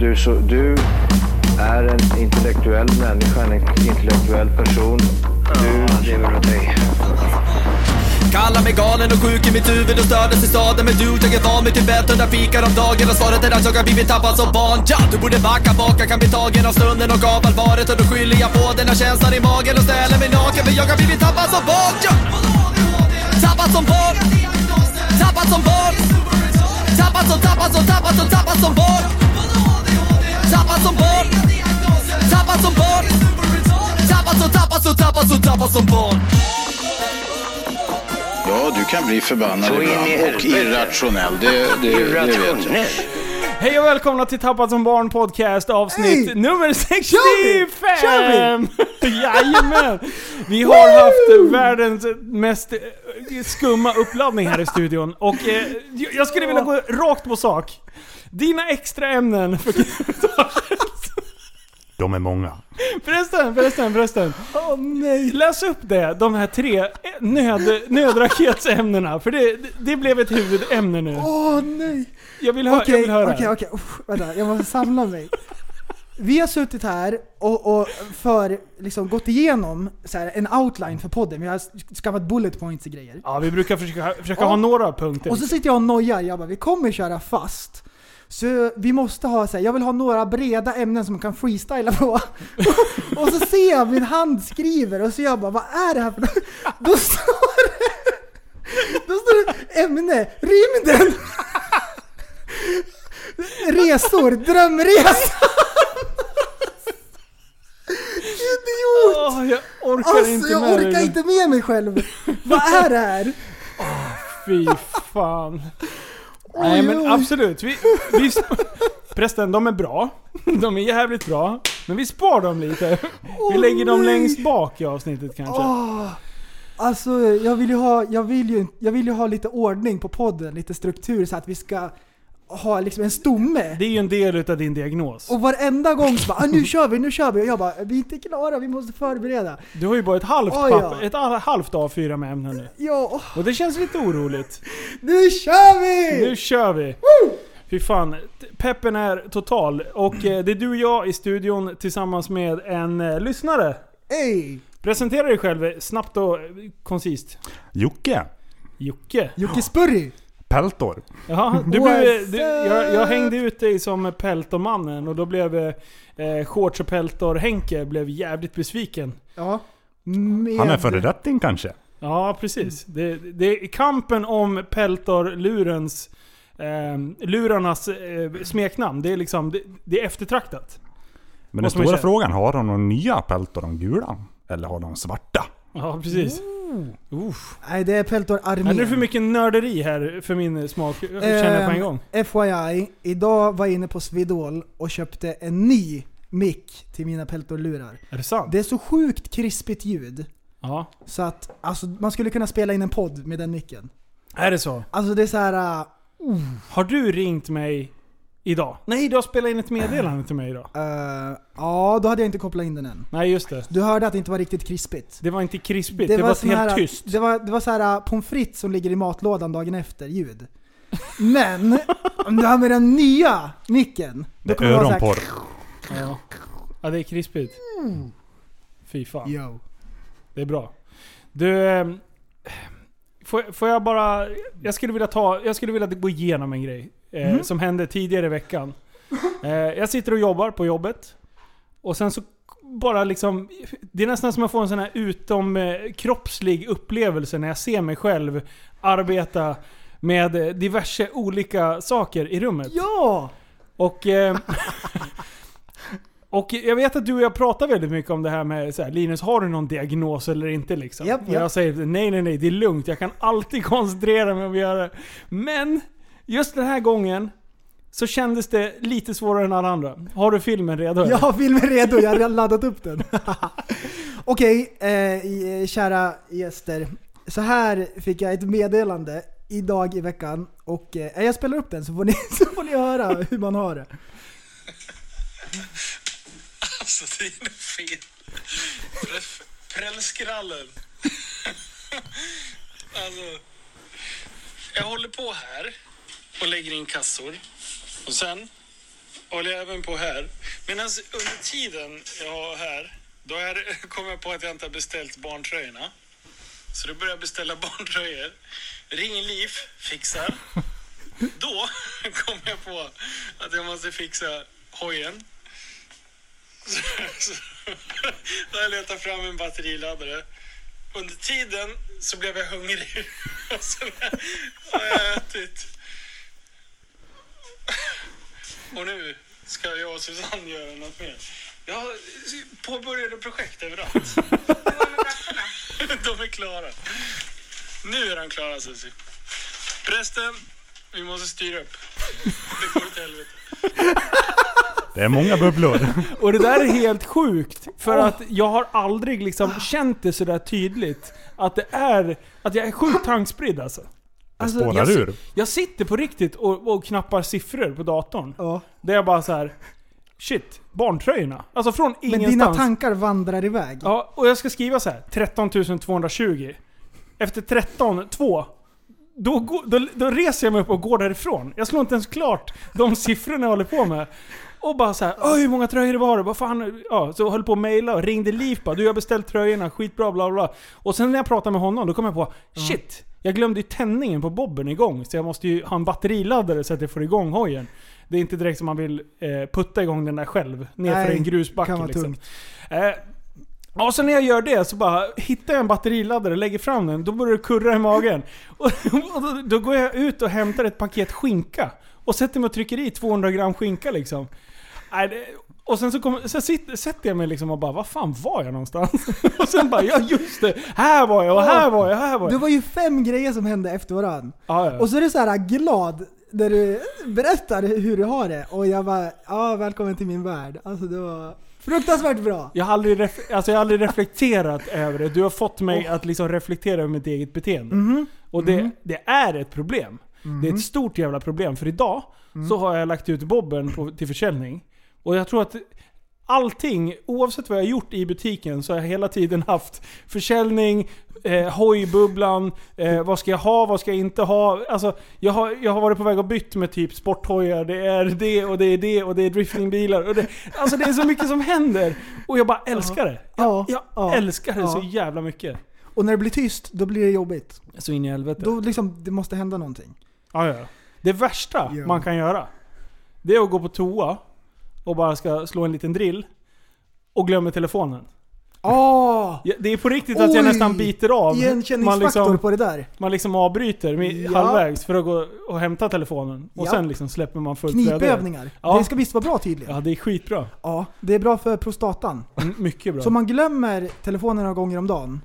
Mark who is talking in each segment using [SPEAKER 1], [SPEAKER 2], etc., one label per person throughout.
[SPEAKER 1] du, så, du är en intellektuell människa, en intellektuell person. Du lever av dig.
[SPEAKER 2] Kallar mig galen och sjuk i mitt huvud och stördes i staden Men du, jag är van vid Tibet, hundra fikar om dagen Och svaret är att jag har blivit tappad som barn ja! Du borde backa bak, jag kan bli tagen av stunden och av allvaret Och då skyller jag på den här känslan i magen och ställer mig naken För jag har blivit tappad som barn ja! Tappad som barn Tappad som barn Tappad som, tappad som, tappad som, tappad som barn Tappad som barn Tappad som barn Tappad som, tappad som, tappad som, tappad som barn
[SPEAKER 3] Ja, du kan bli förbannad
[SPEAKER 1] Så in i
[SPEAKER 3] ibland och
[SPEAKER 1] helvete.
[SPEAKER 3] irrationell. Det, det, det vet jag.
[SPEAKER 1] Irrationell.
[SPEAKER 4] Hej och välkomna till Tappad som barn podcast avsnitt
[SPEAKER 5] Hej!
[SPEAKER 4] nummer 65!
[SPEAKER 5] vi! Kör
[SPEAKER 4] Jajamän! Vi har haft världens mest eh, skumma uppladdning här i studion. Och eh, jag skulle vilja gå rakt på sak. Dina extra ämnen för
[SPEAKER 6] De är många.
[SPEAKER 4] Förresten, förresten, förresten.
[SPEAKER 5] Åh nej!
[SPEAKER 4] Läs upp det, de här tre eh, nöd, nödraketämnena. För det, det blev ett huvudämne nu.
[SPEAKER 5] Åh nej!
[SPEAKER 4] Jag vill, hö- jag
[SPEAKER 5] Okej,
[SPEAKER 4] vill höra.
[SPEAKER 5] okej, okej. Uff, Vänta, jag måste samla mig. Vi har suttit här och, och för, liksom, gått igenom så här, en outline för podden. Vi har skaffat bullet points och grejer.
[SPEAKER 4] Ja, vi brukar försöka, försöka
[SPEAKER 5] Ja.
[SPEAKER 4] ha några punkter.
[SPEAKER 5] Och så sitter jag och nojar. Jag bara, vi kommer köra fast. Så vi måste ha så här, jag vill ha några breda ämnen som man kan freestyla på. och så ser jag min hand skriver och så jag bara, vad är det här för något? Då står det, då står det ämne, rymden. Resor, drömresa. Idiot!
[SPEAKER 4] Åh, jag orkar
[SPEAKER 5] Alltså
[SPEAKER 4] inte
[SPEAKER 5] jag
[SPEAKER 4] med det.
[SPEAKER 5] orkar inte med mig själv. Vad är det här?
[SPEAKER 4] Fy fan. Nej men
[SPEAKER 5] oj.
[SPEAKER 4] absolut. Vi, vi sp- Prästen, de är bra. De är jävligt bra. Men vi spar dem lite. vi
[SPEAKER 5] Åh,
[SPEAKER 4] lägger dem
[SPEAKER 5] nej.
[SPEAKER 4] längst bak i avsnittet kanske.
[SPEAKER 5] Åh, alltså jag vill, ju ha, jag, vill ju, jag vill ju ha lite ordning på podden, lite struktur så att vi ska ha liksom en stomme.
[SPEAKER 4] Det är ju en del utav din diagnos.
[SPEAKER 5] Och varenda gång så bara ah, nu kör vi, nu kör vi. Och jag bara vi är inte klara, vi måste förbereda.
[SPEAKER 4] Du har ju bara ett halvt,
[SPEAKER 5] Oj,
[SPEAKER 4] papper,
[SPEAKER 5] ja.
[SPEAKER 4] ett all- halvt A4 med ämnen nu.
[SPEAKER 5] Ja,
[SPEAKER 4] Och det känns lite oroligt.
[SPEAKER 5] nu kör vi!
[SPEAKER 4] Nu kör vi! Fy fan, t- peppen är total. Och eh, det är du och jag i studion tillsammans med en eh, lyssnare.
[SPEAKER 5] Ey!
[SPEAKER 4] Presentera dig själv eh, snabbt och eh, koncist.
[SPEAKER 6] Jocke.
[SPEAKER 4] Jocke.
[SPEAKER 5] Jocke Spurri!
[SPEAKER 6] Peltor.
[SPEAKER 4] Jaha, du
[SPEAKER 5] What's
[SPEAKER 4] blev, du, jag, jag
[SPEAKER 5] up?
[SPEAKER 4] hängde ut dig som peltormannen och då blev eh, shorts och peltor-Henke blev jävligt besviken.
[SPEAKER 5] Ja. Med...
[SPEAKER 6] Han är föredetting kanske?
[SPEAKER 4] Ja, precis. Det, det är kampen om peltorlurens eh, lurarnas eh, smeknamn. Det är liksom, det, det är eftertraktat.
[SPEAKER 6] Men den
[SPEAKER 4] Måste man ju
[SPEAKER 6] stora
[SPEAKER 4] säga.
[SPEAKER 6] frågan, har de några nya peltor, de gula? Eller har de svarta?
[SPEAKER 4] Ja, precis. Uff.
[SPEAKER 5] Nej det är Peltor
[SPEAKER 4] Är det är för
[SPEAKER 5] Armén.
[SPEAKER 4] mycket nörderi här för min smak? Jag känner
[SPEAKER 5] Ehm,
[SPEAKER 4] jag på en gång.
[SPEAKER 5] FYI, idag var jag inne på Svidol och köpte en ny mick till mina Peltor-lurar.
[SPEAKER 4] Är det sant?
[SPEAKER 5] Det är så sjukt krispigt ljud.
[SPEAKER 4] Ja.
[SPEAKER 5] Så att, alltså man skulle kunna spela in en podd med den micken.
[SPEAKER 4] Är det så?
[SPEAKER 5] Alltså det är så här. Uh,
[SPEAKER 4] Har du ringt mig idag? Nej, du har spelat in ett meddelande till mig idag.
[SPEAKER 5] eh, ja, då hade jag inte kopplat in den än.
[SPEAKER 4] Nej, just det.
[SPEAKER 5] Du hörde att det inte var riktigt krispigt.
[SPEAKER 4] Det var inte krispigt, det, var,
[SPEAKER 5] sån
[SPEAKER 4] helt
[SPEAKER 5] här,
[SPEAKER 4] tyst.
[SPEAKER 5] Det var, det var så här uh, pommes frites som ligger i matlådan dagen efter ljud. Men, om du har med den nya micken. då
[SPEAKER 6] Det är
[SPEAKER 5] kommer det vara så här-
[SPEAKER 6] öronporr.
[SPEAKER 4] Ja. ja, det är krispigt. Fy fan,
[SPEAKER 5] Yo.
[SPEAKER 4] det är bra. Du, ehm, får, får jag bara... Jag skulle vilja, ta, jag skulle vilja gå igenom en grej eh, som hände tidigare i veckan. Eh, jag sitter och jobbar på jobbet. Och sen så bara liksom... Det är nästan som att jag får en sån här utomkroppslig upplevelse när jag ser mig själv arbeta med eh, diverse olika saker i rummet.
[SPEAKER 5] Ja!
[SPEAKER 4] Och, eh, och jag vet att du och jag pratar väldigt mycket om det här med så här, Linus, har du någon diagnos eller inte? Liksom?
[SPEAKER 5] Japp,
[SPEAKER 4] Och
[SPEAKER 5] japp.
[SPEAKER 4] Jag säger nej, nej, nej, det är lugnt. Jag kan alltid koncentrera mig om att göra det. Men just den här gången så kändes det lite svårare än alla andra. Har du filmen redo?
[SPEAKER 5] Jag har filmen redo, jag har redan laddat upp den. Okej, eh, i- kära gäster. Så här fick jag ett meddelande idag i veckan och eh, jag spelar upp den så får, ni, så får ni höra hur man har det.
[SPEAKER 7] Alltså det är fel. Pref- Prällskrallen. Alltså. Jag håller på här och lägger in kassor. Och sen håller jag även på här. Men alltså, under tiden jag har här, då är, kom jag på att jag inte har beställt barntröjorna. Så då började jag beställa barntröjor. Ring Liv fixar. Då kom jag på att jag måste fixa hojen. Så, så, då har jag letat fram en batteriladdare. Under tiden så blev jag hungrig. Och så har jag ätit. Och nu ska jag och Susanne göra något mer. Jag påbörjade projekt överallt. De är klara. Nu är de klara Susie. Prästen, vi måste styra upp. Det går åt helvete.
[SPEAKER 6] Det är många bubblor.
[SPEAKER 4] Och det där är helt sjukt. För att jag har aldrig liksom känt det sådär tydligt. Att det är... Att jag är sjukt tankspridd alltså.
[SPEAKER 6] Det
[SPEAKER 4] Alltså,
[SPEAKER 6] spårar
[SPEAKER 4] jag, si-
[SPEAKER 6] ur.
[SPEAKER 4] jag sitter på riktigt och, och knappar siffror på datorn.
[SPEAKER 5] Ja.
[SPEAKER 4] Där jag bara så här. Shit, barntröjorna. Alltså från
[SPEAKER 5] Men
[SPEAKER 4] ingenstans.
[SPEAKER 5] dina tankar vandrar iväg.
[SPEAKER 4] Ja, och jag ska skriva så här. 13 220. Efter 13, 2. Då, går- då, då reser jag mig upp och går därifrån. Jag slår inte ens klart de siffrorna jag håller på med. Och bara så här, "Oj, hur många tröjor var det? Vad fan? Ja, så jag höll på och mejla och ringde Liv bara, du jag har beställt tröjorna, skitbra bla bla. Och sen när jag pratade med honom, då kom jag på, shit! Jag glömde ju tändningen på bobben igång, så jag måste ju ha en batteriladdare så att jag får igång hojen. Det är inte direkt som man vill eh, putta igång den där själv, nerför
[SPEAKER 5] Nej,
[SPEAKER 4] en grusbacke
[SPEAKER 5] kan vara
[SPEAKER 4] liksom.
[SPEAKER 5] tungt.
[SPEAKER 4] Eh, Ja, så när jag gör det så bara hittar jag en batteriladdare och lägger fram den. Då börjar det kurra i magen. Och, och då, då går jag ut och hämtar ett paket skinka. Och sätter mig och trycker i 200 gram skinka liksom. Nej, det, och sen så, kommer- så sitter, sätter jag mig liksom och bara vad fan var jag någonstans? och sen bara ja just det, här var jag och här var jag, här var
[SPEAKER 5] Det
[SPEAKER 4] jag.
[SPEAKER 5] var ju fem grejer som hände efter varandra.
[SPEAKER 4] Ja, ja.
[SPEAKER 5] Och så är du så här glad när du berättar hur du har det. Och jag bara, ja välkommen till min värld. Alltså det var fruktansvärt bra.
[SPEAKER 4] Jag har, aldrig ref, alltså jag har aldrig reflekterat över det. Du har fått mig att liksom reflektera över mitt eget beteende.
[SPEAKER 5] Mhm.
[SPEAKER 4] Och
[SPEAKER 5] Mm.
[SPEAKER 4] det, det är ett problem. Det är ett stort jävla problem. För idag
[SPEAKER 5] Mm.
[SPEAKER 4] så har jag lagt ut bobben på, till försäljning. Och jag tror att allting, oavsett vad jag har gjort i butiken, så har jag hela tiden haft försäljning, eh, hojbubblan, eh, vad ska jag ha, vad ska jag inte ha. Alltså, jag, har, jag har varit på väg och bytt med typ sporthojar, det är det och det är det och det är driftingbilar. Och det, alltså det är så mycket som händer. Och jag bara älskar det.
[SPEAKER 5] Ja,
[SPEAKER 4] Jag
[SPEAKER 5] ja,
[SPEAKER 4] älskar det
[SPEAKER 5] ja.
[SPEAKER 4] så jävla mycket.
[SPEAKER 5] Och när det blir tyst, då blir det jobbigt.
[SPEAKER 4] Så in i helvete.
[SPEAKER 5] Då liksom, det måste hända någonting.
[SPEAKER 4] Ja, ja. Det värsta
[SPEAKER 5] Ja.
[SPEAKER 4] man kan göra, det är att gå på toa och bara ska slå en liten drill och glömmer telefonen.
[SPEAKER 5] Åh!
[SPEAKER 4] Ja, Det är på riktigt att jag
[SPEAKER 5] Oj!
[SPEAKER 4] nästan biter av. Man
[SPEAKER 5] Ah, Igenkänningsfaktor
[SPEAKER 4] liksom,
[SPEAKER 5] på det där.
[SPEAKER 4] man liksom avbryter med-
[SPEAKER 5] Ja.
[SPEAKER 4] halvvägs för att gå och hämta telefonen. Och
[SPEAKER 5] Ja.
[SPEAKER 4] sen liksom släpper man fullt flöde.
[SPEAKER 5] Knipövningar.
[SPEAKER 4] Ja.
[SPEAKER 5] Det ska visst vara bra tydligen.
[SPEAKER 4] Ja, det är skitbra.
[SPEAKER 5] Ja, det är bra för prostatan.
[SPEAKER 4] Mm, Mycket bra.
[SPEAKER 5] Så om man glömmer telefonen några gånger om dagen.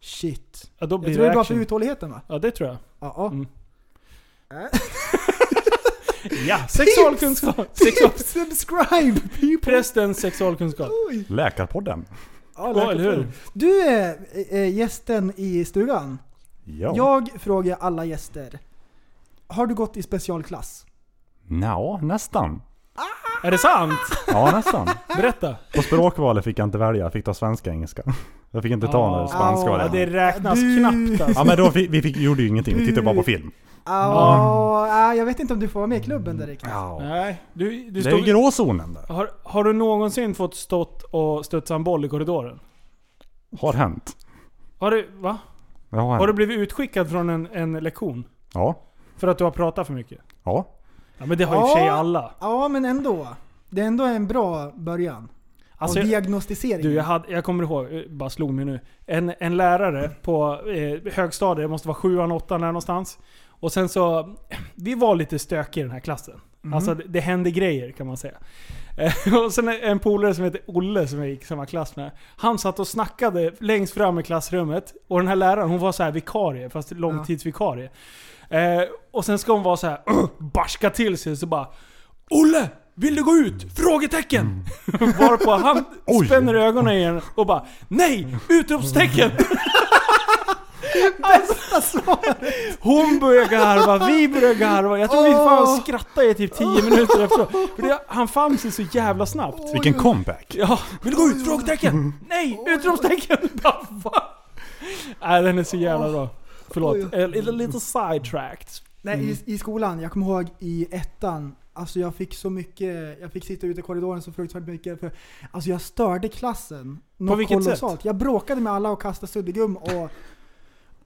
[SPEAKER 5] Shit.
[SPEAKER 4] ja, då
[SPEAKER 5] Jag
[SPEAKER 4] blir
[SPEAKER 5] tror det är
[SPEAKER 4] det
[SPEAKER 5] bra för
[SPEAKER 4] action.
[SPEAKER 5] uthålligheten va?
[SPEAKER 4] Ja, det tror jag.
[SPEAKER 5] Ja. ja.
[SPEAKER 4] Mm. Ja, sexualkunskap. Sexual...
[SPEAKER 5] Subscribe people!
[SPEAKER 4] Prästens sexualkunskap.
[SPEAKER 5] Oj.
[SPEAKER 6] Läkarpodden.
[SPEAKER 5] Ja,
[SPEAKER 4] Ja, eller hur?
[SPEAKER 5] Du är eh, gästen i stugan.
[SPEAKER 6] Ja. ja.
[SPEAKER 5] Jag frågar alla gäster. Har du gått i specialklass?
[SPEAKER 6] nästan.
[SPEAKER 4] Är det sant?
[SPEAKER 6] Ja, nästan.
[SPEAKER 4] Berätta.
[SPEAKER 6] På språkvalet fick jag inte välja. Jag fick ta svenska och engelska. Jag fick inte ta
[SPEAKER 4] Ah.
[SPEAKER 6] någon spanska
[SPEAKER 4] Ja,
[SPEAKER 6] och
[SPEAKER 4] det
[SPEAKER 6] det.
[SPEAKER 4] räknas
[SPEAKER 5] Du-
[SPEAKER 4] knappt alltså.
[SPEAKER 6] Ja men då fick, vi fick, gjorde ju ingenting. Vi tittade bara på film.
[SPEAKER 5] Ja. ah, jag vet inte om du får vara med i klubben där riktigt.
[SPEAKER 6] Ja.
[SPEAKER 4] Nej, du, du
[SPEAKER 6] Det är ju
[SPEAKER 4] stod...
[SPEAKER 6] gråzonen där.
[SPEAKER 4] Har, har du någonsin fått stått och studsa en boll i korridoren?
[SPEAKER 6] Har hänt.
[SPEAKER 4] Har du, va?
[SPEAKER 6] Det har hänt.
[SPEAKER 4] Har du blivit utskickad från en, en lektion?
[SPEAKER 6] Ja.
[SPEAKER 4] För att du har pratat för mycket?
[SPEAKER 6] Ja.
[SPEAKER 4] Ja men det har ju i och för sig
[SPEAKER 5] Ja.
[SPEAKER 4] alla.
[SPEAKER 5] Ja, men ändå. Det är ändå en bra början.
[SPEAKER 4] Alltså,
[SPEAKER 5] av
[SPEAKER 4] jag-
[SPEAKER 5] diagnostisering.
[SPEAKER 4] Du, jag, hade, jag kommer ihåg, eh, bara slog mig nu. En, en lärare på eh, högstadiet, det måste vara sjuan, åttan där någonstans. Och sen så, vi var lite stökiga i den här klassen. Alltså det, det hände grejer kan man säga. Eh, Och sen en polare som heter Olle som jag gick i samma klass med. Han satt och snackade längst fram i klassrummet. Och den här läraren hon var så här vikarie, fast långtidsvikarie. Eh, och sen ska hon vara så här barska till sig så bara Olle! Vill du gå ut? Frågetecken! Varpå han
[SPEAKER 6] Oj.
[SPEAKER 4] spänner ögonen i henne och bara Nej! Utropstecken! Alltså, hon börjar garva, vi börjar garva. Jag tror vi fan
[SPEAKER 5] Åh.
[SPEAKER 4] skrattade i typ 10 minuter efteråt. För det, han fann sig så jävla snabbt.
[SPEAKER 6] Vilken comeback.
[SPEAKER 4] Ja, vill du gå ut? Frågetecken! Nej! Utropstecken! Bara, va? Nej, den är så jävla bra. Förlåt.
[SPEAKER 5] Oj.
[SPEAKER 4] A little, little sidetracked.
[SPEAKER 5] Nej, i, i skolan, jag kommer ihåg i ettan, Alltså jag fick så mycket, jag fick sitta ute i korridoren så fruktansvärt mycket. För, alltså jag störde klassen. något
[SPEAKER 4] vilket sätt?
[SPEAKER 5] kolossalt. Jag bråkade med alla och kastade suddgum och...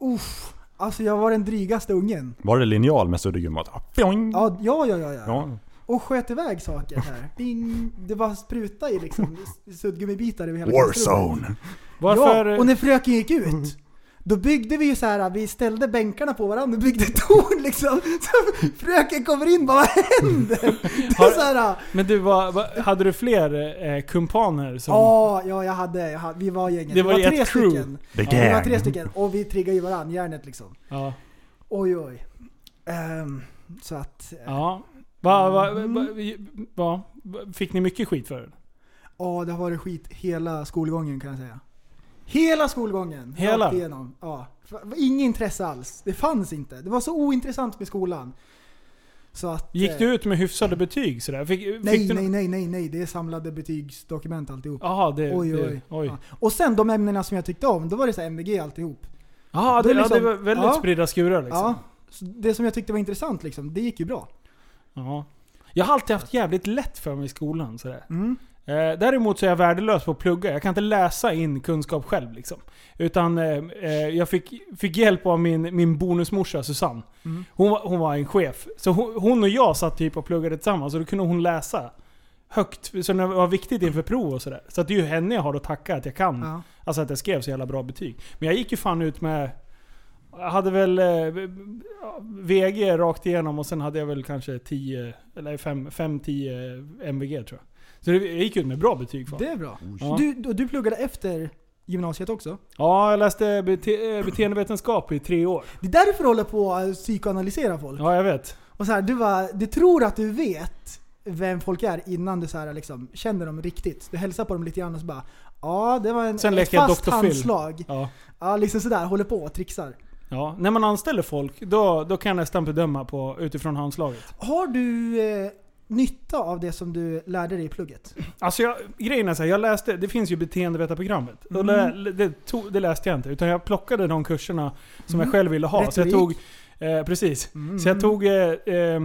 [SPEAKER 5] Uff, alltså jag var den drygaste ungen.
[SPEAKER 6] Var det linjal med suddgummat? Ah, pjoing!
[SPEAKER 5] Ja, ja, ja, ja. ja.
[SPEAKER 6] Ja.
[SPEAKER 5] Och sköt iväg saker här. Ding. Det var spruta i liksom suddgummibitar över hela klassrummet.
[SPEAKER 6] Warzone!
[SPEAKER 4] Varför... Mm.
[SPEAKER 5] Ja, och när fröken gick ut, då byggde vi ju så här, vi ställde bänkarna på varandra och byggde torn liksom. Så fröken kommer in bara, vad händer? Det är
[SPEAKER 4] Har-
[SPEAKER 5] så här,
[SPEAKER 4] Men du, var, var, hade du fler eh, kumpaner som...
[SPEAKER 5] ja, ja jag hade, jag hade, vi var gänget.
[SPEAKER 4] Det var
[SPEAKER 5] vi
[SPEAKER 4] ju
[SPEAKER 5] var
[SPEAKER 4] ett
[SPEAKER 5] tre
[SPEAKER 4] crew.
[SPEAKER 5] stycken.
[SPEAKER 6] The
[SPEAKER 5] Ja, vi var
[SPEAKER 6] gang!
[SPEAKER 5] tre stycken och vi triggade ju varandra, järnet liksom.
[SPEAKER 4] Ja.
[SPEAKER 5] Oj oj. Ehm, så att, ja
[SPEAKER 4] ja. Va, va, va,
[SPEAKER 5] Mm.
[SPEAKER 4] va, va, fick ni mycket skit för det?
[SPEAKER 5] det har varit skit hela skolgången kan jag säga. Hela skolgången.
[SPEAKER 4] Hela?
[SPEAKER 5] Rakt igenom. Ja. Inget intresse alls. Det fanns inte. Det var så ointressant med skolan. Så att,
[SPEAKER 4] Gick
[SPEAKER 5] eh,
[SPEAKER 4] du ut med hyfsade betyg sådär? Fick, fick
[SPEAKER 5] Nej,
[SPEAKER 4] du
[SPEAKER 5] nej, nej, nej, nej. Det är samlade betygsdokument alltihop.
[SPEAKER 4] Jaha, det...
[SPEAKER 5] oj,
[SPEAKER 4] det,
[SPEAKER 5] oj.
[SPEAKER 4] oj.
[SPEAKER 5] Ja. Och sen de ämnena som jag tyckte om, då var det så här MVG alltihop.
[SPEAKER 4] Jaha, det,
[SPEAKER 5] Då liksom-
[SPEAKER 4] ja, det var väldigt
[SPEAKER 5] ja.
[SPEAKER 4] spridda skurar liksom.
[SPEAKER 5] Ja. Så det som jag tyckte var intressant liksom, det gick ju bra.
[SPEAKER 4] Ja. Jag har alltid haft jävligt lätt för mig i skolan. Sådär.
[SPEAKER 5] Mm.
[SPEAKER 4] Eh, däremot så är jag värdelös på att plugga. Jag kan inte läsa in kunskap själv. Liksom. Utan eh, eh, jag fick, fick hjälp av min, min bonusmorsa Susanne.
[SPEAKER 5] Mm.
[SPEAKER 4] Hon, var- hon var en chef. Så hon, hon och jag satt typ och pluggade tillsammans och då kunde hon läsa högt. Så det var viktigt inför prov och sådär. Så att det är ju henne jag har att tacka att jag kan.
[SPEAKER 5] Ja.
[SPEAKER 4] Alltså att jag skrev så jävla bra betyg. Men jag gick ju fan ut med... Jag hade väl eh, VG rakt igenom och sen hade jag väl kanske 10, eller 5-10 MVG tror jag. Så det, jag gick ut med bra betyg fan.
[SPEAKER 5] Det är bra.
[SPEAKER 4] Ja.
[SPEAKER 5] Du, du, du pluggade efter gymnasiet också?
[SPEAKER 4] Ja, jag läste bete, eh, beteendevetenskap i tre år.
[SPEAKER 5] Det är därför du håller på att psykoanalysera folk.
[SPEAKER 4] Ja, jag vet.
[SPEAKER 5] Och så här, du, bara, du tror att du vet vem folk är innan du så här, liksom, känner dem riktigt. Du hälsar på dem lite grann och så bara Ja, det var en,
[SPEAKER 4] Sen
[SPEAKER 5] ett
[SPEAKER 4] leker jag
[SPEAKER 5] fast
[SPEAKER 4] Dr. Phil.
[SPEAKER 5] handslag.
[SPEAKER 4] Ja.
[SPEAKER 5] Ja, liksom sådär. Håller på och trixar.
[SPEAKER 4] Ja. När man anställer folk, då, då kan jag nästan bedöma på, utifrån handslaget.
[SPEAKER 5] Har du eh, nytta av det som du lärde dig i plugget?
[SPEAKER 4] Alltså jag, grejen är så här, jag läste, det finns ju beteendevetarprogrammet.
[SPEAKER 5] Mm.
[SPEAKER 4] Och det, det, tog, det läste jag inte, utan jag plockade de kurserna som jag själv ville ha. Så jag tog,
[SPEAKER 5] Mm. Retorik. Mm.
[SPEAKER 4] eh, precis. Så jag tog eh, eh,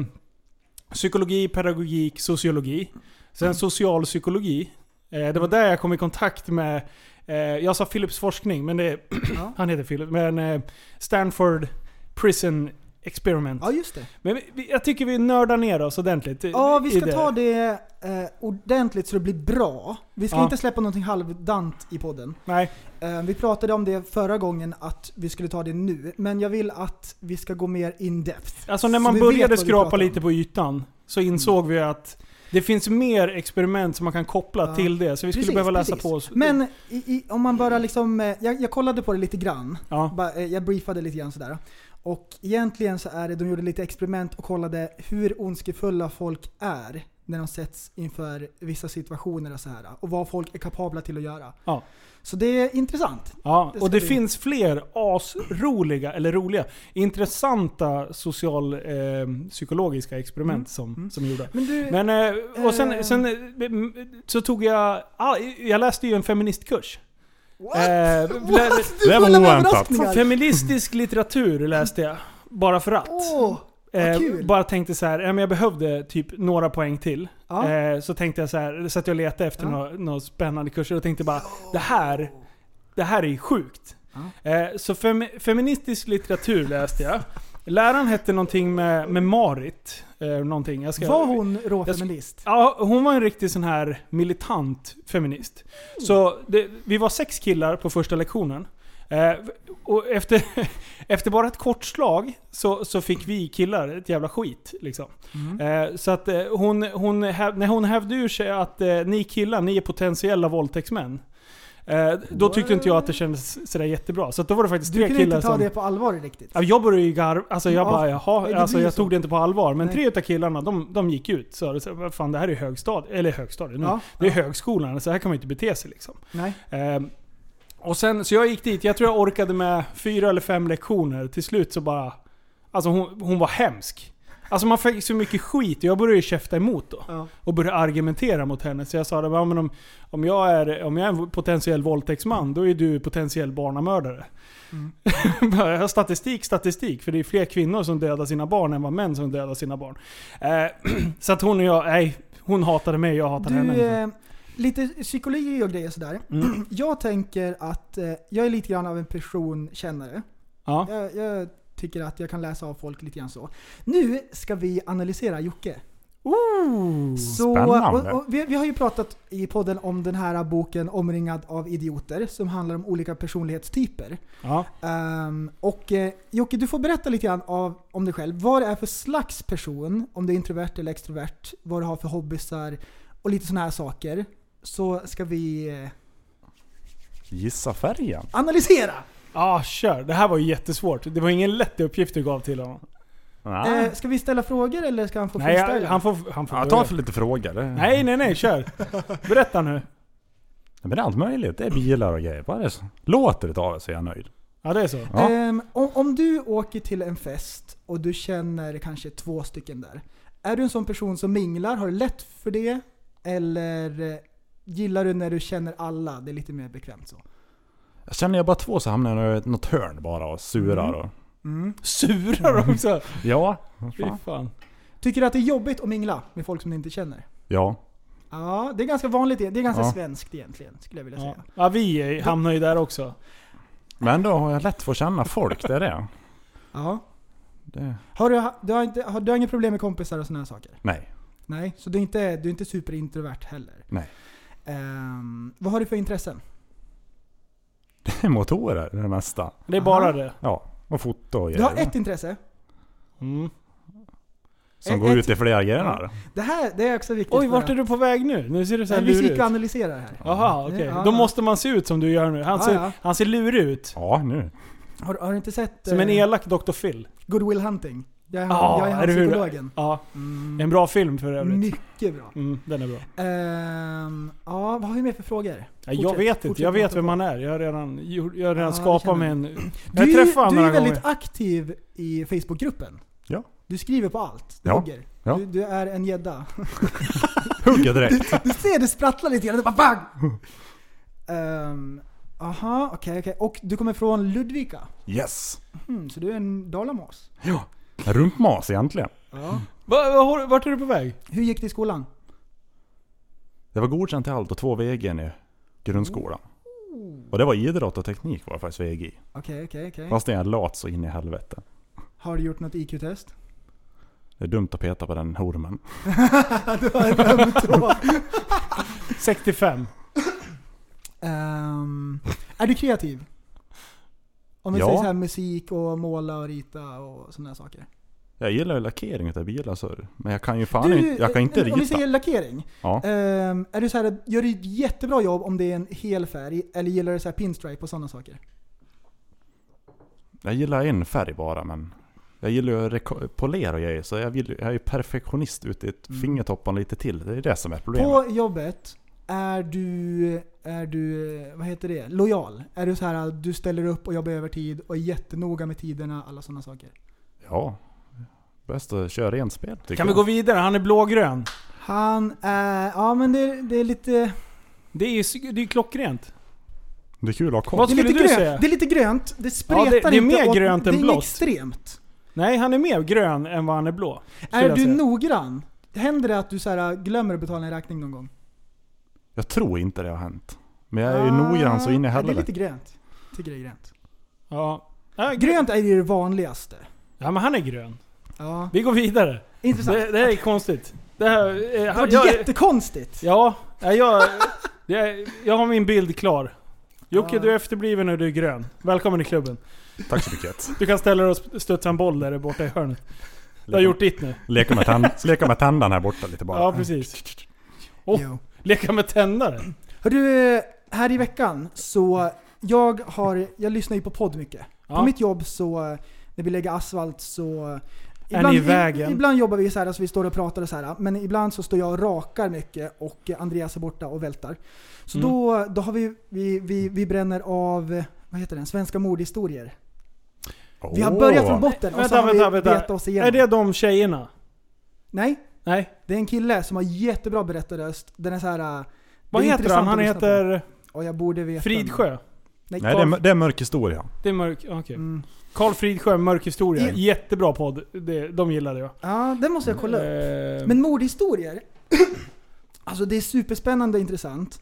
[SPEAKER 4] psykologi, pedagogik, sociologi.
[SPEAKER 5] Mm.
[SPEAKER 4] Sen socialpsykologi. Eh, det var där jag kom i kontakt med, eh, jag sa Philips forskning, men det,
[SPEAKER 5] Ja.
[SPEAKER 4] han heter Philip, men eh, Stanford Prison Experiment.
[SPEAKER 5] Ja, just det.
[SPEAKER 4] Men vi- vi, jag tycker vi nördar ner oss ordentligt. i-
[SPEAKER 5] Ja, vi
[SPEAKER 4] i
[SPEAKER 5] ska ta det eh, ordentligt så det blir bra. Vi ska
[SPEAKER 4] Ja.
[SPEAKER 5] inte släppa någonting halvdant i podden.
[SPEAKER 4] Nej.
[SPEAKER 5] Eh, vi pratade om det förra gången att vi skulle ta det nu, men jag vill att vi ska gå mer in depth.
[SPEAKER 4] Alltså när
[SPEAKER 5] Så
[SPEAKER 4] man
[SPEAKER 5] vi vet
[SPEAKER 4] började
[SPEAKER 5] vad vi
[SPEAKER 4] skrapa
[SPEAKER 5] pratar om. Mm.
[SPEAKER 4] lite på ytan så insåg vi att det finns mer experiment som man kan koppla
[SPEAKER 5] Ja.
[SPEAKER 4] till det. Så vi skulle
[SPEAKER 5] Precis,
[SPEAKER 4] behöva läsa
[SPEAKER 5] precis.
[SPEAKER 4] på oss.
[SPEAKER 5] Men i, i, om man bara liksom, eh, jag, jag kollade på det lite grann.
[SPEAKER 4] ja.
[SPEAKER 5] Bara, eh, Jag briefade lite grann sådär. Och egentligen så är det, de gjorde lite experiment och kollade hur ondskefulla folk är när de sätts inför vissa situationer och så här. Och vad folk är kapabla till att göra.
[SPEAKER 4] Ja.
[SPEAKER 5] Så det är intressant.
[SPEAKER 4] Ja.
[SPEAKER 5] det ska
[SPEAKER 4] Och det
[SPEAKER 5] vi-
[SPEAKER 4] finns fler asroliga, eller roliga, intressanta socialpsykologiska experiment som, som gjorde.
[SPEAKER 5] Men du,
[SPEAKER 4] Men, eh, och sen,
[SPEAKER 5] Mm. Eh.
[SPEAKER 4] sen eh, m- så tog jag, ah, jag läste ju en feministkurs.
[SPEAKER 5] what?
[SPEAKER 4] eh, blä-
[SPEAKER 5] what? Du
[SPEAKER 6] Det var
[SPEAKER 5] full av
[SPEAKER 6] oväntat.
[SPEAKER 5] överraskningar.
[SPEAKER 4] Feministisk litteratur läste jag. Bara för att.
[SPEAKER 5] Åh, vad
[SPEAKER 4] Eh,
[SPEAKER 5] kul.
[SPEAKER 4] bara tänkte så här, eh, men jag behövde typ några poäng till.
[SPEAKER 5] Ja.
[SPEAKER 4] Eh, så tänkte jag så här, så att jag letade efter
[SPEAKER 5] Ja.
[SPEAKER 4] några, några spännande kurser och tänkte bara, det här, det här är sjukt. Eh, så fem, feministisk litteratur läste jag. Läraren hette någonting med, med Marit. Eh, någonting. Jag ska,
[SPEAKER 5] Var hon råfeminist?
[SPEAKER 4] Ja, hon var en riktig sån här militant feminist.
[SPEAKER 5] Mm.
[SPEAKER 4] Så det, vi var sex killar på första lektionen. Eh, och efter, efter bara ett kort slag så, så fick vi killar ett jävla skit. Liksom.
[SPEAKER 5] Mm.
[SPEAKER 4] Eh, så att eh, hon, hon, häv, när hon hävde ur sig att eh, ni killar, ni är potentiella våldtäktsmän. Eh, då tyckte inte jag att det kändes sådär jättebra. Så att då var det faktiskt
[SPEAKER 5] Du
[SPEAKER 4] tre
[SPEAKER 5] kunde
[SPEAKER 4] killar
[SPEAKER 5] inte ta
[SPEAKER 4] som...
[SPEAKER 5] det på allvar riktigt.
[SPEAKER 4] Ja, Jag började ju garva, alltså jag
[SPEAKER 5] Ja,
[SPEAKER 4] bara
[SPEAKER 5] nej,
[SPEAKER 4] jaha,
[SPEAKER 5] det
[SPEAKER 4] alltså
[SPEAKER 5] blir
[SPEAKER 4] jag
[SPEAKER 5] så.
[SPEAKER 4] tog det inte på allvar. Men
[SPEAKER 5] Nej.
[SPEAKER 4] tre utav killarna, de, de gick ut så det så, vad fan det här är högstadiet, eller högstadiet nu.
[SPEAKER 5] Ja,
[SPEAKER 4] det är
[SPEAKER 5] ja.
[SPEAKER 4] högskolan, så här kan man ju inte bete sig liksom.
[SPEAKER 5] Nej.
[SPEAKER 4] Ehm, och sen, så jag gick dit, jag tror jag orkade med fyra eller fem lektioner. Till slut så bara, alltså hon, hon var hemsk. Alltså man fick så mycket skit och jag började ju käfta emot då.
[SPEAKER 5] Ja.
[SPEAKER 4] Och började argumentera mot henne. Så jag sa det, "Ja, men om, om, jag är, om jag är en potentiell våldtäktsman, då är du potentiell barnamördare. Bara, jag har statistik, statistik. För det är fler kvinnor som dödar sina barn än vad män som dödar sina barn. Eh, så att hon och jag, nej. Hon hatade mig, jag hatade henne.
[SPEAKER 5] Du,
[SPEAKER 4] liksom. Mm.
[SPEAKER 5] eh, lite psykologi och grejer sådär. Jag tänker att eh, jag är lite grann av en personkännare.
[SPEAKER 4] Ja.
[SPEAKER 5] Jag, jag tycker att jag kan läsa av folk lite grann så. Nu ska vi analysera Jocke.
[SPEAKER 4] Ooh.
[SPEAKER 5] Så,
[SPEAKER 6] Spännande.
[SPEAKER 5] och, och vi, vi har ju pratat i podden om den här boken Omringad av idioter som handlar om olika personlighetstyper.
[SPEAKER 4] Ja.
[SPEAKER 5] Ehm, och eh, Jocke, du får berätta lite grann av, om dig själv. Vad det är för slags person, om du är introvert eller extrovert, vad du har för hobbysar och lite sådana här saker. Så ska vi eh,
[SPEAKER 6] Gissa färgen.
[SPEAKER 5] analysera!
[SPEAKER 4] Ja, Ah, kör. Det här var ju jättesvårt. Det var ingen lätt uppgift du gav till honom.
[SPEAKER 6] Nej.
[SPEAKER 5] Eh, ska vi ställa frågor eller ska han få
[SPEAKER 4] Ah. Nej,
[SPEAKER 5] freestyla?
[SPEAKER 4] jag, han får, han får
[SPEAKER 6] Ja,
[SPEAKER 4] börja.
[SPEAKER 6] ta för lite frågor. Det-
[SPEAKER 4] Nej, nej, nej. Kör. Berätta nu.
[SPEAKER 6] Men det är allt möjligt. Det är bilar och grejer. Bara det så. Låter det av så är jag nöjd.
[SPEAKER 4] Ja, det är så.
[SPEAKER 6] Ja.
[SPEAKER 5] Ehm, om, om du åker till en fest och du känner kanske två stycken där. Är du en sån person som minglar? Har du lätt för det? Eller eh, gillar du när du känner alla? Det är lite mer bekvämt så.
[SPEAKER 6] Känner jag bara två så hamnar jag i något hörn bara och surar.
[SPEAKER 5] Mm.
[SPEAKER 6] Och,
[SPEAKER 4] Surar också.
[SPEAKER 6] ja.
[SPEAKER 4] Fy fan.
[SPEAKER 5] Tycker du att det är jobbigt att mingla med folk som du inte känner?
[SPEAKER 6] Ja.
[SPEAKER 5] Ja, det är ganska vanligt. Det är ganska
[SPEAKER 6] Ja.
[SPEAKER 5] svenskt egentligen, skulle jag vilja
[SPEAKER 4] Ja.
[SPEAKER 5] säga.
[SPEAKER 4] ja, vi är- hamnar ju där också.
[SPEAKER 6] Men då har jag lätt för att känna folk. Det är det.
[SPEAKER 5] Ja.
[SPEAKER 6] det
[SPEAKER 5] Har du, du, har inte, har, du har inga problem med kompisar och sådana här saker?
[SPEAKER 6] nej.
[SPEAKER 5] Nej, så du är inte, du är inte superintrovert heller?
[SPEAKER 6] Nej.
[SPEAKER 5] Ehm, vad har du för intressen?
[SPEAKER 6] Det är motorer det mesta.
[SPEAKER 4] Det är
[SPEAKER 5] Aha.
[SPEAKER 4] bara det.
[SPEAKER 6] Ja. Och foto och
[SPEAKER 5] Du har
[SPEAKER 6] grejer.
[SPEAKER 5] ett intresse.
[SPEAKER 4] Mm.
[SPEAKER 6] Som
[SPEAKER 5] ett-
[SPEAKER 6] går ut i flera grenar.
[SPEAKER 5] Det här det är också viktigt.
[SPEAKER 4] Oj, vart är du på väg nu? Nu ser du så här
[SPEAKER 5] Nej, vi
[SPEAKER 4] lurig
[SPEAKER 5] gick
[SPEAKER 4] ut.
[SPEAKER 5] och analyserade här.
[SPEAKER 4] Jaha, okej.
[SPEAKER 5] Ja,
[SPEAKER 4] Då
[SPEAKER 5] ja.
[SPEAKER 4] måste man se ut som du gör nu. Han
[SPEAKER 5] Ja,
[SPEAKER 4] ser,
[SPEAKER 5] ja.
[SPEAKER 4] han ser lurig ut.
[SPEAKER 6] Ja, nu.
[SPEAKER 5] Har, har du inte sett
[SPEAKER 4] Som en
[SPEAKER 5] eh,
[SPEAKER 4] elak Dr. Phil.
[SPEAKER 5] Goodwill Hunting? Jag är, han-
[SPEAKER 4] Ja,
[SPEAKER 5] jag är, han
[SPEAKER 4] eller hur?
[SPEAKER 5] psykologen. Mm.
[SPEAKER 4] Ja. En bra film för övrigt.
[SPEAKER 5] Mycket bra.
[SPEAKER 4] Mm, den är bra.
[SPEAKER 5] Ehm, ja, vad har vi mer för frågor?
[SPEAKER 4] Ja, jag
[SPEAKER 5] Fortsätt-
[SPEAKER 4] vet inte.
[SPEAKER 5] fortsätt
[SPEAKER 4] Jag vet
[SPEAKER 5] prata.
[SPEAKER 4] vem han är. Jag har redan, gjort- jag har redan
[SPEAKER 5] Ja, det
[SPEAKER 4] skapat
[SPEAKER 5] känner
[SPEAKER 4] mig
[SPEAKER 5] jag.
[SPEAKER 4] en...
[SPEAKER 5] Du, är
[SPEAKER 4] Jag
[SPEAKER 5] ju-
[SPEAKER 4] träffade honom
[SPEAKER 5] du är
[SPEAKER 4] några
[SPEAKER 5] väldigt
[SPEAKER 4] gånger.
[SPEAKER 5] aktiv i Facebookgruppen.
[SPEAKER 6] Ja.
[SPEAKER 5] Du skriver på allt. Du
[SPEAKER 6] Ja.
[SPEAKER 5] hugger.
[SPEAKER 6] Ja.
[SPEAKER 5] Du, du är en gädda.
[SPEAKER 6] Hugger direkt.
[SPEAKER 5] Du ser det sprattlar lite grann. Det bara bang! Ehm, aha, okej, okej. Och du kommer från Ludvika.
[SPEAKER 6] Yes.
[SPEAKER 5] Hmm, så du är en dalamas.
[SPEAKER 6] Rumpmas egentligen.
[SPEAKER 5] Ja.
[SPEAKER 4] Va- va- har- Vart är du på väg?
[SPEAKER 5] Hur gick det i skolan?
[SPEAKER 6] Jag var godkänd till allt och två VG i grundskolan. Och det var idrott och teknik var jag faktiskt VG i.
[SPEAKER 5] Okej, okej, okej.
[SPEAKER 6] Fast jag är lat så in i helvete.
[SPEAKER 5] Har du gjort något IQ-test?
[SPEAKER 6] Det är dumt att peta på den ormen.
[SPEAKER 5] du har ett ömt
[SPEAKER 4] 65.
[SPEAKER 5] um, Är du kreativ? Om vi
[SPEAKER 6] Ja.
[SPEAKER 5] säger så här musik och måla och rita och sådana här saker.
[SPEAKER 6] Jag gillar ju lackering utav bilar så. Men jag kan ju fan
[SPEAKER 5] Du,
[SPEAKER 6] inte, jag kan inte
[SPEAKER 5] eh, Om vi
[SPEAKER 6] rita.
[SPEAKER 5] säger lackering.
[SPEAKER 6] Ja.
[SPEAKER 5] Ehm, är du så här, gör du ett jättebra jobb om det är en hel färg, eller gillar du så här pinstripe och sådana saker?
[SPEAKER 6] Jag gillar en färg bara men. Jag gillar ju att reko- polera och grejer så jag, vill, ju- jag är ju perfektionist ute i ett fingertopparna lite till. Det är det som är problemet.
[SPEAKER 5] Mm. På jobbet, är du, är du, vad heter det, lojal? Är du så här, du ställer upp och jobbar övertid och är jättenoga med tiderna, alla sådana saker?
[SPEAKER 6] Ja. Bäst att köra rent spel tycker
[SPEAKER 4] Kan vi
[SPEAKER 6] jag.
[SPEAKER 4] gå vidare? Han är blågrön.
[SPEAKER 5] Han är, ja men det, det är lite,
[SPEAKER 4] Det är ju s- det är ju klockrent.
[SPEAKER 6] Det är kul att ha koll.
[SPEAKER 4] Vad
[SPEAKER 5] det är lite,
[SPEAKER 4] skulle du säga?
[SPEAKER 5] grönt, det är lite grönt, det spretar
[SPEAKER 4] det är
[SPEAKER 5] inte
[SPEAKER 4] mer
[SPEAKER 5] åt-
[SPEAKER 4] grönt än
[SPEAKER 5] det är
[SPEAKER 4] blått.
[SPEAKER 5] inget extremt.
[SPEAKER 4] Nej, han är mer grön än vad han är blå. skulle
[SPEAKER 5] Är
[SPEAKER 4] jag
[SPEAKER 5] du
[SPEAKER 4] säga.
[SPEAKER 5] noggrann? Händer det att du så här, äh, glömmer att betala en räkning någon gång?
[SPEAKER 6] Jag tror inte det har hänt. Men jag är ju
[SPEAKER 5] Ah,
[SPEAKER 6] noggrann så in
[SPEAKER 5] ja, Det
[SPEAKER 6] i
[SPEAKER 5] är
[SPEAKER 6] helvete.
[SPEAKER 5] lite grönt. Tycker det är grönt.
[SPEAKER 4] Ja. Ja, grön.
[SPEAKER 5] Grönt är ju det vanligaste.
[SPEAKER 4] Ja, men han är grön.
[SPEAKER 5] Ja.
[SPEAKER 4] Vi går vidare.
[SPEAKER 5] Intressant.
[SPEAKER 4] Det, det här är konstigt. Det här... Eh,
[SPEAKER 5] Det
[SPEAKER 4] han,
[SPEAKER 5] var
[SPEAKER 4] jag,
[SPEAKER 5] jättekonstigt.
[SPEAKER 4] ja, ja, jag, jag, jag har min bild klar. Jocke,
[SPEAKER 5] Ja.
[SPEAKER 4] du är efterbliven och du är grön. Välkommen i klubben.
[SPEAKER 6] Tack så mycket.
[SPEAKER 4] Du kan ställa dig och sp- studsa en boll där borta i hörnet. Du har gjort ditt nu.
[SPEAKER 6] Leka med, tänd, leka med tändan här borta lite bara.
[SPEAKER 4] Ja, precis. Oh.
[SPEAKER 5] Jo.
[SPEAKER 4] Leka med tändare.
[SPEAKER 5] Hörru, här i veckan så jag har, jag lyssnar ju på podd mycket. På
[SPEAKER 4] Ja.
[SPEAKER 5] mitt jobb så, eh, när vi lägger asfalt så... eh,
[SPEAKER 4] Är ni i vägen?
[SPEAKER 5] ibland jobbar vi så här, alltså vi står och pratar och så här, men ibland så står jag och rakar mycket och eh, Andreas är borta och vältar. Så
[SPEAKER 4] Mm.
[SPEAKER 5] då, då har vi, vi, vi, vi bränner av, eh, vad heter den, svenska mordhistorier. Vi har börjat från botten och så
[SPEAKER 4] Vänta,
[SPEAKER 5] har vi
[SPEAKER 4] vänta, vänta.
[SPEAKER 5] betat oss
[SPEAKER 4] Är
[SPEAKER 5] igenom.
[SPEAKER 4] det de tjejerna?
[SPEAKER 5] Nej,
[SPEAKER 4] Nej.
[SPEAKER 5] det är en kille som har jättebra berättarröst. Den är så här... äh,
[SPEAKER 4] Vad
[SPEAKER 5] det är
[SPEAKER 4] heter han?
[SPEAKER 5] intressant
[SPEAKER 4] Han
[SPEAKER 5] att lyssna på.
[SPEAKER 4] heter
[SPEAKER 5] Ja, jag borde veta.
[SPEAKER 4] Fridsjö.
[SPEAKER 5] Nej,
[SPEAKER 6] Nej, det är, mör- det är mörk historia.
[SPEAKER 4] Det är mörk... Okej.
[SPEAKER 5] Mm.
[SPEAKER 4] Karl Fridsjö, Mörk historia.
[SPEAKER 5] I-
[SPEAKER 4] Jättebra podd. Det, de gillade jag.
[SPEAKER 5] Ja, den måste jag kolla upp.
[SPEAKER 4] Eh,
[SPEAKER 5] Men mordhistorier, alltså det är superspännande och intressant.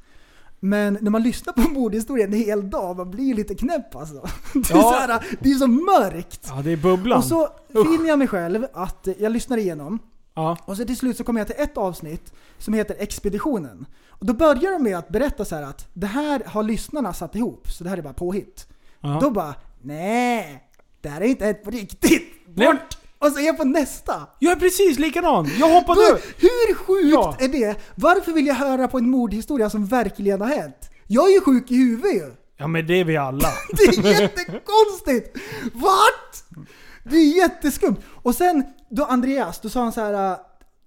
[SPEAKER 5] Men när man lyssnar på mordhistorier en hel dag, man blir ju lite knäpp alltså. Det är,
[SPEAKER 4] Ja.
[SPEAKER 5] så, här, det är så mörkt.
[SPEAKER 4] Ja, det är Bubblan.
[SPEAKER 5] Och så finner jag mig själv att jag lyssnar igenom
[SPEAKER 4] ja.
[SPEAKER 5] och så till slut så kommer jag till ett avsnitt som heter Expeditionen. Och då börjar de med att berätta så här att det här har lyssnarna satt ihop, så det här är bara påhitt.
[SPEAKER 4] Ja.
[SPEAKER 5] Då bara, nej, det här är inte ett på riktigt.
[SPEAKER 4] Nej.
[SPEAKER 5] Bort! Och så är jag på nästa.
[SPEAKER 4] Jag är precis likadan! Jag hoppade
[SPEAKER 5] Hur-
[SPEAKER 4] upp!
[SPEAKER 5] Hur sjukt
[SPEAKER 4] Ja.
[SPEAKER 5] är det? Varför vill jag höra på en mordhistoria som verkligen har hänt? Jag är ju sjuk i huvudet ju.
[SPEAKER 4] Ja men det är vi alla.
[SPEAKER 5] Det är jättekonstigt! What? Det är jätteskumt. Och sen då Andreas, då sa han så här.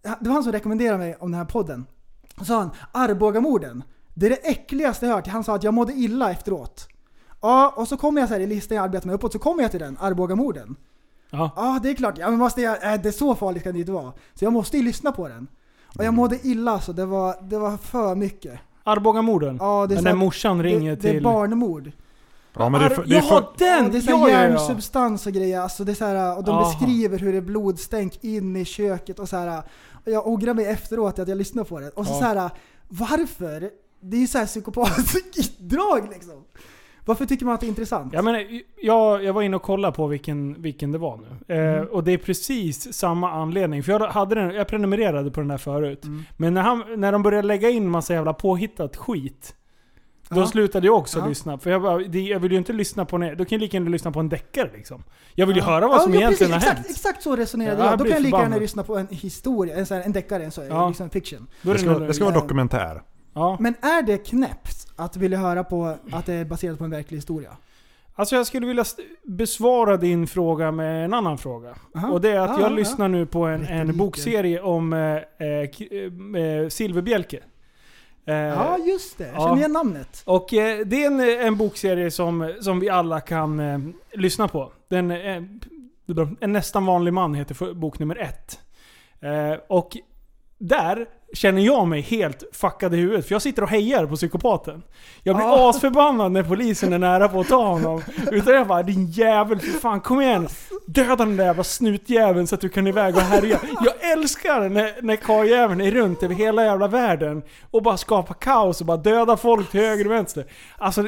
[SPEAKER 5] äh, Det var han som rekommenderade mig om den här podden. Då sa han Arbogamorden. Det är det äckligaste jag hört. Han sa att jag mådde illa efteråt. Ja, och så kommer jag så här i listan jag arbetar med uppåt, så kommer jag till den, Arbogamorden.
[SPEAKER 4] Ja.
[SPEAKER 5] Ja, det är klart. Ja, men måste jag, äh, det är så farligt kan det inte vara. Så jag måste ju lyssna på den. Och
[SPEAKER 4] Mm.
[SPEAKER 5] jag mådde illa alltså. Det var, det var för mycket.
[SPEAKER 4] Arbogamorden.
[SPEAKER 5] Ja, det är
[SPEAKER 4] den
[SPEAKER 5] så
[SPEAKER 4] där
[SPEAKER 5] här-
[SPEAKER 4] morsan ringer
[SPEAKER 5] det,
[SPEAKER 4] till...
[SPEAKER 5] Det är barnmord.
[SPEAKER 6] Ja, men det är, för,
[SPEAKER 4] Ar-
[SPEAKER 6] det är
[SPEAKER 4] Jaha,
[SPEAKER 6] för,
[SPEAKER 5] Ja,
[SPEAKER 4] den!
[SPEAKER 5] det är så
[SPEAKER 4] ja,
[SPEAKER 5] här
[SPEAKER 4] ja, ja.
[SPEAKER 5] järnsubstans och grejer. Alltså det är så här, och de
[SPEAKER 4] Aha.
[SPEAKER 5] beskriver hur det är blodstänk in i köket och så här. Och jag ångrar mig efteråt att jag lyssnar på det. Och så,
[SPEAKER 4] Ja.
[SPEAKER 5] så här, varför? Det är ju så här psykopatdrag liksom. Varför tycker man att det är intressant?
[SPEAKER 4] Jag, menar, jag, jag var inne och kollade på vilken, vilken det var nu. Eh,
[SPEAKER 5] Mm.
[SPEAKER 4] Och det är precis samma anledning. För jag, hade den, jag prenumererade på den där förut.
[SPEAKER 5] Mm.
[SPEAKER 4] Men när, han, när de började lägga in massa jävla påhittat skit. Då
[SPEAKER 5] Ja.
[SPEAKER 4] slutade jag också
[SPEAKER 5] Ja.
[SPEAKER 4] lyssna. För jag, bara, det, jag vill ju inte lyssna på en, Då kan jag lika gärna lyssna på en deckare liksom. Jag vill ju höra vad som
[SPEAKER 5] ja,
[SPEAKER 4] egentligen
[SPEAKER 5] precis,
[SPEAKER 4] har
[SPEAKER 5] exakt,
[SPEAKER 4] hänt.
[SPEAKER 5] Exakt så resonerade
[SPEAKER 4] Ja,
[SPEAKER 5] jag.
[SPEAKER 4] jag
[SPEAKER 5] Då
[SPEAKER 4] blir
[SPEAKER 5] kan jag lika gärna
[SPEAKER 4] förbannad.
[SPEAKER 5] lyssna på en historia, en, så här, en deckare, en, så,
[SPEAKER 4] Ja.
[SPEAKER 5] här, liksom fiction.
[SPEAKER 4] Då är
[SPEAKER 6] det, ska,
[SPEAKER 4] den-
[SPEAKER 6] det ska vara dokumentär.
[SPEAKER 4] ja.
[SPEAKER 5] Men är det knäppt att vilja höra på att det är baserat på en verklig historia?
[SPEAKER 4] Alltså jag skulle vilja st- besvara din fråga med en annan fråga.
[SPEAKER 5] Aha.
[SPEAKER 4] Och det är att
[SPEAKER 5] Ja,
[SPEAKER 4] jag
[SPEAKER 5] ja,
[SPEAKER 4] lyssnar nu på en, en
[SPEAKER 5] Retoriken.
[SPEAKER 4] bokserie om eh, eh, k- eh, silverbjälke. Eh,
[SPEAKER 5] Ja, just det. Jag
[SPEAKER 4] ja.
[SPEAKER 5] känner igen namnet.
[SPEAKER 4] Och eh, det är en, en bokserie som, som vi alla kan eh, lyssna på. Den, eh, en nästan vanlig man heter för- bok nummer ett. Eh, och där känner jag mig helt fuckad i huvudet. För jag sitter och hejar på psykopaten. Jag blir
[SPEAKER 5] Ja.
[SPEAKER 4] asförbannad när polisen är nära på att ta honom. Utan jag bara din jävel, för fan kom igen. Döda den där jävla snutjäveln så att du kan iväg och härja. Jag älskar när, när karljäveln är runt över hela jävla världen och bara skapar kaos och bara dödar folk till höger och vänster. Alltså,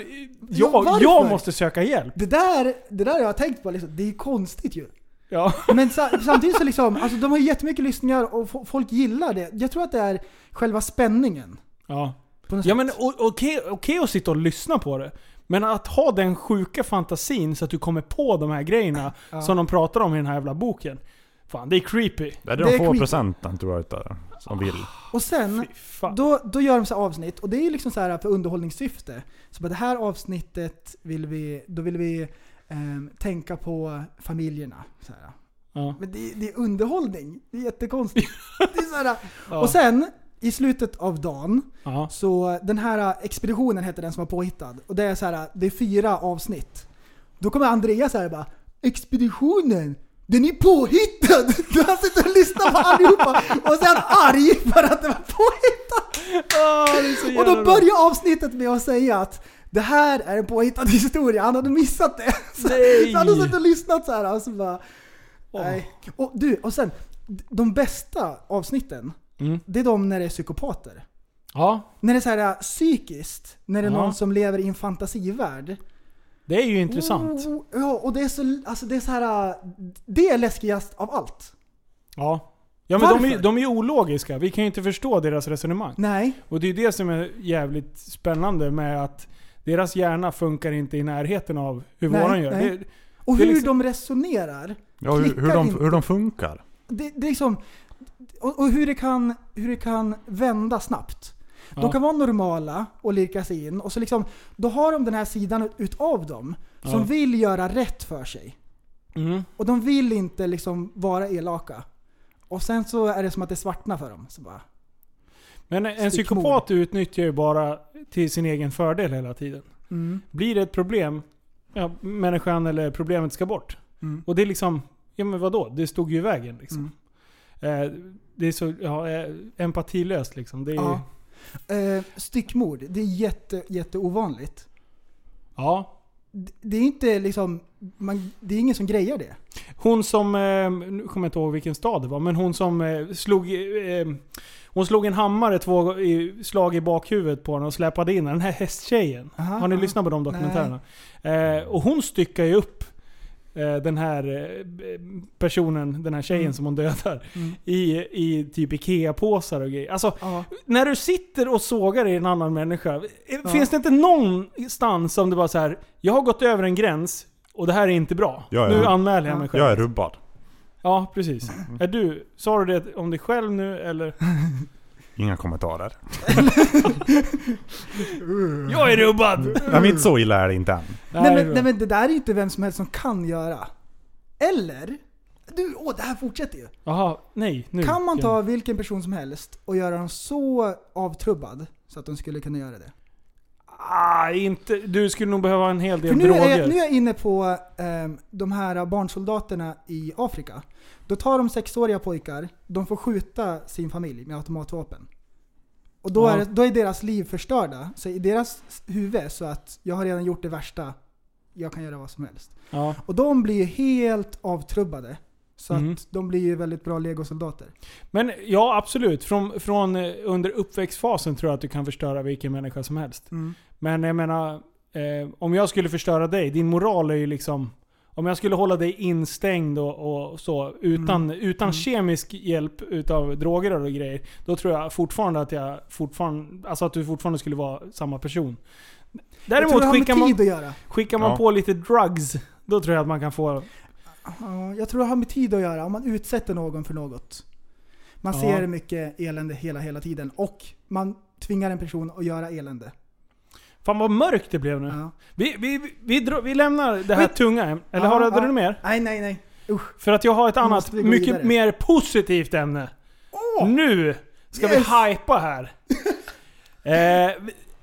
[SPEAKER 4] jag,
[SPEAKER 5] varför?
[SPEAKER 4] jag måste söka hjälp.
[SPEAKER 5] Det där, det där har jag tänkt på, liksom. det är konstigt ju.
[SPEAKER 4] Ja.
[SPEAKER 5] Men sa- samtidigt så liksom, alltså, de har ju jättemycket lyssningar och fo- folk gillar det. Jag tror att det är själva spänningen.
[SPEAKER 4] ja.
[SPEAKER 5] På något
[SPEAKER 4] Ja
[SPEAKER 5] sätt.
[SPEAKER 4] men o- okej okej att sitta och lyssna på det. Men att ha den sjuka fantasin så att du kommer på de här grejerna som de pratar om i den här jävla boken. Fan, det är creepy.
[SPEAKER 6] Det är
[SPEAKER 5] Det
[SPEAKER 6] de
[SPEAKER 5] är
[SPEAKER 6] få
[SPEAKER 5] creepy.
[SPEAKER 6] procenten tror jag utav som vill.
[SPEAKER 5] Och sen,
[SPEAKER 4] Fan.
[SPEAKER 5] då, då gör de så här avsnitt och det är ju liksom så här för underhållningssyfte. Så bara det här avsnittet vill vi, då vill vi ehm, tänka på familjerna. Så här.
[SPEAKER 4] Ja.
[SPEAKER 5] Men det, det är underhållning, det är jättekonstigt. det är så här,
[SPEAKER 4] Ja.
[SPEAKER 5] Och sen, i slutet av dagen,
[SPEAKER 4] Ja.
[SPEAKER 5] Så den här expeditionen heter den som var påhittad. Och det är så här, det är fyra avsnitt. Då kommer Andreas här och bara Expeditionen! Den är påhittad! Du har suttit och lyssnat på allihopa och sen arg för att det var påhittat! Och då börjar avsnittet med att säga att det här är en påhittad historia, han hade missat det. Så,
[SPEAKER 4] Nej.
[SPEAKER 5] så han hade suttit och lyssnat så här och så bara...
[SPEAKER 4] Åh.
[SPEAKER 5] Nej. Och du, och sen, de bästa avsnitten,
[SPEAKER 4] Mm.
[SPEAKER 5] det är de när det är psykopater.
[SPEAKER 4] Ja,
[SPEAKER 5] När det är så här äh, psykiskt, när det är
[SPEAKER 4] Ja.
[SPEAKER 5] någon som lever i en fantasivärld.
[SPEAKER 4] det är ju intressant.
[SPEAKER 5] Oh, ja, och det är så, alltså det är så här, det är läskigast av allt.
[SPEAKER 4] Ja. Ja men de är, ju-
[SPEAKER 5] Varför?
[SPEAKER 4] de är ju ologiska, vi kan ju inte förstå deras resonemang.
[SPEAKER 5] Nej.
[SPEAKER 4] Och det är ju det som är jävligt spännande med att deras hjärna funkar inte i närheten av hur
[SPEAKER 5] Nej,
[SPEAKER 4] våran gör.
[SPEAKER 5] nej.
[SPEAKER 4] Det,
[SPEAKER 5] Och
[SPEAKER 4] Det är
[SPEAKER 5] hur
[SPEAKER 4] liksom-
[SPEAKER 5] de resonerar.
[SPEAKER 6] Ja, hur, hur,
[SPEAKER 5] Klickar
[SPEAKER 6] de,
[SPEAKER 5] inte.
[SPEAKER 6] hur de funkar.
[SPEAKER 5] Det, det är liksom, och, och hur, det kan, hur det kan vända snabbt.
[SPEAKER 4] Ja.
[SPEAKER 5] De kan vara normala och lirka sig in. Och så liksom, då har de den här sidan utav dem som
[SPEAKER 4] Ja.
[SPEAKER 5] vill göra rätt för sig.
[SPEAKER 4] mm.
[SPEAKER 5] Och de vill inte liksom vara elaka. Och sen så är det som att det svartnar för dem. Så bara,
[SPEAKER 4] Men en
[SPEAKER 5] Stickmord.
[SPEAKER 4] psykopat utnyttjar ju bara till sin egen fördel hela tiden.
[SPEAKER 5] mm.
[SPEAKER 4] Blir det ett problem, ja, människan eller problemet ska bort.
[SPEAKER 5] Mm.
[SPEAKER 4] Och det är liksom, ja men vadå? Det stod ju i vägen liksom.
[SPEAKER 5] Mm.
[SPEAKER 4] Eh, det är så ja, eh, empatilöst liksom. Det är,
[SPEAKER 5] Ja.
[SPEAKER 4] ja.
[SPEAKER 5] Eh, styckmord, det är jätte, jätteovanligt.
[SPEAKER 4] ja.
[SPEAKER 5] D- Det är inte liksom, man, det är ingen som grejar det.
[SPEAKER 4] Hon som, eh, nu kommer jag inte ihåg vilken stad det var, men hon som eh, slog... Eh, hon slog en hammare två i, slag i bakhuvudet på honom och släpade in den. Den här hästtjejen.
[SPEAKER 5] Aha.
[SPEAKER 4] Har ni lyssnat på de dokumentärerna? Eh, och hon styckar ju upp eh, den här eh, b- personen, den här tjejen
[SPEAKER 5] Mm.
[SPEAKER 4] som hon dödar. I, I typ IKEA-påsar och grejer. Alltså,
[SPEAKER 5] Ja.
[SPEAKER 4] när du sitter och sågar i en annan människa. eh, Finns det inte någonstans som det bara så här. jag har gått över en gräns och det här är inte bra.
[SPEAKER 6] Ja, ja.
[SPEAKER 4] Nu anmäler jag
[SPEAKER 5] Ja.
[SPEAKER 4] mig själv.
[SPEAKER 6] Jag är rubbad.
[SPEAKER 4] Ja, precis. Är du, sa du det om dig själv nu eller?
[SPEAKER 6] Inga kommentarer.
[SPEAKER 4] Jag är rubbad!
[SPEAKER 6] Nej, men inte så illa är det inte än.
[SPEAKER 5] Nej, men, nej men det där är ju inte vem som helst som kan göra. Eller? Du, åh det här fortsätter ju.
[SPEAKER 4] Jaha, nej. Nu.
[SPEAKER 5] Kan man ta vilken person som helst och göra dem så avtrubbad så att de skulle kunna göra det?
[SPEAKER 4] Ah, inte. Du skulle nog behöva en hel
[SPEAKER 5] För
[SPEAKER 4] del
[SPEAKER 5] nu
[SPEAKER 4] droger.
[SPEAKER 5] är, jag, nu är jag inne på ehm, de här barnsoldaterna i Afrika. Då tar de sexåriga pojkar, de får skjuta sin familj med automatvapen. Och då,
[SPEAKER 4] Ja.
[SPEAKER 5] är, det- då är deras liv förstörda. Så i deras huvud så att jag har redan gjort det värsta, jag kan göra vad som helst.
[SPEAKER 4] Ja.
[SPEAKER 5] Och de blir ju helt avtrubbade. Så
[SPEAKER 4] Mm.
[SPEAKER 5] att de blir ju väldigt bra legosoldater.
[SPEAKER 4] Men ja, absolut. Från, från eh, under uppväxtfasen tror jag att du kan förstöra vilken människa som helst. Men jag menar, eh, om jag skulle förstöra dig, din moral är ju liksom... Om jag skulle hålla dig instängd och, och så utan,
[SPEAKER 5] Mm.
[SPEAKER 4] utan kemisk hjälp utav droger och grejer. Då tror jag fortfarande att jag fortfarande, alltså att du fortfarande skulle vara samma person.
[SPEAKER 5] Jag tror
[SPEAKER 4] Däremot
[SPEAKER 5] det har med
[SPEAKER 4] skickar
[SPEAKER 5] tid
[SPEAKER 4] man,
[SPEAKER 5] att göra.
[SPEAKER 4] skickar man
[SPEAKER 6] Ja.
[SPEAKER 4] på lite drugs, då tror jag att man kan få...
[SPEAKER 5] Ja, jag tror det har med tid att göra, om man utsätter någon för något. Man
[SPEAKER 4] Ja.
[SPEAKER 5] ser mycket elände hela, hela tiden och man tvingar en person att göra elände.
[SPEAKER 4] Fan vad mörkt det blev nu.
[SPEAKER 5] Ja.
[SPEAKER 4] Vi, vi, vi, vi, dro- vi lämnar det här
[SPEAKER 5] Vi-
[SPEAKER 4] tunga. äm- Eller
[SPEAKER 5] Ja,
[SPEAKER 4] har du
[SPEAKER 5] ja.
[SPEAKER 4] du mer?
[SPEAKER 5] Nej, nej, nej. Usch.
[SPEAKER 4] För att jag har ett annat,
[SPEAKER 5] måste vi gå
[SPEAKER 4] mycket
[SPEAKER 5] vidare.
[SPEAKER 4] mer positivt ämne. Nu ska
[SPEAKER 5] Yes!
[SPEAKER 4] vi hypa här. eh,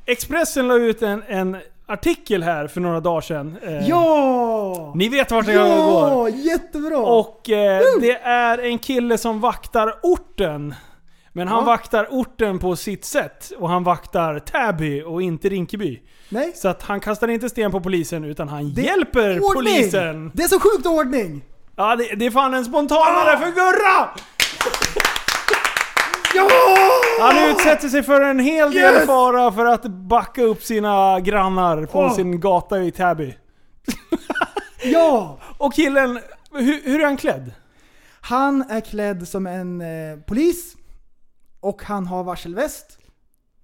[SPEAKER 4] Expressen la ut en, en artikel här för några dagar sedan. Eh,
[SPEAKER 5] Ja!
[SPEAKER 4] Ni vet vart jag går.
[SPEAKER 5] Ja! Jättebra!
[SPEAKER 4] Och eh, det är en kille som vaktar orten. Men han
[SPEAKER 5] Ja.
[SPEAKER 4] vaktar orten på sitt sätt. Och han vaktar Täby och inte Rinkeby.
[SPEAKER 5] nej.
[SPEAKER 4] Så att han kastar inte sten på polisen utan han
[SPEAKER 5] Det-
[SPEAKER 4] hjälper
[SPEAKER 5] Ordning!
[SPEAKER 4] polisen.
[SPEAKER 5] Det är så sjukt ordning!
[SPEAKER 4] Ja, det, det är fan en spontanare
[SPEAKER 5] Ah!
[SPEAKER 4] för Gurra!
[SPEAKER 5] Ja!
[SPEAKER 4] Han utsätter sig för en hel del
[SPEAKER 5] Yes!
[SPEAKER 4] fara för att backa upp sina grannar på
[SPEAKER 5] Åh.
[SPEAKER 4] sin gata i Täby.
[SPEAKER 5] Ja!
[SPEAKER 4] Och killen, hur, hur är han klädd?
[SPEAKER 5] Han är klädd som en eh, polis och han har varselväst.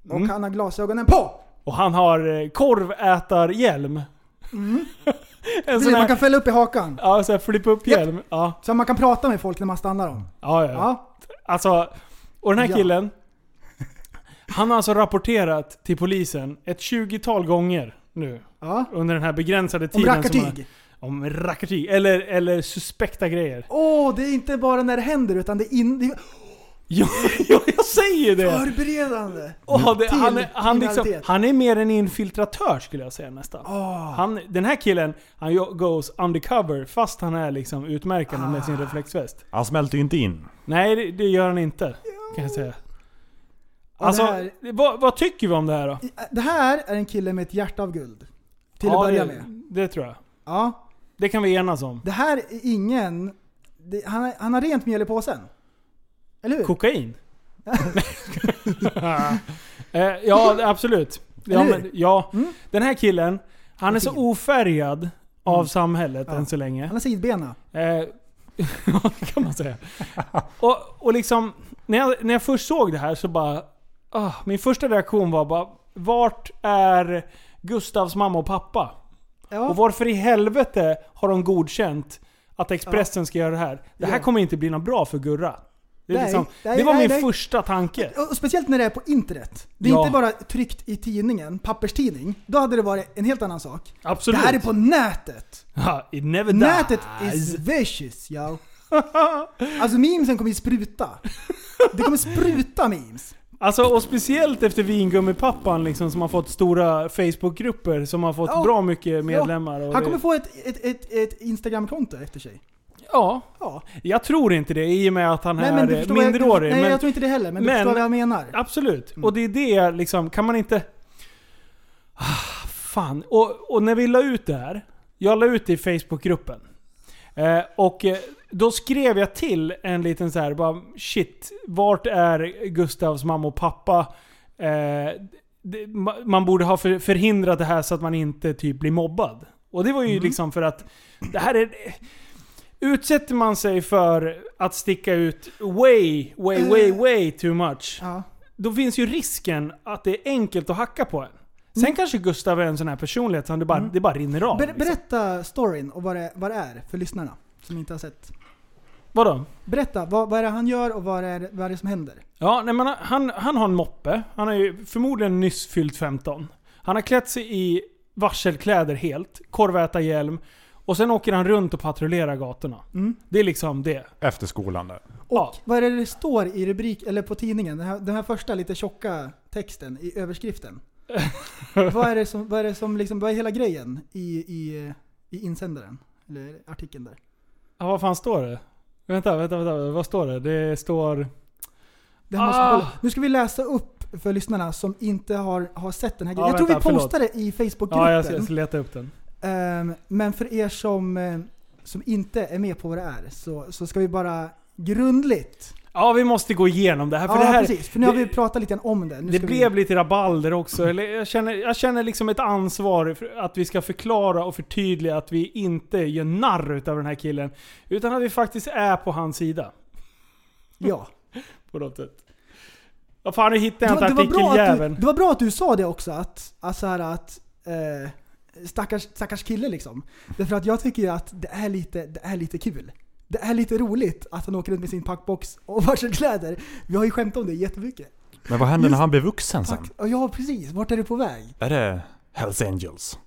[SPEAKER 5] Och
[SPEAKER 4] Mm.
[SPEAKER 5] han har glasögonen på! Alltså,
[SPEAKER 4] Och han har eh, korvätarhjälm.
[SPEAKER 5] Mm.
[SPEAKER 4] en
[SPEAKER 5] Precis,
[SPEAKER 4] sån
[SPEAKER 5] man
[SPEAKER 4] här,
[SPEAKER 5] kan fälla upp i hakan.
[SPEAKER 4] ja, så här flippa upp
[SPEAKER 5] Japp.
[SPEAKER 4] hjälm. Ja,
[SPEAKER 5] Så man kan prata med folk när man stannar dem.
[SPEAKER 4] ja, ja. ja.
[SPEAKER 5] Ja.
[SPEAKER 4] Alltså, och den här
[SPEAKER 5] Ja.
[SPEAKER 4] killen. Han har alltså rapporterat till polisen ett 20-tal gånger nu.
[SPEAKER 5] ja.
[SPEAKER 4] Under den här begränsade
[SPEAKER 5] Om
[SPEAKER 4] tiden. som han-
[SPEAKER 5] rackartyg.
[SPEAKER 4] Om rackartyg. Eller, eller suspekta grejer.
[SPEAKER 5] Åh, det är inte bara när det händer utan det är, in, det är
[SPEAKER 4] Ja, ja jag säger det!
[SPEAKER 5] förberedande.
[SPEAKER 4] Åh, det
[SPEAKER 5] Till
[SPEAKER 4] han, är- han, liksom,
[SPEAKER 5] kriminalitet.
[SPEAKER 4] han är mer en infiltratör skulle jag säga nästan.
[SPEAKER 5] Åh,
[SPEAKER 4] Han, den här killen, han jo- goes undercover fast han är liksom utmärkande med
[SPEAKER 5] Ah.
[SPEAKER 4] sin reflexväst.
[SPEAKER 6] Han smälter ju inte in.
[SPEAKER 4] Nej, det, det gör han inte. Kan jag säga.
[SPEAKER 5] det
[SPEAKER 4] Alltså,
[SPEAKER 5] här-
[SPEAKER 4] vad, vad tycker vi om det här då?
[SPEAKER 5] det här är en kille med ett hjärta av guld. Till
[SPEAKER 4] Ja,
[SPEAKER 5] att börja
[SPEAKER 4] det,
[SPEAKER 5] med.
[SPEAKER 4] Det tror jag.
[SPEAKER 5] Ja.
[SPEAKER 4] Det kan vi enas om.
[SPEAKER 5] Det här är ingen... Det, han, han har rent mjöl i påsen. Eller hur?
[SPEAKER 4] Kokain? eh, ja, absolut. Ja,
[SPEAKER 5] Eller hur?
[SPEAKER 4] men, ja.
[SPEAKER 5] Mm.
[SPEAKER 4] Den här killen, han är så
[SPEAKER 5] Fin.
[SPEAKER 4] ofärgad av samhället
[SPEAKER 5] Mm. Ja.
[SPEAKER 4] än så länge.
[SPEAKER 5] Han har sidbena.
[SPEAKER 4] Eh, Ja, det kan man säga. och, och liksom, när jag, när jag först såg det här så bara... ah, min första reaktion var bara, vart är Gustavs mamma och pappa?
[SPEAKER 5] Ja.
[SPEAKER 4] Och varför i helvete har de godkänt att Expressen ska göra det här? Det här
[SPEAKER 5] Ja.
[SPEAKER 4] kommer inte bli något bra för Gurra. Det, är
[SPEAKER 5] Nej,
[SPEAKER 4] liksom,
[SPEAKER 5] nej,
[SPEAKER 4] det var
[SPEAKER 5] nej,
[SPEAKER 4] min
[SPEAKER 5] nej.
[SPEAKER 4] första tanke.
[SPEAKER 5] Och speciellt när det är på internet. Det är
[SPEAKER 4] Ja.
[SPEAKER 5] inte bara tryckt i tidningen, papperstidning. Då hade det varit en helt annan sak.
[SPEAKER 4] Absolut.
[SPEAKER 5] Det här är på nätet.
[SPEAKER 4] Ja, It never
[SPEAKER 5] Nätet
[SPEAKER 4] dies. Ah.
[SPEAKER 5] is vicious yo. Alltså memesen kommer ju spruta. Det kommer spruta memes.
[SPEAKER 4] Alltså och speciellt efter vingummipappan liksom som har fått stora Facebookgrupper som har fått
[SPEAKER 5] Ja.
[SPEAKER 4] bra mycket medlemmar. Och
[SPEAKER 5] Han
[SPEAKER 4] det-
[SPEAKER 5] kommer få ett, ett, ett, ett Instagramkonto efter sig.
[SPEAKER 4] Ja,
[SPEAKER 5] Ja.
[SPEAKER 4] jag tror inte det i och med att han
[SPEAKER 5] Nej,
[SPEAKER 4] är
[SPEAKER 5] men du
[SPEAKER 4] eh,
[SPEAKER 5] förstår,
[SPEAKER 4] minderårig.
[SPEAKER 5] jag, nej,
[SPEAKER 4] men-
[SPEAKER 5] jag tror Mm. inte det heller, men,
[SPEAKER 4] men-
[SPEAKER 5] du förstår vad jag menar.
[SPEAKER 4] Absolut. Och det är det liksom, kan man inte... Ah, fan. Och, och när vi la ut det här. Jag la ut det i Facebookgruppen. Eh, och eh, då skrev jag till en liten så här, bara shit. Vart är Gustavs mamma och pappa? Eh, det, ma- man borde ha för, förhindrat det här så att man inte typ blir mobbad. Och det var
[SPEAKER 5] Mm.
[SPEAKER 4] ju liksom för att det här är... Utsätter man sig för att sticka ut way, way, way, way too much
[SPEAKER 5] Mm. Ja.
[SPEAKER 4] då finns ju risken att det är enkelt att hacka på en. Sen kanske Gustav är en sån här personlighet som det bara, det bara rinner av.
[SPEAKER 5] Mm.
[SPEAKER 4] liksom.
[SPEAKER 5] Ber, berätta storyn och vad det, vad det är för lyssnarna som inte har sett.
[SPEAKER 4] Vadå?
[SPEAKER 5] Berätta, vad, vad är det han gör och vad är, det- vad är det som händer?
[SPEAKER 4] Ja, nej, men han- han, han har en moppe. Han har ju förmodligen nyss fyllt 15. Han har klätt sig i varselkläder helt, korvätarhjälm och sen åker han runt och patrullerar gatorna.
[SPEAKER 5] Mm.
[SPEAKER 4] Det är liksom det.
[SPEAKER 6] Efter skolan där.
[SPEAKER 4] Ja.
[SPEAKER 5] Vad är det det står i rubrik, eller på tidningen? Den här, den här första lite tjocka texten i överskriften. vad är det som, vad är, det som liksom, vad är hela grejen i, i, i insändaren? Eller artikeln där.
[SPEAKER 4] ja, vad fan står det? Vänta, vänta, vänta. Vad står det? Det står...
[SPEAKER 5] Det här måste vi
[SPEAKER 4] Ah!
[SPEAKER 5] kolla. Nu ska vi läsa upp för lyssnarna som inte har, har sett den här grejen.
[SPEAKER 4] Ja,
[SPEAKER 5] jag tror vi
[SPEAKER 4] vänta, förlåt.
[SPEAKER 5] postade i Facebookgruppen.
[SPEAKER 4] Ja, jag ska, jag ska leta upp den.
[SPEAKER 5] Ehm, men för er som, eh, som inte är med på vad det är så, så ska vi bara grundligt.
[SPEAKER 4] Ja, vi måste gå igenom det här. För
[SPEAKER 5] ja,
[SPEAKER 4] det här,
[SPEAKER 5] precis. För nu har
[SPEAKER 4] det-
[SPEAKER 5] vi pratat lite grann om det. Nu
[SPEAKER 4] Det
[SPEAKER 5] ska vi,
[SPEAKER 4] blev lite rabalder också. Eller jag, känner, jag känner liksom ett ansvar för att vi ska förklara och förtydliga att vi inte gör narr utav den här killen. Utan att vi faktiskt är på hans sida.
[SPEAKER 5] ja.
[SPEAKER 4] På något sätt. Vad fan, nu hittade
[SPEAKER 5] det,
[SPEAKER 4] jag inte
[SPEAKER 5] var, det, var bra att du,
[SPEAKER 4] artikeljäveln.
[SPEAKER 5] det var bra att du sa det också. Att, att, så här, att eh, stackars, stackars kille liksom. Därför att jag tycker ju att det är lite, det är lite kul. Det är lite roligt att han åker runt med sin packbox och varselkläder. Vi har ju skämtat om det jättemycket.
[SPEAKER 6] Men vad händer
[SPEAKER 5] Just-
[SPEAKER 6] när han blir vuxen sen?
[SPEAKER 5] Pack, ja precis, vart är du på väg?
[SPEAKER 6] Är det Hells Angels?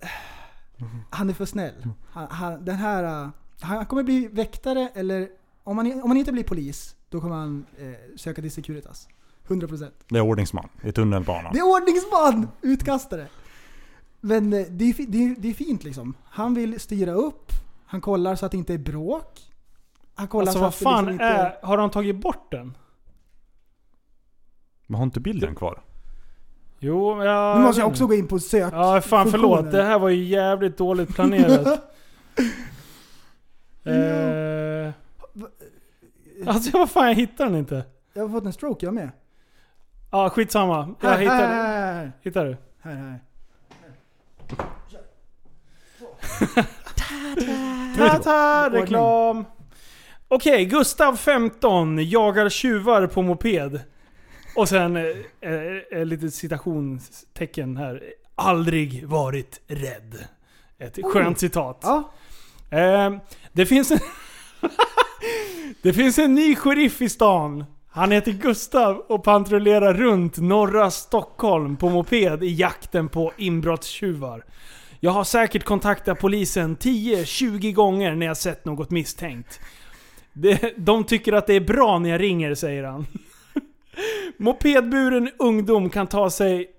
[SPEAKER 5] Han är för snäll. Han, han, den här, uh, han kommer bli väktare eller om han, om han inte blir polis, då kommer han eh, söka till Securitas. 100%.
[SPEAKER 6] Det är ordningsman i tunnelbanan.
[SPEAKER 5] Det är ordningsman! Utkastare. Men eh, det är, fi- det, är, det är fint liksom. Han vill styra upp, han kollar så att det inte är bråk. Han kollar
[SPEAKER 4] Alltså
[SPEAKER 5] så
[SPEAKER 4] vad
[SPEAKER 5] att det
[SPEAKER 4] fan
[SPEAKER 5] liksom inte...
[SPEAKER 4] är... Har de tagit bort den?
[SPEAKER 6] Men har inte bilden kvar?
[SPEAKER 4] Jo, jag...
[SPEAKER 5] Nu måste jag också gå in på sök.
[SPEAKER 4] Ja, fan förlåt.
[SPEAKER 5] funktionen.
[SPEAKER 4] Det här var ju jävligt dåligt planerat. eh... Alltså vad fan, jag hittar den inte.
[SPEAKER 5] Jag har fått en stroke jag med.
[SPEAKER 4] Ja, ah, skitsamma. Jag
[SPEAKER 5] Här, här,
[SPEAKER 4] hittar,
[SPEAKER 5] här,
[SPEAKER 4] hittar du?
[SPEAKER 5] här, här.
[SPEAKER 4] Tata,
[SPEAKER 5] Ordning.
[SPEAKER 4] reklam! Okej, Gustav 15 jagar tjuvar på moped. Och sen eh, eh, eh, lite citationstecken här. Aldrig varit rädd. Ett skönt citat.
[SPEAKER 5] Ja,
[SPEAKER 4] Eh, det finns en... det finns en ny sheriff i stan. Han heter Gustav och patrullerar runt norra Stockholm på moped i jakten på inbrottstjuvar. Jag har säkert kontaktat polisen 10-20 gånger när jag sett något misstänkt. Det- De tycker att det är bra när jag ringer, säger han. Mopedburen ungdom kan ta sig,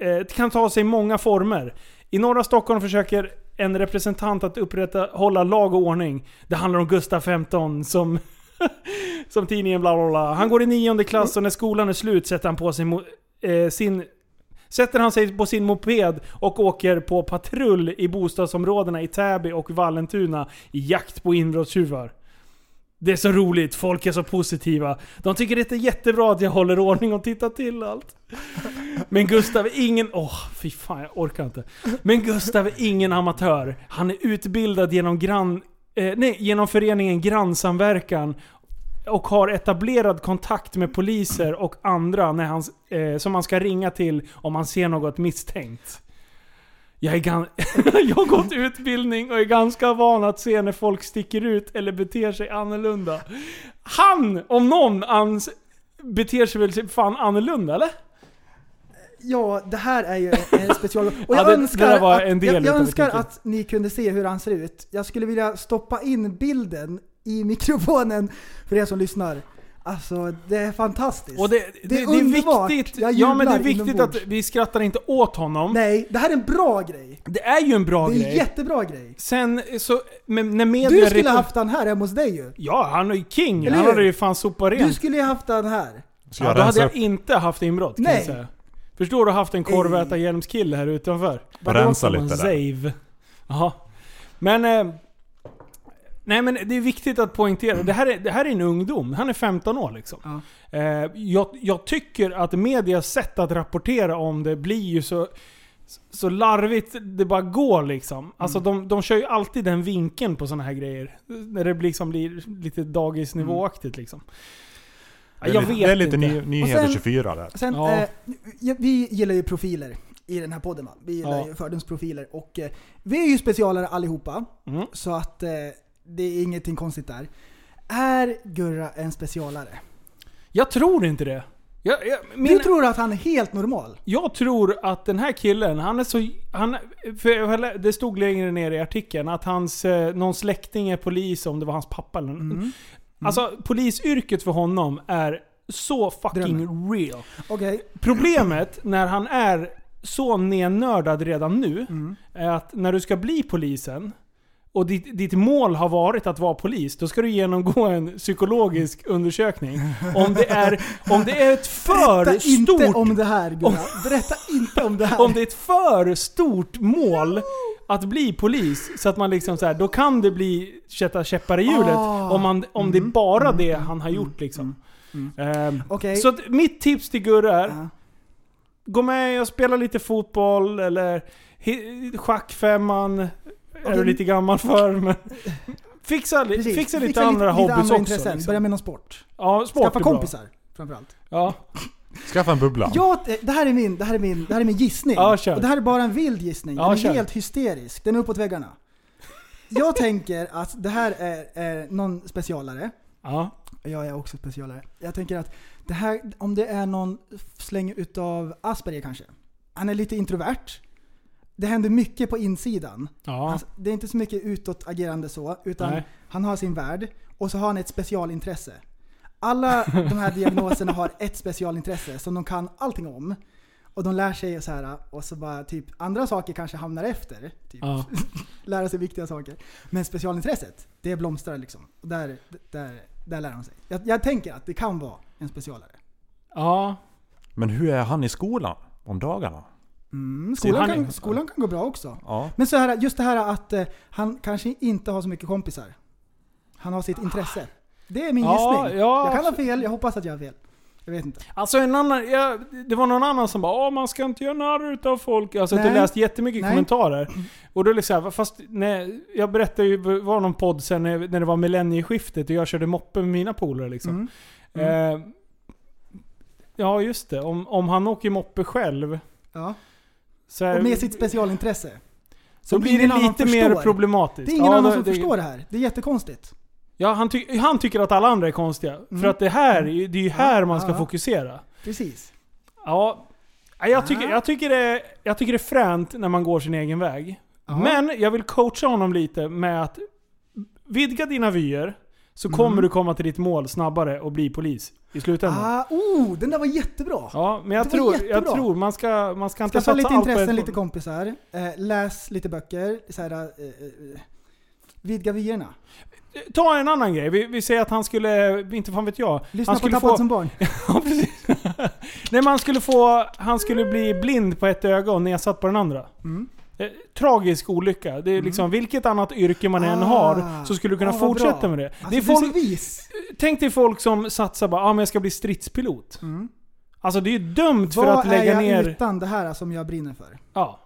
[SPEAKER 4] eh, kan ta sig många former. I norra Stockholm försöker en representant att upprätta, hålla lag och ordning. Det handlar om Gustav 15 som, som tidningen bla bla bla. Han går i nionde klass och när skolan är slut sätter han på sig mo- eh, sin Sätter han sig på sin moped och åker på patrull i bostadsområdena i Täby och Vallentuna i jakt på inbrottstjuvar. Det är så roligt, folk är så positiva. De tycker det är jättebra att jag håller ordning och tittar till allt. Men Gustav är ingen... Åh, fy fan jag orkar inte. Men Gustav är ingen amatör. Han är utbildad genom, grann, eh, nej, genom föreningen Grannsamverkan och har etablerad kontakt med poliser och andra när han, eh, som man ska ringa till om man ser något misstänkt. Jag, är gan- jag har gått utbildning och är ganska van att se när folk sticker ut eller beter sig annorlunda. Han, om någon, ans- beter sig väl fan annorlunda eller?
[SPEAKER 5] Ja, det här är ju en special... Och
[SPEAKER 4] Ja,
[SPEAKER 5] jag
[SPEAKER 4] det- det
[SPEAKER 5] önskar,
[SPEAKER 4] där var en
[SPEAKER 5] att,
[SPEAKER 4] del
[SPEAKER 5] jag, jag
[SPEAKER 4] utav
[SPEAKER 5] önskar
[SPEAKER 4] artikeln.
[SPEAKER 5] att ni kunde se hur han ser ut. Jag skulle vilja stoppa in bilden i mikrofonen för er som lyssnar. Alltså det är fantastiskt.
[SPEAKER 4] Och det, det,
[SPEAKER 5] är
[SPEAKER 4] det, är
[SPEAKER 5] underbart.
[SPEAKER 4] viktigt,
[SPEAKER 5] Jag
[SPEAKER 4] ja, men det är
[SPEAKER 5] jublar
[SPEAKER 4] viktigt att
[SPEAKER 5] inombords.
[SPEAKER 4] vi skrattar inte åt honom.
[SPEAKER 5] Nej, det här är en bra grej.
[SPEAKER 4] Det är ju en bra
[SPEAKER 5] Det är en
[SPEAKER 4] grej.
[SPEAKER 5] jättebra grej.
[SPEAKER 4] Sen så, men när media...
[SPEAKER 5] Du skulle
[SPEAKER 4] rekom-
[SPEAKER 5] haft den här hemma hos dig ju.
[SPEAKER 4] Ja, han är ju king.
[SPEAKER 5] Eller
[SPEAKER 4] han
[SPEAKER 5] hur?
[SPEAKER 4] hade ju fan sopat
[SPEAKER 5] Du
[SPEAKER 4] rent.
[SPEAKER 5] skulle ju haft den här.
[SPEAKER 6] Ska
[SPEAKER 4] Ja,
[SPEAKER 6] jag
[SPEAKER 4] då hade
[SPEAKER 6] rensa upp
[SPEAKER 4] jag inte haft inbrott kan
[SPEAKER 5] Nej.
[SPEAKER 4] jag säga. Förstår du haft en korvätarhjälmskille här utanför?
[SPEAKER 6] och rensa lite där?
[SPEAKER 4] Save. Jaha. Men... Eh, nej men det är viktigt att poängtera. Det här är, det här är en ungdom. Han är 15 år liksom. Eh, jag, jag tycker att medias sätt att rapportera om det blir ju så... Så larvigt det bara går liksom. Alltså de, de kör ju alltid den vinkeln på sådana här grejer. När det liksom blir lite dagisnivåaktigt liksom. Ja, Jag vet
[SPEAKER 6] det är lite
[SPEAKER 4] inte.
[SPEAKER 6] ny, nyheter
[SPEAKER 5] Och sen-
[SPEAKER 6] 24 där.
[SPEAKER 5] Sen,
[SPEAKER 4] Ja.
[SPEAKER 5] eh, ja, vi gillar ju profiler i den här podden. Va? Vi gillar
[SPEAKER 4] Ja.
[SPEAKER 5] ju fördomsprofiler. Och, eh, vi är ju specialare allihopa,
[SPEAKER 4] Mm.
[SPEAKER 5] så att eh, det är ingenting konstigt där. Är Gurra en specialare?
[SPEAKER 4] Jag tror inte det. Jag, jag,
[SPEAKER 5] Du
[SPEAKER 4] min,
[SPEAKER 5] tror att han är helt normal?
[SPEAKER 4] jag tror att den här killen, han är så... Han, för jag lä- det stod längre ner i artikeln att hans, eh, någon släkting är polis, om det var hans pappa eller mm. Alltså
[SPEAKER 5] Mm.
[SPEAKER 4] polisyrket för honom är så fucking real.
[SPEAKER 5] Okej.
[SPEAKER 4] Problemet när han är så nennördad redan nu,
[SPEAKER 5] Mm.
[SPEAKER 4] är att när du ska bli polisen, och ditt, ditt mål har varit att vara polis, då ska du genomgå en psykologisk undersökning. Om det är, om det är ett för
[SPEAKER 5] Berätta
[SPEAKER 4] stort...
[SPEAKER 5] inte om det här Gurra. Berätta inte om det här.
[SPEAKER 4] Om det är ett för stort mål att bli polis, så att man liksom så här, då kan det bli sätta käppar i hjulet.
[SPEAKER 5] Ah. Mm.
[SPEAKER 4] Om, man, om det är bara det han har gjort liksom. Ehm,
[SPEAKER 5] Okej.
[SPEAKER 4] Så att mitt tips till Gurra är,
[SPEAKER 5] Ja.
[SPEAKER 4] gå med och spela lite fotboll eller hi- schackfemman. Är du
[SPEAKER 5] Okej.
[SPEAKER 4] lite gammal för men... Fixa, li-
[SPEAKER 5] Precis.
[SPEAKER 4] fixa lite andra hobbys också.
[SPEAKER 5] intressen.
[SPEAKER 4] Liksom.
[SPEAKER 5] Börja med någon sport.
[SPEAKER 4] ja, sport
[SPEAKER 5] Skaffa
[SPEAKER 4] är bra.
[SPEAKER 5] kompisar framförallt.
[SPEAKER 4] Ja.
[SPEAKER 6] Skaffa en bubbla.
[SPEAKER 5] Ja, det här är min, det här är min, det här är min gissning.
[SPEAKER 4] Ja, kör.
[SPEAKER 5] Och det här är bara en vild gissning. Den
[SPEAKER 4] Ja,
[SPEAKER 5] är
[SPEAKER 4] kör.
[SPEAKER 5] helt hysterisk. Den är uppåt väggarna. Jag tänker att det här är, är någon specialare.
[SPEAKER 4] ja.
[SPEAKER 5] Jag är också specialare. Jag tänker att det här, om det är någon släng utav Asperger kanske. Han är lite introvert. Det händer mycket på insidan.
[SPEAKER 4] Ja.
[SPEAKER 5] Han, Alltså, det är inte så mycket utåtagerande så, utan
[SPEAKER 4] Nej.
[SPEAKER 5] han har sin värld och så har han ett specialintresse. Alla de här diagnoserna har ett specialintresse som de kan allting om. Och de lär sig så här och så bara typ andra saker kanske hamnar efter. Typ.
[SPEAKER 4] Ja.
[SPEAKER 5] Lära sig viktiga saker. Men specialintresset, det blomstrar liksom. Och där, där, där lär de sig. Jag, jag tänker att det kan vara en specialare.
[SPEAKER 4] ja.
[SPEAKER 6] Men hur är han i skolan? Om dagarna?
[SPEAKER 5] Mm,
[SPEAKER 4] Ser han
[SPEAKER 5] skolan,
[SPEAKER 4] in-
[SPEAKER 5] kan, skolan kan gå bra också.
[SPEAKER 6] Ja.
[SPEAKER 5] Men så här, just det här att eh, han kanske inte har så mycket kompisar. Han har sitt intresse. Det är min
[SPEAKER 4] Ah. Ja,
[SPEAKER 5] gissning.
[SPEAKER 4] ja,
[SPEAKER 5] jag kan ha fel, jag hoppas att jag har fel. Jag vet inte.
[SPEAKER 4] Alltså en annan, ja, det var någon annan som bara Åh, man ska inte göra narr utav folk. Alltså att jag
[SPEAKER 5] Nej.
[SPEAKER 4] läst jättemycket
[SPEAKER 5] Nej.
[SPEAKER 4] kommentarer. Och då liksom, så här, fast nej, jag berättade ju, det var någon podd sen när, när det var millennieskiftet och jag körde moppe med mina polare liksom.
[SPEAKER 5] Mm.
[SPEAKER 4] Eh, ja just det, om, om han åker moppe själv.
[SPEAKER 5] Ja.
[SPEAKER 4] Så här,
[SPEAKER 5] Och med sitt specialintresse.
[SPEAKER 4] Eh, då
[SPEAKER 5] Som
[SPEAKER 4] blir det
[SPEAKER 5] ingen annan
[SPEAKER 4] lite mer
[SPEAKER 5] förstår.
[SPEAKER 4] problematiskt.
[SPEAKER 5] Det är ingen
[SPEAKER 4] Ja,
[SPEAKER 5] annan
[SPEAKER 4] då-
[SPEAKER 5] som förstår det här. Det är jättekonstigt.
[SPEAKER 4] Ja, han, ty, han tycker att alla andra är konstiga. För
[SPEAKER 5] Mm.
[SPEAKER 4] att det här, är ju- det är ju här man ska
[SPEAKER 5] ja, ja.
[SPEAKER 4] fokusera.
[SPEAKER 5] Precis.
[SPEAKER 4] Ja, nej, jag tycker, jag, tycker det, jag tycker det är fränt när man går sin egen väg.
[SPEAKER 5] Ja.
[SPEAKER 4] Men jag vill coacha honom lite med att vidga dina vyer så
[SPEAKER 5] Mm.
[SPEAKER 4] kommer du komma till ditt mål snabbare och bli polis i slutändan.
[SPEAKER 5] Ah, oh, den där var jättebra.
[SPEAKER 4] Ja, men jag
[SPEAKER 5] Det var
[SPEAKER 4] tror, jag
[SPEAKER 5] jättebra.
[SPEAKER 4] tror man ska, man ska inte
[SPEAKER 5] Skaffa
[SPEAKER 4] satsa
[SPEAKER 5] lite
[SPEAKER 4] allt på
[SPEAKER 5] intressen,
[SPEAKER 4] ett-
[SPEAKER 5] lite kompisar. Eh, läs lite böcker. Så här, eh, eh, vidga vyerna.
[SPEAKER 4] Ta en annan grej. Vi, vi säger att han skulle, inte fan vet jag.
[SPEAKER 5] Lyssna
[SPEAKER 4] han
[SPEAKER 5] på
[SPEAKER 4] skulle
[SPEAKER 5] Tappad
[SPEAKER 4] få,
[SPEAKER 5] som barn.
[SPEAKER 4] Ja, precis. Nej men han skulle få, han skulle bli blind på ett öga och nedsatt på den andra.
[SPEAKER 5] Mm.
[SPEAKER 4] Eh, Tragisk olycka. Det är liksom, vilket annat yrke man än
[SPEAKER 5] Ah.
[SPEAKER 4] har så skulle du kunna
[SPEAKER 5] Ah, vad
[SPEAKER 4] fortsätta
[SPEAKER 5] bra.
[SPEAKER 4] med det.
[SPEAKER 5] Alltså,
[SPEAKER 4] det är
[SPEAKER 5] du är
[SPEAKER 4] folk,
[SPEAKER 5] så vis.
[SPEAKER 4] tänk dig folk som satsar bara ah, men jag ska bli stridspilot.
[SPEAKER 5] Mm.
[SPEAKER 4] Alltså det är ju dömt för
[SPEAKER 5] Vad
[SPEAKER 4] att lägga
[SPEAKER 5] är jag
[SPEAKER 4] ner...
[SPEAKER 5] utan det här som jag brinner för?
[SPEAKER 4] Ja,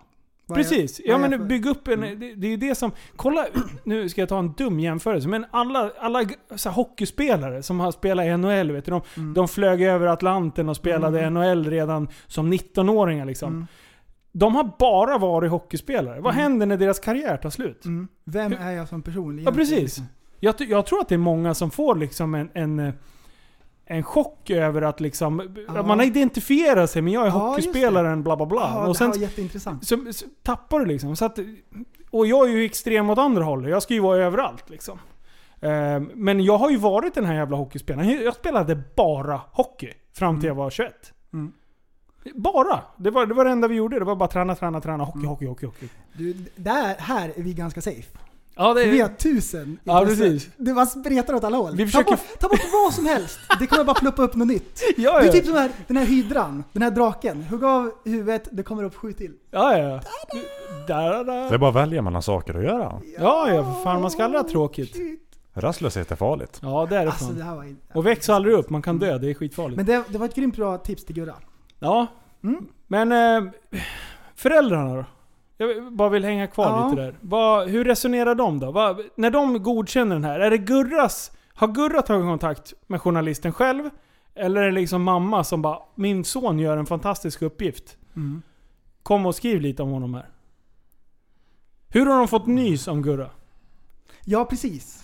[SPEAKER 5] Vad är-
[SPEAKER 4] precis.
[SPEAKER 5] vad
[SPEAKER 4] Ja
[SPEAKER 5] är jag
[SPEAKER 4] men
[SPEAKER 5] för- Mm.
[SPEAKER 4] bygg upp en... Det, det är ju det som... Kolla, nu ska jag ta en dum jämförelse, men alla, alla g- så här, hockeyspelare som har spelat i NHL, vet du, de,
[SPEAKER 5] Mm,
[SPEAKER 4] de flög över Atlanten och spelade NHL redan som 19-åringar liksom.
[SPEAKER 5] Mm.
[SPEAKER 4] De har bara varit hockeyspelare. Vad händer när deras karriär tar slut?
[SPEAKER 5] Mm. Vem är jag som person?
[SPEAKER 4] Ja,
[SPEAKER 5] egentligen? Liksom?
[SPEAKER 4] precis. Jag, ty- jag tror att det är många som får liksom en, en, eh, en chock över att liksom,
[SPEAKER 5] Ja.
[SPEAKER 4] att man identifierar sig, men jag är
[SPEAKER 5] Ja,
[SPEAKER 4] hockeyspelaren, bla bla bla.
[SPEAKER 5] Ja,
[SPEAKER 4] och sen
[SPEAKER 5] det här var jätteintressant.
[SPEAKER 4] så, så tappar du liksom. Så att, och jag är ju extrem åt andra hållet. Jag ska ju vara överallt liksom. Eh, Men jag har ju varit den här jävla hockeyspelaren. Jag spelade bara hockey fram till jag var 21.
[SPEAKER 5] Mm.
[SPEAKER 4] Bara! Det var, det var det enda vi gjorde. Det var bara träna, träna, träna. Hockey, hockey, hockey, hockey.
[SPEAKER 5] Du, där, här är vi ganska safe.
[SPEAKER 4] Ja, det
[SPEAKER 5] Vi har tusen i
[SPEAKER 4] Eh, Ja,
[SPEAKER 5] pressen.
[SPEAKER 4] precis.
[SPEAKER 5] Det bara spretar åt alla håll.
[SPEAKER 4] Vi
[SPEAKER 5] ta,
[SPEAKER 4] försöker-
[SPEAKER 5] bort, ta bort vad som helst. Det kommer bara ploppa upp något nytt.
[SPEAKER 4] ja,
[SPEAKER 5] Det är
[SPEAKER 4] ja.
[SPEAKER 5] typ som här, den här hydran, den här draken. Hugg av huvudet, det kommer upp sju till.
[SPEAKER 4] ja, ja. Da, da,
[SPEAKER 6] Det är
[SPEAKER 4] da.
[SPEAKER 6] bara att välja mellan saker att göra.
[SPEAKER 4] Ja, ja. för Fan, man ska aldrig ha tråkigt.
[SPEAKER 5] Shit.
[SPEAKER 6] Rastlöshet är farligt.
[SPEAKER 4] Ja, det är det
[SPEAKER 5] Alltså det
[SPEAKER 4] fan.
[SPEAKER 5] här var in-
[SPEAKER 4] Och väx aldrig upp. Man kan dö. Det är skitfarligt.
[SPEAKER 5] Men det, det var ett grymt bra tips till Gurra.
[SPEAKER 4] Ja.
[SPEAKER 5] Mm.
[SPEAKER 4] Men eh, föräldrarna då? Jag bara vill hänga kvar
[SPEAKER 5] Ja.
[SPEAKER 4] lite där. Vad- hur resonerar de då? Vad- när de godkänner den här, är det Gurras... Har Gurra tagit kontakt med journalisten själv? Eller är det liksom mamma som bara “Min son gör en fantastisk uppgift.
[SPEAKER 5] Mm.
[SPEAKER 4] Kom och skriv lite om honom här”. Hur har de fått nys om Gurra?
[SPEAKER 5] Ja, precis.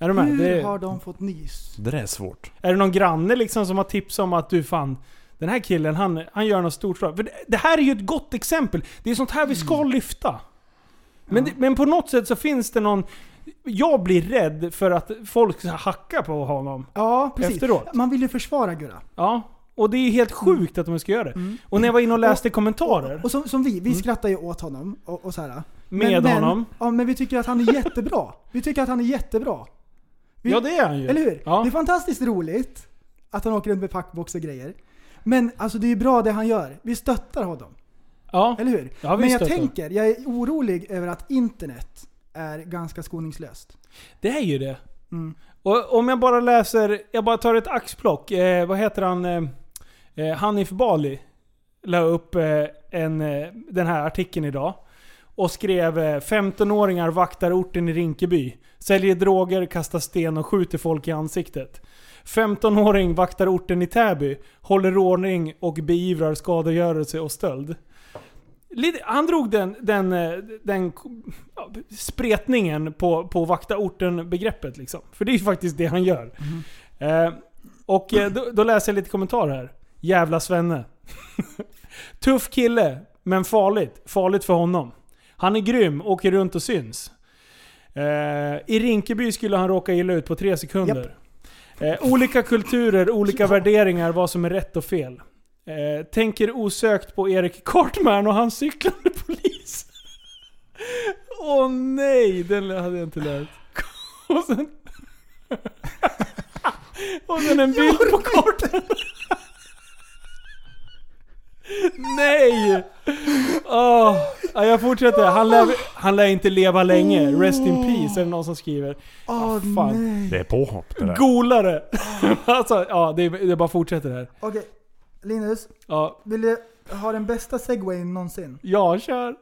[SPEAKER 4] Är du med?
[SPEAKER 5] Hur
[SPEAKER 4] det,
[SPEAKER 5] har de fått nys?
[SPEAKER 6] Det där är svårt.
[SPEAKER 4] Är det någon granne liksom som har tipsat om att du fan, den här killen han, han gör något stort. För det, det här är ju ett gott exempel. Det är sånt här vi ska
[SPEAKER 5] Mm.
[SPEAKER 4] lyfta. Men, det, men på något sätt så finns det någon... Jag blir rädd för att folk hackar på honom.
[SPEAKER 5] Ja, precis.
[SPEAKER 4] Efteråt.
[SPEAKER 5] Man vill ju försvara Gurra.
[SPEAKER 4] Ja. Och det är helt sjukt att de ska göra det. Och när jag var inne och läste kommentarer
[SPEAKER 5] Mm. Och som, som vi, vi skrattar ju åt honom. Och, och så här.
[SPEAKER 4] Mm. med
[SPEAKER 5] men,
[SPEAKER 4] honom.
[SPEAKER 5] Men, ja, men vi tycker att han är jättebra. Vi tycker att han är jättebra. Vi-
[SPEAKER 4] ja det är han ju.
[SPEAKER 5] Eller hur?
[SPEAKER 4] Ja.
[SPEAKER 5] Det är fantastiskt roligt att han åker runt med packbox och grejer. Men alltså det är ju bra det han gör. Vi stöttar honom.
[SPEAKER 4] ja.
[SPEAKER 5] Eller hur?
[SPEAKER 4] Ja, vi
[SPEAKER 5] Men jag
[SPEAKER 4] stöttar.
[SPEAKER 5] tänker, jag är orolig över att internet är ganska skoningslöst.
[SPEAKER 4] Det är ju det.
[SPEAKER 5] Mm.
[SPEAKER 4] Och om jag bara läser, jag bara tar ett axplock. Eh, vad heter han? Eh, eh, Hanif Bali la upp eh, en, eh, den här artikeln idag. Och skrev eh, 15-åringar vaktar orten i Rinkeby. Säljer droger, kastar sten och skjuter folk i ansiktet. 15-åring vaktar orten i Täby. Håller ordning och beivrar skadegörelse och stöld. Lite- Han drog den, den, eh, den ja, spretningen på, på vakta orten-begreppet. Liksom. För det är ju faktiskt det han gör. Eh, och eh, då, då läser jag lite kommentarer här. Jävla Svenne. Tuff kille, men farligt. Farligt för honom. Han är grym, åker runt och syns. Eh, I Rinkeby skulle han råka illa ut på tre sekunder. Eh, olika kulturer, olika värderingar, vad som är rätt och fel. Eh, tänker osökt på Erik Kartman och hans cyklande polis. Åh nej, den hade jag inte lärt. Och sen... och sen en bild på kartan. nej! Åh, ja, jag fortsätter. Han lär, han lär inte leva länge. Rest in peace är det någon som skriver.
[SPEAKER 5] Åh
[SPEAKER 4] Ah, fan.
[SPEAKER 5] nej.
[SPEAKER 6] Det är påhopp det där.
[SPEAKER 4] Golare! alltså, ja, det, det bara fortsätter här.
[SPEAKER 5] Okej, Linus.
[SPEAKER 4] Ja,
[SPEAKER 5] Vill du ha den bästa segwayn någonsin?
[SPEAKER 4] jag kör.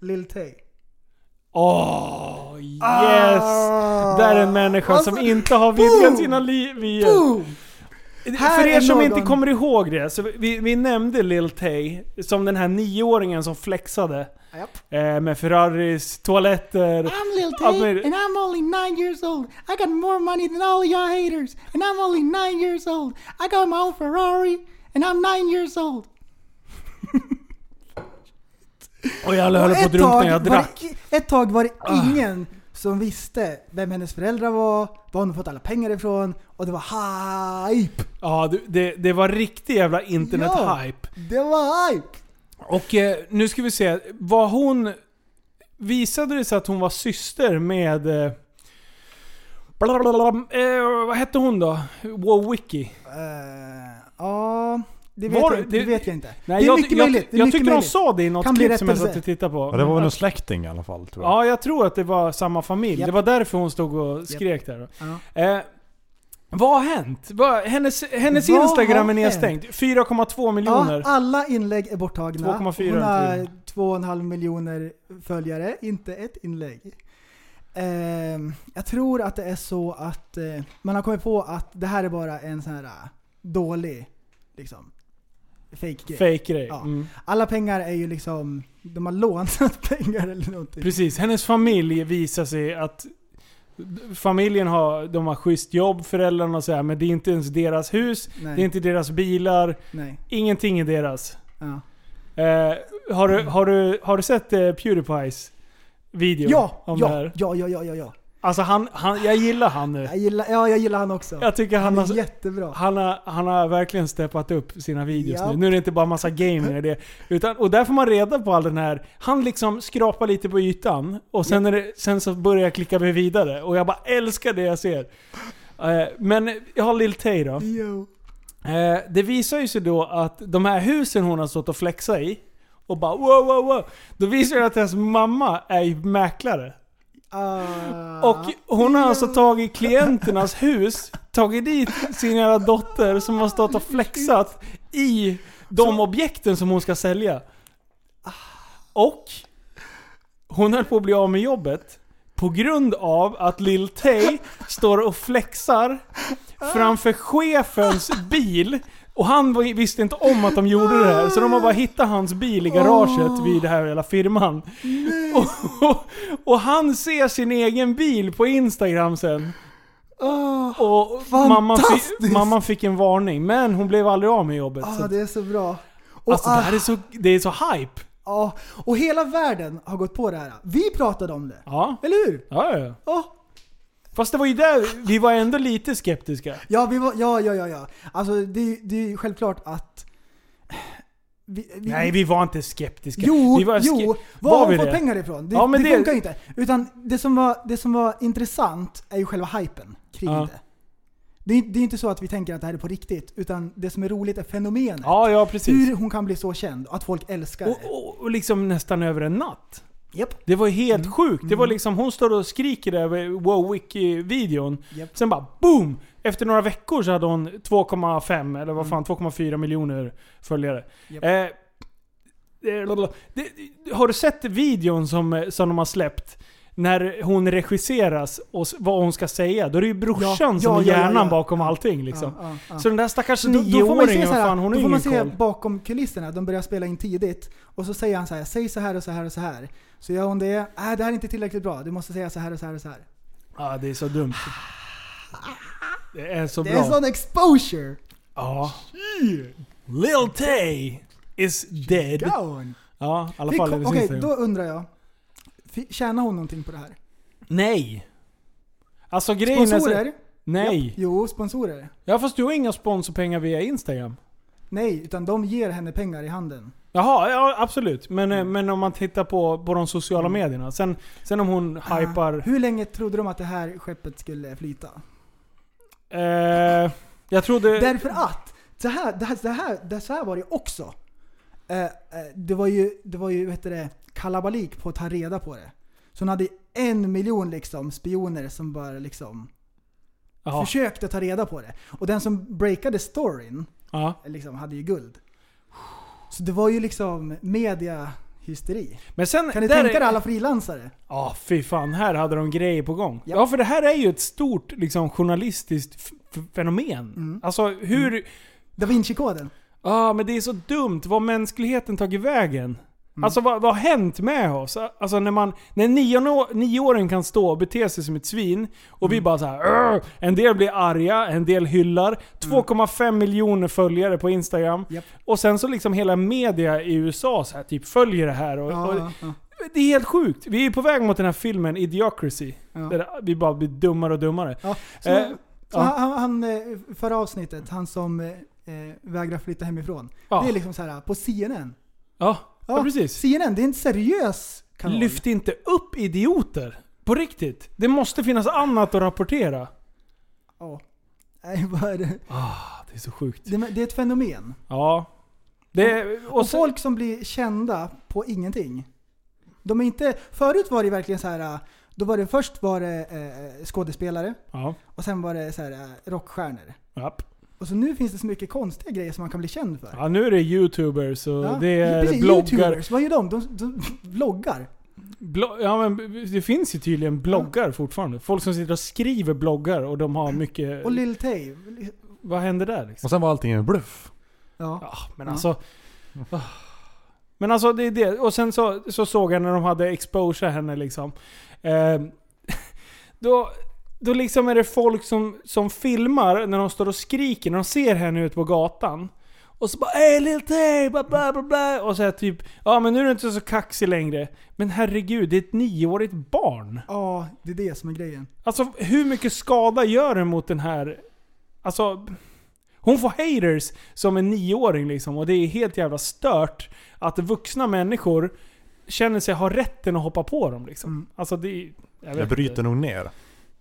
[SPEAKER 5] Lil Tay.
[SPEAKER 4] Åh, yes! Där är en människa som
[SPEAKER 5] Ah. Alltså,
[SPEAKER 4] inte har vidgat
[SPEAKER 5] boom!
[SPEAKER 4] sina liv vyer.
[SPEAKER 5] Boom! Här
[SPEAKER 4] För er
[SPEAKER 5] är
[SPEAKER 4] som inte
[SPEAKER 5] någon-
[SPEAKER 4] kommer ihåg det, så vi, vi nämnde Lil Tay som den här nioåringen som flexade
[SPEAKER 5] Japp.
[SPEAKER 4] eh, med Ferraris, toaletter.
[SPEAKER 5] I'm Lil
[SPEAKER 4] Ja, men-
[SPEAKER 5] Tay and I'm only nine years old. I got more money than all y'all haters. And I'm only nine years old. I got my own Ferrari and I'm nine years old.
[SPEAKER 4] Och jag höll på att drunkna när jag drack. Ah.
[SPEAKER 5] Var det, ett tag var det ingen som visste vem hennes föräldrar var, var hon fått alla pengar ifrån och det var hype.
[SPEAKER 4] Ja, det- det, det var riktig jävla
[SPEAKER 5] Ja.
[SPEAKER 4] internet-hype.
[SPEAKER 5] Det var hype!
[SPEAKER 4] Och eh, nu ska vi se, var hon... Visade det sig att hon var syster med... Eh, blablabla, eh, vad hette hon då? Wowicki.
[SPEAKER 5] Eh, Ja, det vet,
[SPEAKER 4] Var-
[SPEAKER 5] jag, inte,
[SPEAKER 4] det-
[SPEAKER 5] det vet jag inte.
[SPEAKER 4] Nej,
[SPEAKER 5] det är
[SPEAKER 4] jag,
[SPEAKER 5] mycket
[SPEAKER 4] jag,
[SPEAKER 5] möjligt. Det är
[SPEAKER 4] jag
[SPEAKER 5] mycket
[SPEAKER 4] tycker de
[SPEAKER 5] möjligt.
[SPEAKER 4] sa det i något
[SPEAKER 5] Kan bli
[SPEAKER 4] klipp som jag
[SPEAKER 5] rättelse.
[SPEAKER 4] satt och tittade på.
[SPEAKER 6] Ja, det var väl en släkting i alla fall tror jag.
[SPEAKER 4] Ja, jag tror att det var samma familj.
[SPEAKER 5] Japp.
[SPEAKER 4] Det var därför hon stod och skrek där.
[SPEAKER 5] Ja.
[SPEAKER 4] Eh, vad har hänt? Vad, hennes hennes
[SPEAKER 5] Vad
[SPEAKER 4] Instagram är
[SPEAKER 5] har Ah,
[SPEAKER 4] nedstängd. 4,2 miljoner.
[SPEAKER 5] Ja, alla inlägg är borttagna.
[SPEAKER 4] 2,4
[SPEAKER 5] Hon har
[SPEAKER 4] tror
[SPEAKER 5] 2,5 miljoner följare, inte ett inlägg. Ehm, jag tror att det är så att eh, man har kommit på att det här är bara en sån här eh, dålig, liksom, fake grej.
[SPEAKER 4] Fake grej.
[SPEAKER 5] Ja.
[SPEAKER 4] Mm.
[SPEAKER 5] Alla pengar är ju liksom, de har lånat pengar eller någonting.
[SPEAKER 4] Precis. Hennes familj visar sig att familjen har, de har schysst jobb, föräldrarna och så här, men det är inte ens deras hus,
[SPEAKER 5] Nej,
[SPEAKER 4] det är inte deras bilar,
[SPEAKER 5] nej.
[SPEAKER 4] ingenting är deras.
[SPEAKER 5] Ja.
[SPEAKER 4] Eh, har,
[SPEAKER 5] Mm.
[SPEAKER 4] du, har, du, har du sett eh, Pewdiepies video
[SPEAKER 5] Ja,
[SPEAKER 4] om det
[SPEAKER 5] ja,
[SPEAKER 4] här?
[SPEAKER 5] ja, ja, ja, ja, ja.
[SPEAKER 4] Alltså han, han, jag gillar han nu.
[SPEAKER 5] Jag gillar, ja, jag gillar han också.
[SPEAKER 4] Jag tycker han,
[SPEAKER 5] han är
[SPEAKER 4] har,
[SPEAKER 5] jättebra.
[SPEAKER 4] han, har, han har verkligen steppat upp sina videos
[SPEAKER 5] Ja.
[SPEAKER 4] nu. Nu är det inte bara massa gaming i det. Utan, och där får man reda på all den här... Han liksom skrapar lite på ytan och sen, är det, sen så börjar jag klicka mig vidare. Och jag bara älskar det jag ser. Eh, Men jag har Lil Tay då.
[SPEAKER 5] Jo.
[SPEAKER 4] Eh, det visar ju sig då att de här husen hon har stått och flexat i och bara wow wow wow. Då visar det att hennes mamma är ju mäklare.
[SPEAKER 5] Ah.
[SPEAKER 4] Och hon har alltså tagit klienternas hus, tagit dit sin jävla dotter som har stått och flexat i de objekten som hon ska sälja. Och hon höll på att bli av med jobbet på grund av att Lil Tay står och flexar framför chefens bil. Och han var- visste inte om att de gjorde det här, så de har bara hittat hans bil i garaget vid den här jävla firman. Och, och han ser sin egen bil på Instagram sen.
[SPEAKER 5] Ah,
[SPEAKER 4] Och mamman, fi,
[SPEAKER 5] Fantastiskt!
[SPEAKER 4] mamman fick en varning, men hon blev aldrig av med jobbet. så,
[SPEAKER 5] ah, det är så bra. Ah, Och,
[SPEAKER 4] alltså, det här är så, det är så hype.
[SPEAKER 5] Ja, och hela världen har gått på det här. Vi pratade om det.
[SPEAKER 4] Ja.
[SPEAKER 5] Eller hur?
[SPEAKER 4] Ja, ja.
[SPEAKER 5] Ja.
[SPEAKER 4] Fast det var ju där vi var ändå lite skeptiska.
[SPEAKER 5] Ja, vi var, ja, ja, ja, ja. Alltså det, är ju- det är ju självklart att... Vi, vi,
[SPEAKER 4] Nej, vi var inte skeptiska.
[SPEAKER 5] Jo,
[SPEAKER 4] vi var ske-
[SPEAKER 5] jo. Var,
[SPEAKER 4] var
[SPEAKER 5] har
[SPEAKER 4] vi
[SPEAKER 5] hon fått
[SPEAKER 4] det?
[SPEAKER 5] pengar ifrån? Det,
[SPEAKER 4] Ja, men
[SPEAKER 5] det,
[SPEAKER 4] det-
[SPEAKER 5] funkar ju inte. Utan det som, var, det som var intressant är ju själva hypen kring
[SPEAKER 4] Ja.
[SPEAKER 5] det. Det är, det är inte så att vi tänker att det här är på riktigt, utan det som är roligt är fenomenet.
[SPEAKER 4] Ja, ja precis.
[SPEAKER 5] Hur hon kan bli så känd och att folk älskar
[SPEAKER 4] Och,
[SPEAKER 5] det.
[SPEAKER 4] och, och liksom nästan över en natt.
[SPEAKER 5] Japp.
[SPEAKER 4] Det var ju helt
[SPEAKER 5] Mm.
[SPEAKER 4] sjukt. Det var liksom, hon står och skriker över Wowick-videon.
[SPEAKER 5] Japp.
[SPEAKER 4] Sen bara boom! Efter några veckor så hade hon 2,5 eller vad fan, 2,4 miljoner följare.
[SPEAKER 5] Mm. Japp.
[SPEAKER 4] Eh, eh, lalala. det, har du sett videon som, eh, som de har släppt? När hon regisseras och s- vad hon ska säga. Då är det ju brorsan
[SPEAKER 5] Ja,
[SPEAKER 4] som
[SPEAKER 5] ja,
[SPEAKER 4] är
[SPEAKER 5] ja, ja,
[SPEAKER 4] hjärnan
[SPEAKER 5] ja.
[SPEAKER 4] bakom allting liksom.
[SPEAKER 5] Ja, ja, ja.
[SPEAKER 4] Så den där stackars
[SPEAKER 5] då, då får man ju se
[SPEAKER 4] nioåringen,
[SPEAKER 5] så här,
[SPEAKER 4] vad fan, hon har
[SPEAKER 5] då
[SPEAKER 4] ju
[SPEAKER 5] får man
[SPEAKER 4] ingen
[SPEAKER 5] se
[SPEAKER 4] koll.
[SPEAKER 5] bakom kulisserna, de börjar spela in tidigt. Och så säger han så här, säg så här och så här och så här. Så gör hon det, äh, det här är inte tillräckligt bra, du måste säga så här och så här och så här.
[SPEAKER 4] Ja, det är så dumt. Det är så
[SPEAKER 5] Det
[SPEAKER 4] bra.
[SPEAKER 5] är sån exposure!
[SPEAKER 4] Ja. Lil Tay is dead.
[SPEAKER 5] Down.
[SPEAKER 4] Ja, i alla
[SPEAKER 5] Fick-
[SPEAKER 4] fall i
[SPEAKER 5] Okej,
[SPEAKER 4] det sista.
[SPEAKER 5] då undrar jag. fi- Tjänar hon någonting på det här?
[SPEAKER 4] Nej! Alltså grejen är... så-
[SPEAKER 5] Sponsorer?
[SPEAKER 4] Nej.
[SPEAKER 5] Jo, sponsorer.
[SPEAKER 4] Ja fast du har inga sponsorpengar via Instagram.
[SPEAKER 5] Nej, utan de ger henne pengar i handen.
[SPEAKER 4] Jaha, ja absolut. Men, eh, men om man tittar på, på de sociala
[SPEAKER 5] Mm.
[SPEAKER 4] medierna. Sen, sen om
[SPEAKER 5] Ah.
[SPEAKER 4] hon hypar...
[SPEAKER 5] Hur länge trodde de att det här skeppet skulle flyta?
[SPEAKER 4] Eh, jag trodde...
[SPEAKER 5] Därför att, så här, det här, det här, det så här var det också. Eh, eh, det var ju, det var ju vad heter det, kalabalik på att ta reda på det. Så hon hade en miljon liksom, spioner som bara liksom
[SPEAKER 4] Jaha,
[SPEAKER 5] försökte ta reda på det. Och den som breakade storyn
[SPEAKER 4] ja.
[SPEAKER 5] liksom, hade ju guld. Så det var ju liksom mediahysteri.
[SPEAKER 4] Men sen...
[SPEAKER 5] Kan ni
[SPEAKER 4] där
[SPEAKER 5] tänka
[SPEAKER 4] är-
[SPEAKER 5] er alla frilansare?
[SPEAKER 4] Ja, fy fan. Här hade de grejer på gång.
[SPEAKER 5] Ja.
[SPEAKER 4] Ja, för det här är ju ett stort liksom, journalistiskt f- f- fenomen.
[SPEAKER 5] Mm.
[SPEAKER 4] Alltså hur...
[SPEAKER 5] Da Vinci-koden.
[SPEAKER 4] Ja, men det är så dumt vad mänskligheten tagit vägen.
[SPEAKER 5] Mm.
[SPEAKER 4] Alltså vad, vad har hänt med oss? Alltså när man, när nio, nioåringen kan stå och bete sig som ett svin och
[SPEAKER 5] Mm.
[SPEAKER 4] vi bara så här. "Arr!" En del blir arga, en del hyllar. 2,5 miljoner följare på Instagram.
[SPEAKER 5] Japp.
[SPEAKER 4] Och sen så liksom hela media i USA så här, typ följer det här. Och, och,
[SPEAKER 5] Ja, ja.
[SPEAKER 4] det är helt sjukt. Vi är på väg mot den här filmen Idiocracy.
[SPEAKER 5] Ja.
[SPEAKER 4] Där vi bara blir dummare och dummare.
[SPEAKER 5] Ja, så,
[SPEAKER 4] Eh,
[SPEAKER 5] så
[SPEAKER 4] ja.
[SPEAKER 5] han, han, eh, förra avsnittet, han som eh, eh, vägrar flytta hemifrån.
[SPEAKER 4] Ja.
[SPEAKER 5] Det är liksom så här på CNN.
[SPEAKER 4] Ja, ja, precis.
[SPEAKER 5] CNN, det är en seriös kanal.
[SPEAKER 4] Lyft inte upp idioter. På riktigt. Det måste finnas annat att rapportera.
[SPEAKER 5] Ja. Nej, vad är det?
[SPEAKER 4] Det är så sjukt.
[SPEAKER 5] Det, det är ett fenomen.
[SPEAKER 4] Ja. Det,
[SPEAKER 5] Och,
[SPEAKER 4] och så,
[SPEAKER 5] folk som blir kända på ingenting. De är inte, förut var det verkligen så här. eh, Då var det först var det eh, skådespelare
[SPEAKER 4] ja.
[SPEAKER 5] och sen var det så här, eh, rockstjärnor.
[SPEAKER 4] Japp.
[SPEAKER 5] Och så nu finns det så mycket konstiga grejer som man kan bli känd för.
[SPEAKER 4] ja, nu är det youtubers och
[SPEAKER 5] Ja,
[SPEAKER 4] det är
[SPEAKER 5] precis,
[SPEAKER 4] bloggar.
[SPEAKER 5] Youtubers, vad gör de? De, de vloggar.
[SPEAKER 4] Blo- ja, men det finns ju tydligen bloggar fortfarande. Folk som sitter och skriver bloggar och de har mycket...
[SPEAKER 5] Och Lil Tay.
[SPEAKER 4] vad händer där liksom?
[SPEAKER 6] Och sen var allting en bluff.
[SPEAKER 5] Ja.
[SPEAKER 4] Ja, men
[SPEAKER 5] Ja.
[SPEAKER 4] alltså... ah. Men alltså det är det. Och sen så, så såg jag när de hade exposure henne liksom. Eh, då, då liksom är det folk som, som filmar när de står och skriker, när de ser henne ute på gatan. Och så bara ey Lil Tay, bla bla bla bla. Och så här typ, ja men nu är du inte så kaxig längre. Men herregud, det är ett nioårigt barn.
[SPEAKER 5] Ja, det är det som är grejen.
[SPEAKER 4] Alltså hur mycket skada gör det mot den här... Alltså... Hon får haters som en nioåring liksom och det är helt jävla stört att vuxna människor känner sig ha rätten att hoppa på dem liksom.
[SPEAKER 5] Mm.
[SPEAKER 4] Alltså det är... Jag
[SPEAKER 6] Det
[SPEAKER 4] vet
[SPEAKER 6] bryter
[SPEAKER 4] inte.
[SPEAKER 6] nog ner.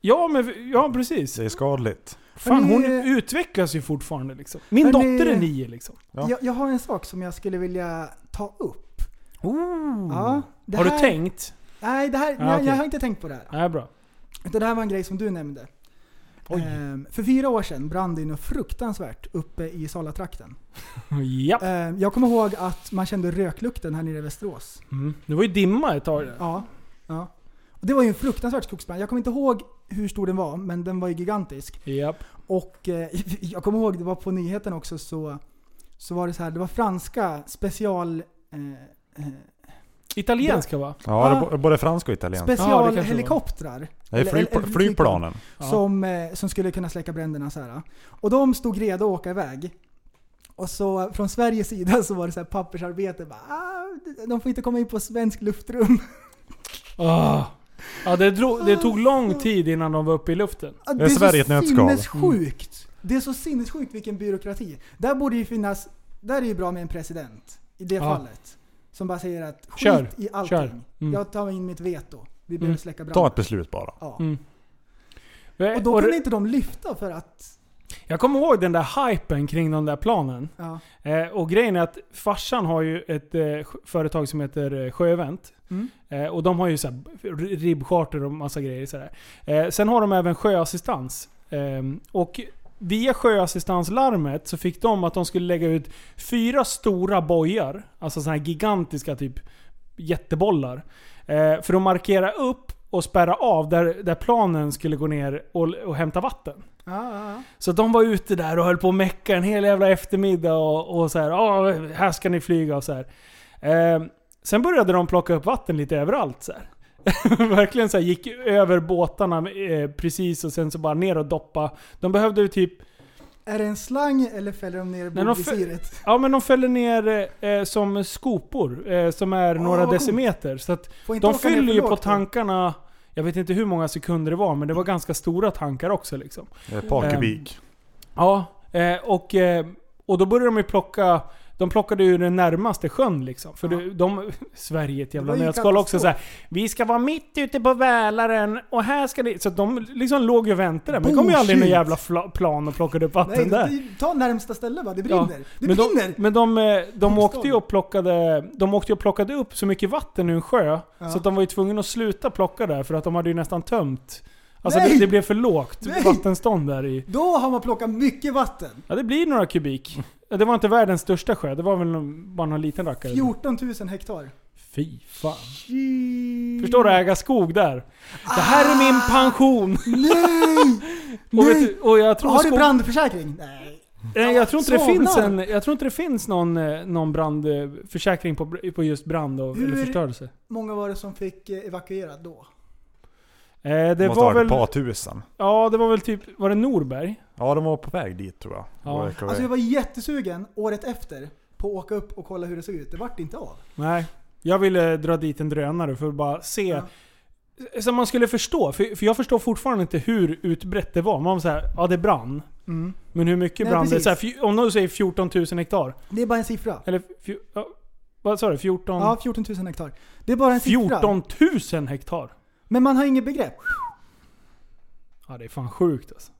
[SPEAKER 4] Ja men, ja precis.
[SPEAKER 6] Det är skadligt.
[SPEAKER 4] Fan hon
[SPEAKER 5] Men, eh,
[SPEAKER 4] utvecklas ju fortfarande liksom. Min
[SPEAKER 5] men,
[SPEAKER 4] dotter är
[SPEAKER 5] eh,
[SPEAKER 4] nio liksom.
[SPEAKER 6] Ja.
[SPEAKER 5] Jag, jag har en sak som jag skulle vilja ta upp. Ja, det
[SPEAKER 4] Mm. Har du
[SPEAKER 5] här-
[SPEAKER 4] tänkt?
[SPEAKER 5] Nej, det här,
[SPEAKER 4] Ah,
[SPEAKER 5] nej,
[SPEAKER 4] okej.
[SPEAKER 5] jag har inte tänkt på det här.
[SPEAKER 4] Nej bra.
[SPEAKER 5] Utan det här var en grej som du nämnde.
[SPEAKER 4] Oj.
[SPEAKER 5] Ehm, för fyra år sedan brann det ju något fruktansvärt uppe i Salatrakten.
[SPEAKER 4] Japp.
[SPEAKER 5] Ehm, jag kommer ihåg att man kände röklukten här nere i Västerås.
[SPEAKER 4] Mm. Det var ju dimma ett tag där.
[SPEAKER 5] Ja. ja. Och det var ju en fruktansvärd skogsbrand. Jag kommer inte ihåg hur stor den var, men den var ju gigantisk.
[SPEAKER 4] Japp.
[SPEAKER 5] Och eh, jag kommer ihåg, det var på nyheten också, så, så var det så här, det var franska special... Eh, eh,
[SPEAKER 4] Italienska va?
[SPEAKER 6] Ja, det
[SPEAKER 5] Ah.
[SPEAKER 6] är bo- både fransk och italiensk.
[SPEAKER 5] specialhelikoptrar.
[SPEAKER 6] Det är
[SPEAKER 5] Eller- eller-
[SPEAKER 6] flygpl-
[SPEAKER 5] eller
[SPEAKER 6] flygplanen.
[SPEAKER 4] Ja.
[SPEAKER 5] som, eh, som skulle kunna släcka bränderna. Så här. Och de stod redo att åka iväg. Och så från Sveriges sida så var det så här pappersarbete. Bara, ah, de får inte komma in på svensk luftrum.
[SPEAKER 4] Ah. Ja, det, drog, det tog lång tid innan de var uppe i luften.
[SPEAKER 5] Ja,
[SPEAKER 6] Är Sverige ett
[SPEAKER 5] så
[SPEAKER 6] nötskal?
[SPEAKER 5] sinnessjukt. Det är så sinnessjukt vilken byråkrati. Där borde ju finnas, där är det ju bra med en president. I det
[SPEAKER 4] Ja.
[SPEAKER 5] fallet. Som bara säger att skit
[SPEAKER 4] Kör,
[SPEAKER 5] i allting.
[SPEAKER 4] kör. Mm.
[SPEAKER 5] Jag tar in mitt veto. Vi behöver
[SPEAKER 4] Mm.
[SPEAKER 5] släcka
[SPEAKER 6] Ta ett
[SPEAKER 5] branden.
[SPEAKER 6] beslut bara.
[SPEAKER 5] Ja.
[SPEAKER 4] Mm.
[SPEAKER 5] Och
[SPEAKER 4] Och
[SPEAKER 5] då kunde inte de lyfta för att...
[SPEAKER 4] Jag kommer ihåg den där hypen kring de där planen.
[SPEAKER 5] Ja.
[SPEAKER 4] Eh, och grejen är att farsan har ju ett eh, sj- företag som heter eh, Sjövent.
[SPEAKER 5] Mm.
[SPEAKER 4] Eh, och de har ju så här r- ribbcharter och massa grejer. Så där. Eh, sen har de även sjöassistans. Ehm, och via sjöassistanslarmet så fick de att de skulle lägga ut fyra stora bojar. Alltså sådana här gigantiska typ jättebollar. Eh, för att markera upp och spärra av där, där planen skulle gå ner och, och hämta vatten.
[SPEAKER 5] Ja, ja, ja.
[SPEAKER 4] Så de var ute där och höll på att mecka en hel jävla eftermiddag och, och så här, "Ja, här ska ni flyga och så här. Ehm, sen började de plocka upp vatten lite överallt så här. Verkligen så här, gick över båtarna eh, precis och sen så bara ner och doppa. De behövde ju typ,
[SPEAKER 5] Är det en slang eller fäller de ner
[SPEAKER 4] de fäll-
[SPEAKER 5] bordvisiret?
[SPEAKER 4] ja men de fäller ner eh, som skopor eh, som är
[SPEAKER 5] Åh,
[SPEAKER 4] några
[SPEAKER 5] vad coolt.
[SPEAKER 4] decimeter. Så att
[SPEAKER 5] Får inte
[SPEAKER 4] de
[SPEAKER 5] åka ner
[SPEAKER 4] fyller
[SPEAKER 5] för
[SPEAKER 4] ju
[SPEAKER 5] lågt
[SPEAKER 4] på
[SPEAKER 5] då.
[SPEAKER 4] tankarna, jag vet inte hur många sekunder det var men det var ganska stora tankar också liksom.
[SPEAKER 6] Ett par
[SPEAKER 4] Ehm,
[SPEAKER 6] kubik.
[SPEAKER 4] Ja, eh, och, eh, och då började de ju plocka de plockade ju den närmaste sjön liksom. För
[SPEAKER 5] Ja.
[SPEAKER 4] de, de, Sverige är ett jävla
[SPEAKER 5] Det var ju
[SPEAKER 4] nötskal också
[SPEAKER 5] katastrof.
[SPEAKER 4] såhär. Vi ska vara mitt ute på Välaren och här ska ni... Så att de liksom låg ju och väntade. Men det kom ju aldrig någon
[SPEAKER 5] Bullshit.
[SPEAKER 4] jävla fla- plan och plockade upp vatten
[SPEAKER 5] Nej,
[SPEAKER 4] där.
[SPEAKER 5] det- ta närmsta ställe va, det
[SPEAKER 4] Ja,
[SPEAKER 5] brinner. Det
[SPEAKER 4] Men de,
[SPEAKER 5] brinner!
[SPEAKER 4] men de, eh, de,
[SPEAKER 5] Bokstavligt.
[SPEAKER 4] åkte ju och plockade, de åkte ju och plockade upp så mycket vatten ur en sjö
[SPEAKER 5] Ja.
[SPEAKER 4] så att de var ju tvungna att sluta plocka där för att de hade ju nästan tömt. Alltså
[SPEAKER 5] Nej!
[SPEAKER 4] det, det blev för lågt
[SPEAKER 5] Nej!
[SPEAKER 4] vattenstånd där i...
[SPEAKER 5] Då har man plockat mycket vatten.
[SPEAKER 4] Ja, det blir några kubik. Ja, Det var inte världens största sjö, det var väl någon- bara någon liten rackare.
[SPEAKER 5] 14 000 hektar.
[SPEAKER 4] Fy fan. Förstår du? Äga skog där. Det här är min pension.
[SPEAKER 5] Nej!
[SPEAKER 4] Och, vet,
[SPEAKER 5] Ah! Nej.
[SPEAKER 4] du- och jag tror,
[SPEAKER 5] Har du
[SPEAKER 4] skog-
[SPEAKER 5] brandförsäkring? Nej.
[SPEAKER 4] Nej, jag tror inte det
[SPEAKER 5] Svanar.
[SPEAKER 4] finns, en, jag tror inte det finns någon, eh, någon brandförsäkring på, br- på just brand och, eller
[SPEAKER 5] Hur-
[SPEAKER 4] förstörelse.
[SPEAKER 5] Många var det som fick eh, evakuera då?
[SPEAKER 4] Eh, det
[SPEAKER 6] Det
[SPEAKER 4] var
[SPEAKER 6] var
[SPEAKER 4] väl...
[SPEAKER 6] ett par tusen.
[SPEAKER 4] Ja, det var väl typ... Var det Norberg?
[SPEAKER 6] Ja, de var på väg dit tror jag.
[SPEAKER 4] Ja.
[SPEAKER 6] De verkar
[SPEAKER 5] Alltså jag
[SPEAKER 6] väl-
[SPEAKER 5] var jättesugen året efter på att åka upp och kolla hur det såg ut. Det vart inte av.
[SPEAKER 4] Nej. Jag ville dra dit en drönare för att bara se.
[SPEAKER 5] Ja.
[SPEAKER 4] Så man skulle förstå. För, för jag förstår fortfarande inte hur utbrett det var. Man var såhär, ja det brann.
[SPEAKER 5] Mm.
[SPEAKER 4] Men hur mycket
[SPEAKER 5] Nej,
[SPEAKER 4] brann det?
[SPEAKER 5] precis.
[SPEAKER 4] Så här, fj- om någon säger 14 000 hektar.
[SPEAKER 5] Det är bara en siffra.
[SPEAKER 4] Eller fj- ja, vad sa du? 14...
[SPEAKER 5] Ja, 14 000 hektar. Det är bara en siffra.
[SPEAKER 4] 14 000 hektar?
[SPEAKER 5] Men man har inget begrepp.
[SPEAKER 4] Ja det är fan sjukt alltså.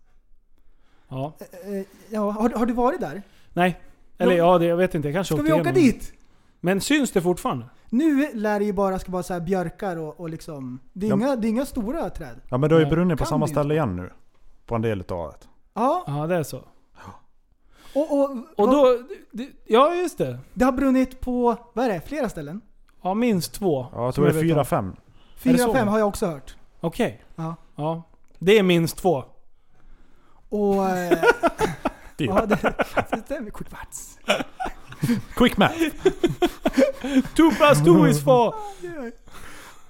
[SPEAKER 4] Ja.
[SPEAKER 5] Eh, eh, Ja, har, du- har du varit där?
[SPEAKER 4] Nej. Eller ja, det, jag vet inte. Jag kanske
[SPEAKER 5] Ska
[SPEAKER 4] åkte
[SPEAKER 5] vi åka
[SPEAKER 4] igenom.
[SPEAKER 5] dit?
[SPEAKER 4] Men syns det fortfarande?
[SPEAKER 5] Nu lär det ju bara ska vara så här björkar och, och liksom... Det är,
[SPEAKER 6] Ja.
[SPEAKER 5] inga, det är inga stora träd.
[SPEAKER 6] Ja, men det har ju
[SPEAKER 4] Nej.
[SPEAKER 6] brunnit på
[SPEAKER 5] Kan
[SPEAKER 6] samma
[SPEAKER 5] vi inte?
[SPEAKER 6] ställe igen nu. På en del utav det.
[SPEAKER 5] Ja,
[SPEAKER 4] Ja det är så.
[SPEAKER 5] och, och,
[SPEAKER 4] Och då... det- Ja just det.
[SPEAKER 5] Det har brunnit på, vad är det, flera ställen?
[SPEAKER 4] Ja minst två.
[SPEAKER 6] Ja, jag
[SPEAKER 4] som
[SPEAKER 6] tror det är
[SPEAKER 4] vet om.
[SPEAKER 6] fyra, fem.
[SPEAKER 4] Är det så?
[SPEAKER 5] Fyra, fem har jag också hört.
[SPEAKER 4] Okej.
[SPEAKER 5] Ja.
[SPEAKER 4] Ja. Det är minst två.
[SPEAKER 5] Och... Eh,
[SPEAKER 6] Typ.
[SPEAKER 5] ja, det, det stämmer. Kvarts.
[SPEAKER 6] Quick math!
[SPEAKER 4] Two plus two is four.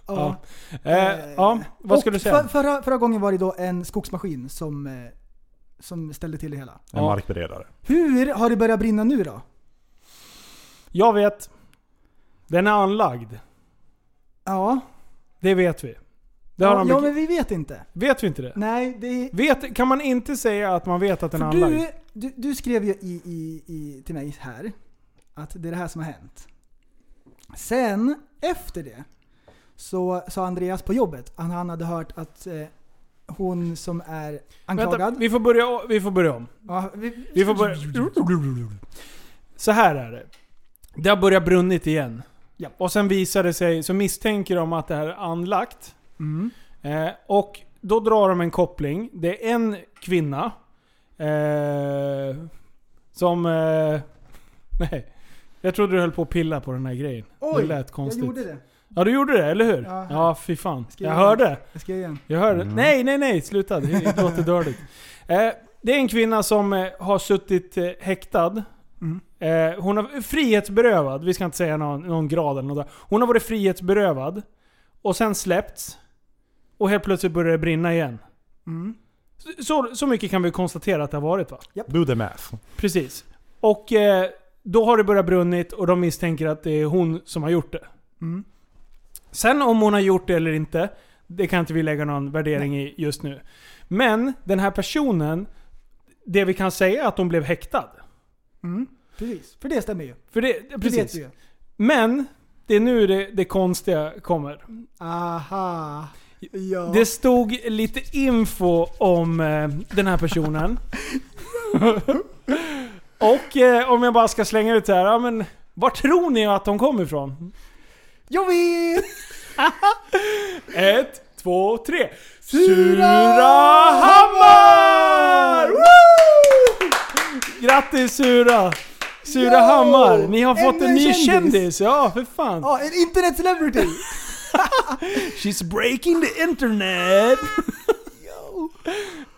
[SPEAKER 5] Ja.
[SPEAKER 4] Eh, ja, vad
[SPEAKER 5] Och
[SPEAKER 4] skulle du
[SPEAKER 5] För,
[SPEAKER 4] säga?
[SPEAKER 5] förra, förra gången var det då en skogsmaskin som, eh, som ställde till det hela.
[SPEAKER 6] En
[SPEAKER 4] Ja.
[SPEAKER 6] markberedare.
[SPEAKER 5] Hur har det börjat brinna nu då?
[SPEAKER 4] Jag vet. Den är anlagd.
[SPEAKER 5] Ja.
[SPEAKER 4] Det vet vi. Det har
[SPEAKER 5] Ja,
[SPEAKER 4] de
[SPEAKER 5] ja,
[SPEAKER 4] bek-
[SPEAKER 5] men vi vet inte.
[SPEAKER 4] Vet vi inte det?
[SPEAKER 5] Nej, det är...
[SPEAKER 4] Vet, kan man inte säga att man vet att den är
[SPEAKER 5] För
[SPEAKER 4] anlagd?
[SPEAKER 5] du, du, du skrev ju i, i, i, till mig här att det är det här som har hänt. Sen, efter det, så sa Andreas på jobbet att han hade hört att eh, hon som är
[SPEAKER 4] Vänta,
[SPEAKER 5] anklagad...
[SPEAKER 4] vi får börja, vi får börja om.
[SPEAKER 5] ja, vi, Mm,
[SPEAKER 4] Vi får börja... Så här är det. Det har börjat brunnit igen.
[SPEAKER 5] Ja.
[SPEAKER 4] Och sen visar det sig, så misstänker de att det här är anlagt.
[SPEAKER 5] Mm.
[SPEAKER 4] Eh, och då drar de en koppling. Det är en kvinna. Eh, som... Eh, nej. Jag trodde du höll på att pilla på den här grejen.
[SPEAKER 5] Oj,
[SPEAKER 4] det lät
[SPEAKER 5] jag
[SPEAKER 4] konstigt.
[SPEAKER 5] gjorde det.
[SPEAKER 4] Ja, du gjorde det, eller hur?
[SPEAKER 5] Ja.
[SPEAKER 4] ja fy fan.
[SPEAKER 5] Skriv
[SPEAKER 4] Jag
[SPEAKER 5] igen.
[SPEAKER 4] hörde.
[SPEAKER 5] Jag skrev igen.
[SPEAKER 4] Jag hörde. Nej, nej, nej. Sluta. Det låter dåligt. Eh, det är en kvinna som eh, har suttit eh, häktad. Eh, hon har frihetsberövad. Vi ska inte säga någon, någon grad eller något. där. Hon har varit frihetsberövad. Och sen släppts. Och helt plötsligt börjar det brinna igen. Så- Så, så mycket kan vi konstatera att det har varit va?
[SPEAKER 6] Do the math.
[SPEAKER 4] Precis. Och eh, då har det börjat brunnit och de misstänker att det är hon som har gjort det.
[SPEAKER 5] Mm.
[SPEAKER 4] Sen om hon har gjort det eller inte, det kan inte vi lägga någon värdering i just nu. Men den här personen, det vi kan säga är att hon blev häktad.
[SPEAKER 5] Precis, för det stämmer ju.
[SPEAKER 4] För det,
[SPEAKER 5] Det vet
[SPEAKER 4] precis.
[SPEAKER 5] vi ju.
[SPEAKER 4] Men, det är nu det, det konstiga kommer.
[SPEAKER 5] Aha. Ja.
[SPEAKER 4] Det stod lite info om eh, den här personen. Och eh, om jag bara ska slänga ut så här, ja men var tror ni att de kommer ifrån?
[SPEAKER 5] Jag vet!
[SPEAKER 4] Ett, två, tre. Surahammar! Woo! Grattis Sura! Surahammar,
[SPEAKER 5] Yo!
[SPEAKER 4] ni har fått en,
[SPEAKER 5] Ännu en
[SPEAKER 4] ny kändis.
[SPEAKER 5] kändis.
[SPEAKER 4] Ja, för fan.
[SPEAKER 5] Ja, en internet celebrity!
[SPEAKER 4] She's breaking the internet!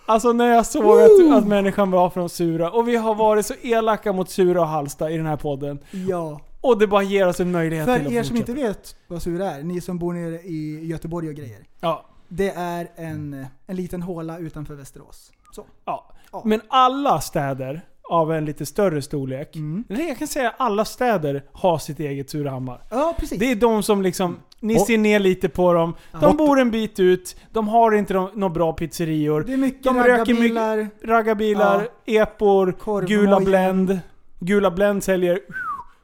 [SPEAKER 4] Alltså när jag såg att,
[SPEAKER 5] Woo!
[SPEAKER 4] att människan var från Sura, och vi har varit så elaka mot Sura och Halsta i den här podden.
[SPEAKER 5] Ja.
[SPEAKER 4] Och det bara ger oss en möjlighet till att
[SPEAKER 5] För er som
[SPEAKER 4] fortsätta.
[SPEAKER 5] inte vet vad Sura är, ni som bor nere i Göteborg och grejer.
[SPEAKER 4] Ja,
[SPEAKER 5] Det är en, en liten håla utanför Västerås. Så.
[SPEAKER 4] ja.
[SPEAKER 5] Ja.
[SPEAKER 4] Men alla städer av en lite större storlek,
[SPEAKER 5] Mm.
[SPEAKER 4] nej jag kan säga alla städer har sitt eget Surahammar.
[SPEAKER 5] Ja, precis.
[SPEAKER 4] Det är de som liksom, ni
[SPEAKER 6] Och-
[SPEAKER 4] ser ner lite på dem, de
[SPEAKER 5] Ja.
[SPEAKER 4] bor en bit ut, de har inte nå- några bra pizzerior.
[SPEAKER 5] Det är mycket
[SPEAKER 4] De röker mycket-
[SPEAKER 5] raggarbilar.
[SPEAKER 4] Raggarbilar, epor,
[SPEAKER 5] Korv,
[SPEAKER 4] gula
[SPEAKER 5] mojen.
[SPEAKER 4] Blend. Gula Blend säljer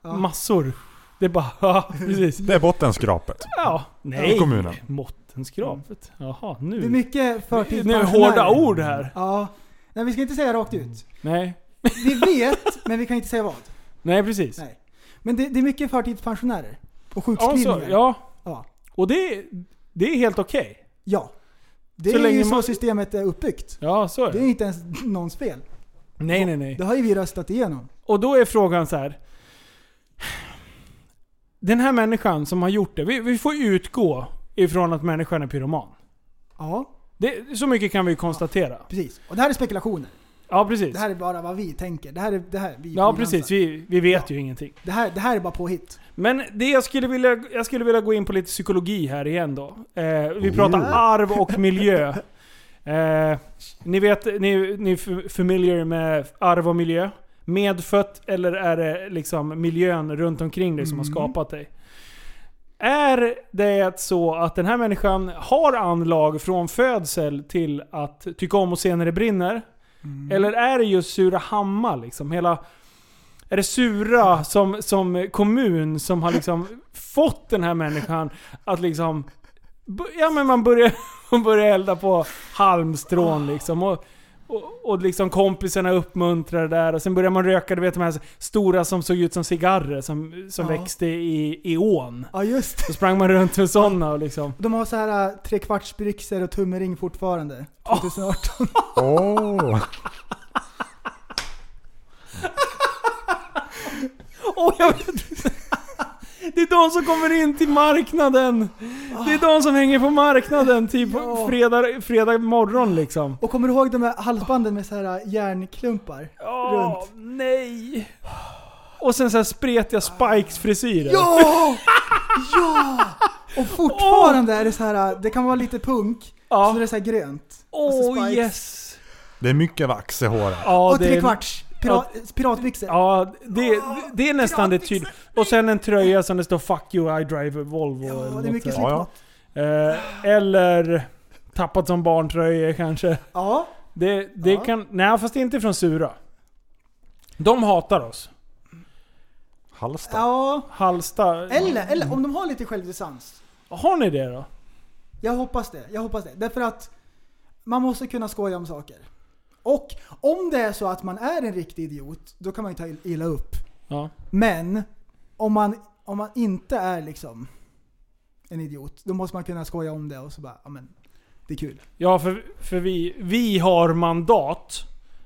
[SPEAKER 5] Ja.
[SPEAKER 4] massor. Det är bara, ja precis.
[SPEAKER 6] Det är bottenskrapet.
[SPEAKER 4] Ja, nej.
[SPEAKER 6] I kommunen.
[SPEAKER 4] Mottenskrapet. Jaha,
[SPEAKER 5] Det är
[SPEAKER 4] nu.
[SPEAKER 5] mycket
[SPEAKER 4] Nu är
[SPEAKER 5] förtidspensionärer.
[SPEAKER 4] det hårda ord här.
[SPEAKER 5] Ja. Nej, vi ska inte säga rakt ut.
[SPEAKER 4] Nej,
[SPEAKER 5] Vi vet, men vi kan inte säga vad.
[SPEAKER 4] nej precis.
[SPEAKER 5] Nej. Men det, det är mycket förtidspensionärer. Och
[SPEAKER 4] Ja, så,
[SPEAKER 5] sjukskrivningar.
[SPEAKER 4] ja.
[SPEAKER 5] Ja.
[SPEAKER 4] Och det, det är helt okej.
[SPEAKER 5] Ja. Det
[SPEAKER 4] Så
[SPEAKER 5] är
[SPEAKER 4] länge
[SPEAKER 5] ju så
[SPEAKER 4] man-
[SPEAKER 5] systemet är uppbyggt.
[SPEAKER 4] Ja, så är
[SPEAKER 5] Det är
[SPEAKER 4] det.
[SPEAKER 5] inte ens någons fel.
[SPEAKER 4] Nej, nej, nej.
[SPEAKER 5] Det har ju vi röstat igenom.
[SPEAKER 4] Och då är frågan så här. Den här människan som har gjort det, vi, vi får utgå ifrån att människan är pyroman.
[SPEAKER 5] Ja,
[SPEAKER 4] Det, så mycket kan vi konstatera.
[SPEAKER 5] precis. Och det här är spekulationer.
[SPEAKER 4] Ja, precis.
[SPEAKER 5] Det här är bara vad vi tänker. Det här är, det här, vi
[SPEAKER 4] Ja,
[SPEAKER 5] frilansar.
[SPEAKER 4] precis. Vi, vi vet ju ingenting.
[SPEAKER 5] Det här, det här är bara påhitt.
[SPEAKER 4] Men det jag skulle vilja, jag skulle vilja gå in på lite psykologi här igen då. Eh, vi pratar arv och miljö. Eh, ni vet, ni, ni är familiar med arv och miljö? Medfött eller är det liksom miljön runt omkring dig som
[SPEAKER 5] Mm.
[SPEAKER 4] har skapat dig? Är det så att den här människan har anlag från födsel till att tycka om och se när det brinner?
[SPEAKER 5] Mm.
[SPEAKER 4] Eller är det just Surahammar liksom? Hela, är det Sura som, som kommun som har liksom fått den här människan att liksom... bu- Ja men man börjar, man börjar elda på halmstrån liksom. Och, och, och liksom kompisarna uppmuntrar det där och sen börjar man röka, du vet de här stora som såg ut som cigarrer som, som
[SPEAKER 5] Ja.
[SPEAKER 4] växte i, i ån.
[SPEAKER 5] Ja, just det.
[SPEAKER 4] Då sprang man runt med sådana och liksom...
[SPEAKER 5] De har så här äh, trekvartsbyxor och tumring fortfarande. 2018.
[SPEAKER 6] Åh!
[SPEAKER 4] Åh, jag vet. Det är de som kommer in till marknaden. Det är de som hänger på marknaden typ
[SPEAKER 5] Ja.
[SPEAKER 4] fredag, fredag morgon liksom.
[SPEAKER 5] Och kommer du ihåg de här halsbanden med så här äh, järnklumpar?
[SPEAKER 4] Åh,
[SPEAKER 5] Runt.
[SPEAKER 4] nej. Och sen så här spretiga spikes-frisyrer.
[SPEAKER 5] Ja! Ja! Och fortfarande är det så här, äh, det kan vara lite punk,
[SPEAKER 4] Ja.
[SPEAKER 5] så det är så här grönt.
[SPEAKER 4] Åh
[SPEAKER 5] spikes.
[SPEAKER 4] yes!
[SPEAKER 6] Det är mycket vax i håret.
[SPEAKER 4] Ja,
[SPEAKER 5] och
[SPEAKER 4] det är-
[SPEAKER 5] trekvarts. Pirat, piratbyxor.
[SPEAKER 4] Ja, det, det är nästan det tydliga. Och sen en tröja som det står 'Fuck you, I drive a Volvo'
[SPEAKER 5] Ja,
[SPEAKER 4] eller
[SPEAKER 5] det är
[SPEAKER 4] något
[SPEAKER 5] mycket
[SPEAKER 4] sånt.
[SPEAKER 6] Ja, ja.
[SPEAKER 4] Eh, Eller tappat som barntröjor kanske.
[SPEAKER 5] Ja.
[SPEAKER 4] Det, det
[SPEAKER 5] Ja.
[SPEAKER 4] kan... Nej, fast det är inte från Sura. De hatar oss.
[SPEAKER 6] Halsta.
[SPEAKER 5] ja.
[SPEAKER 4] Halsta...
[SPEAKER 5] Eller, eller om de har lite självdistans.
[SPEAKER 4] Har ni det då?
[SPEAKER 5] Jag hoppas det. Jag hoppas det. Därför att man måste kunna skoja om saker. Och om det är så att man är en riktig idiot, då kan man ju ta ill- illa upp.
[SPEAKER 4] Ja.
[SPEAKER 5] Men om man, om man inte är liksom en idiot, då måste man kunna skoja om det och så bara, ja men det är kul.
[SPEAKER 4] Ja, för, för vi, vi har mandat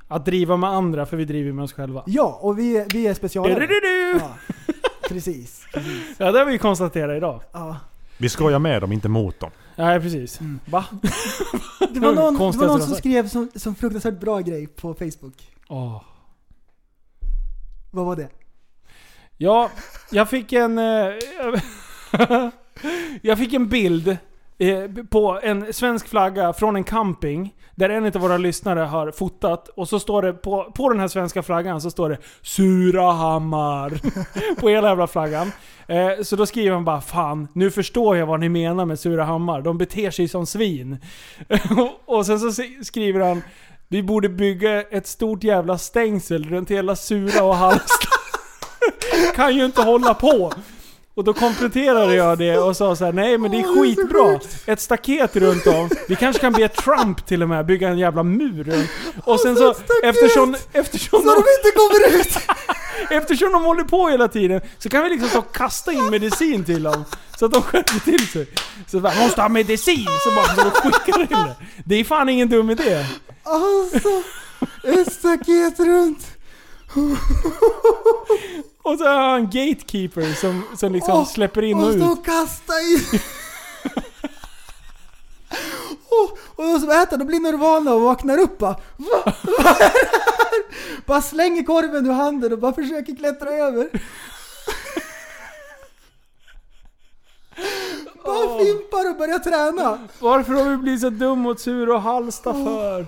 [SPEAKER 4] att driva med andra för vi driver med oss själva.
[SPEAKER 5] Ja, och vi, vi är specialare.
[SPEAKER 4] Du-du-du-du!
[SPEAKER 5] Ja, precis. precis.
[SPEAKER 4] Ja, det har vi konstaterat idag.
[SPEAKER 5] Ja.
[SPEAKER 6] Vi skojar med dem, inte mot dem.
[SPEAKER 4] Nej, precis.
[SPEAKER 5] Mm.
[SPEAKER 4] Va?
[SPEAKER 5] Det var någon, det var
[SPEAKER 4] Konstigaste
[SPEAKER 5] någon
[SPEAKER 4] de
[SPEAKER 5] som
[SPEAKER 4] sagt.
[SPEAKER 5] skrev som, som fruktansvärt bra grej på Facebook.
[SPEAKER 4] Åh.
[SPEAKER 5] Vad var det?
[SPEAKER 4] Ja, jag fick en... eh, jag fick en bild eh, på en svensk flagga från en camping. Där en av våra lyssnare har fotat. Och så står det på, på den här svenska flaggan så står det Surahammar. på hela jävla flaggan. Eh, så då skriver han bara Fan, nu förstår jag vad ni menar med Surahammar. De beter sig som svin. och sen så se- skriver han Vi borde bygga ett stort jävla stängsel runt hela Sura och Halmstad kan ju inte hålla på. Och då kompletterade jag det och sa så här: nej men det är skitbra. Ett staket runt om. Vi kanske kan be Trump till och med bygga en jävla mur runt. Och sen så, eftersom, eftersom,
[SPEAKER 5] Så de
[SPEAKER 4] de,
[SPEAKER 5] inte kommer ut!
[SPEAKER 4] eftersom de håller på hela tiden så kan vi liksom så kasta in medicin till dem. Så att de skärper till sig. Så bara, måste ha medicin! Så bara, så de skickar in det. Det är fan ingen dum idé.
[SPEAKER 5] Alltså, ett staket runt.
[SPEAKER 4] Och så har han gatekeeper som, som liksom
[SPEAKER 5] Åh,
[SPEAKER 4] släpper in och
[SPEAKER 5] Och
[SPEAKER 4] ut.
[SPEAKER 5] stå och kasta i. Och, och de som äter, de blir nervana och vaknar upp bara. Va? Vad är det här? Bara slänger korven ur handen och bara försöker klättra över. Bara fimpar och börjar träna.
[SPEAKER 4] Varför har vi blivit så dum mot sur och halsta för?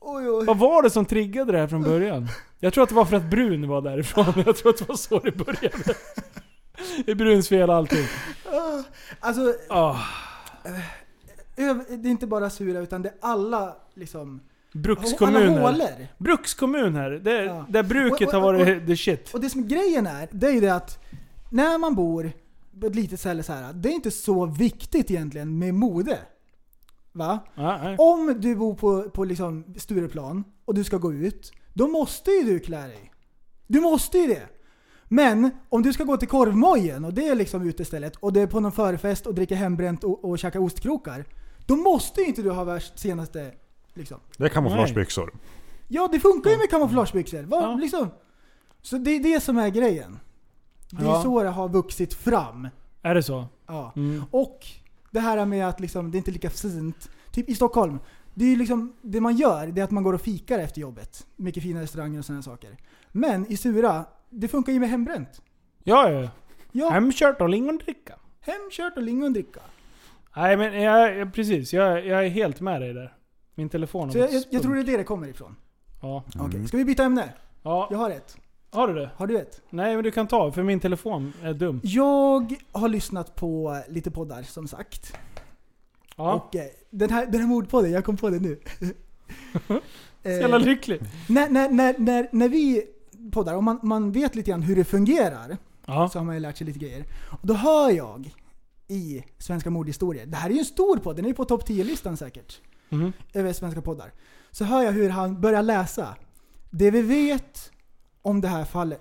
[SPEAKER 5] Oj, oj.
[SPEAKER 4] Vad var det som triggade det här från början? Jag tror att det var för att Brun var därifrån. Jag tror att det var så det började. Det är Bruns fel allting.
[SPEAKER 5] Alltså,
[SPEAKER 4] Ah,
[SPEAKER 5] öv- det är inte bara sura utan det är alla liksom... Alla
[SPEAKER 4] brukskommuner.
[SPEAKER 5] hålor.
[SPEAKER 4] Brukskommun här. Det,
[SPEAKER 5] Ja.
[SPEAKER 4] Där bruket har
[SPEAKER 5] Och- och-
[SPEAKER 4] varit the shit.
[SPEAKER 5] Och det som grejen är, det är ju det att när man bor på ett litet ställe så här, det är inte så viktigt egentligen med mode. Va?
[SPEAKER 4] Ja, nej.
[SPEAKER 5] Om du bor på, på liksom Stureplan och du ska gå ut, då måste ju du klä dig. Du måste ju det. Men om du ska gå till korvmojen och det är liksom utestället och det är på någon förfest och dricka hembränt och, och käka ostkrokar. Då måste ju inte du ha värst senaste liksom.
[SPEAKER 6] Det är kamouflagebyxor.
[SPEAKER 5] Ja, det funkar ju med kamouflagebyxor. Vad-
[SPEAKER 4] Ja.
[SPEAKER 5] Liksom. Så det är det som är grejen. Det är
[SPEAKER 4] Ja.
[SPEAKER 5] så det har vuxit fram.
[SPEAKER 4] Är det så?
[SPEAKER 5] Ja.
[SPEAKER 4] Mm.
[SPEAKER 5] Och det här med att liksom, det är inte lika fint. Typ i Stockholm. Det, är ju liksom, det man gör det är att man går och fikar efter jobbet. Mycket fina restauranger och sådana saker. Men i Sura, det funkar ju med hembränt.
[SPEAKER 4] Ja, ja. ja.
[SPEAKER 5] Ja,
[SPEAKER 4] Hemkört och lingondricka.
[SPEAKER 5] hemkört och lingondricka.
[SPEAKER 4] Nej men jag, jag, precis, jag, jag är helt med dig där. Min telefon har
[SPEAKER 5] Så
[SPEAKER 4] gått
[SPEAKER 5] jag, jag, jag tror
[SPEAKER 4] stum.
[SPEAKER 5] det är det det kommer ifrån.
[SPEAKER 4] Ja.
[SPEAKER 5] Okej, ska vi byta ämne? Jag
[SPEAKER 4] ja.
[SPEAKER 5] har ett.
[SPEAKER 4] Har du det?
[SPEAKER 5] Har du ett?
[SPEAKER 4] Nej men du kan ta, för min telefon är dum.
[SPEAKER 5] Jag har lyssnat på lite poddar som sagt.
[SPEAKER 4] Ja.
[SPEAKER 5] Och eh, den här, den här mordpodden, jag kom på det nu.
[SPEAKER 4] Så jävla
[SPEAKER 5] eh,
[SPEAKER 4] lycklig.
[SPEAKER 5] när, när, när, när, när vi poddar, om man, man vet lite grann hur det fungerar,
[SPEAKER 4] Ja.
[SPEAKER 5] så har man ju lärt sig lite grejer. Och då hör jag i Svenska mordhistorier, det här är ju en stor podd, den är ju på topp 10-listan säkert,
[SPEAKER 4] Mhm.
[SPEAKER 5] över svenska poddar. Så hör jag hur han börjar läsa. Det vi vet om det här fallet...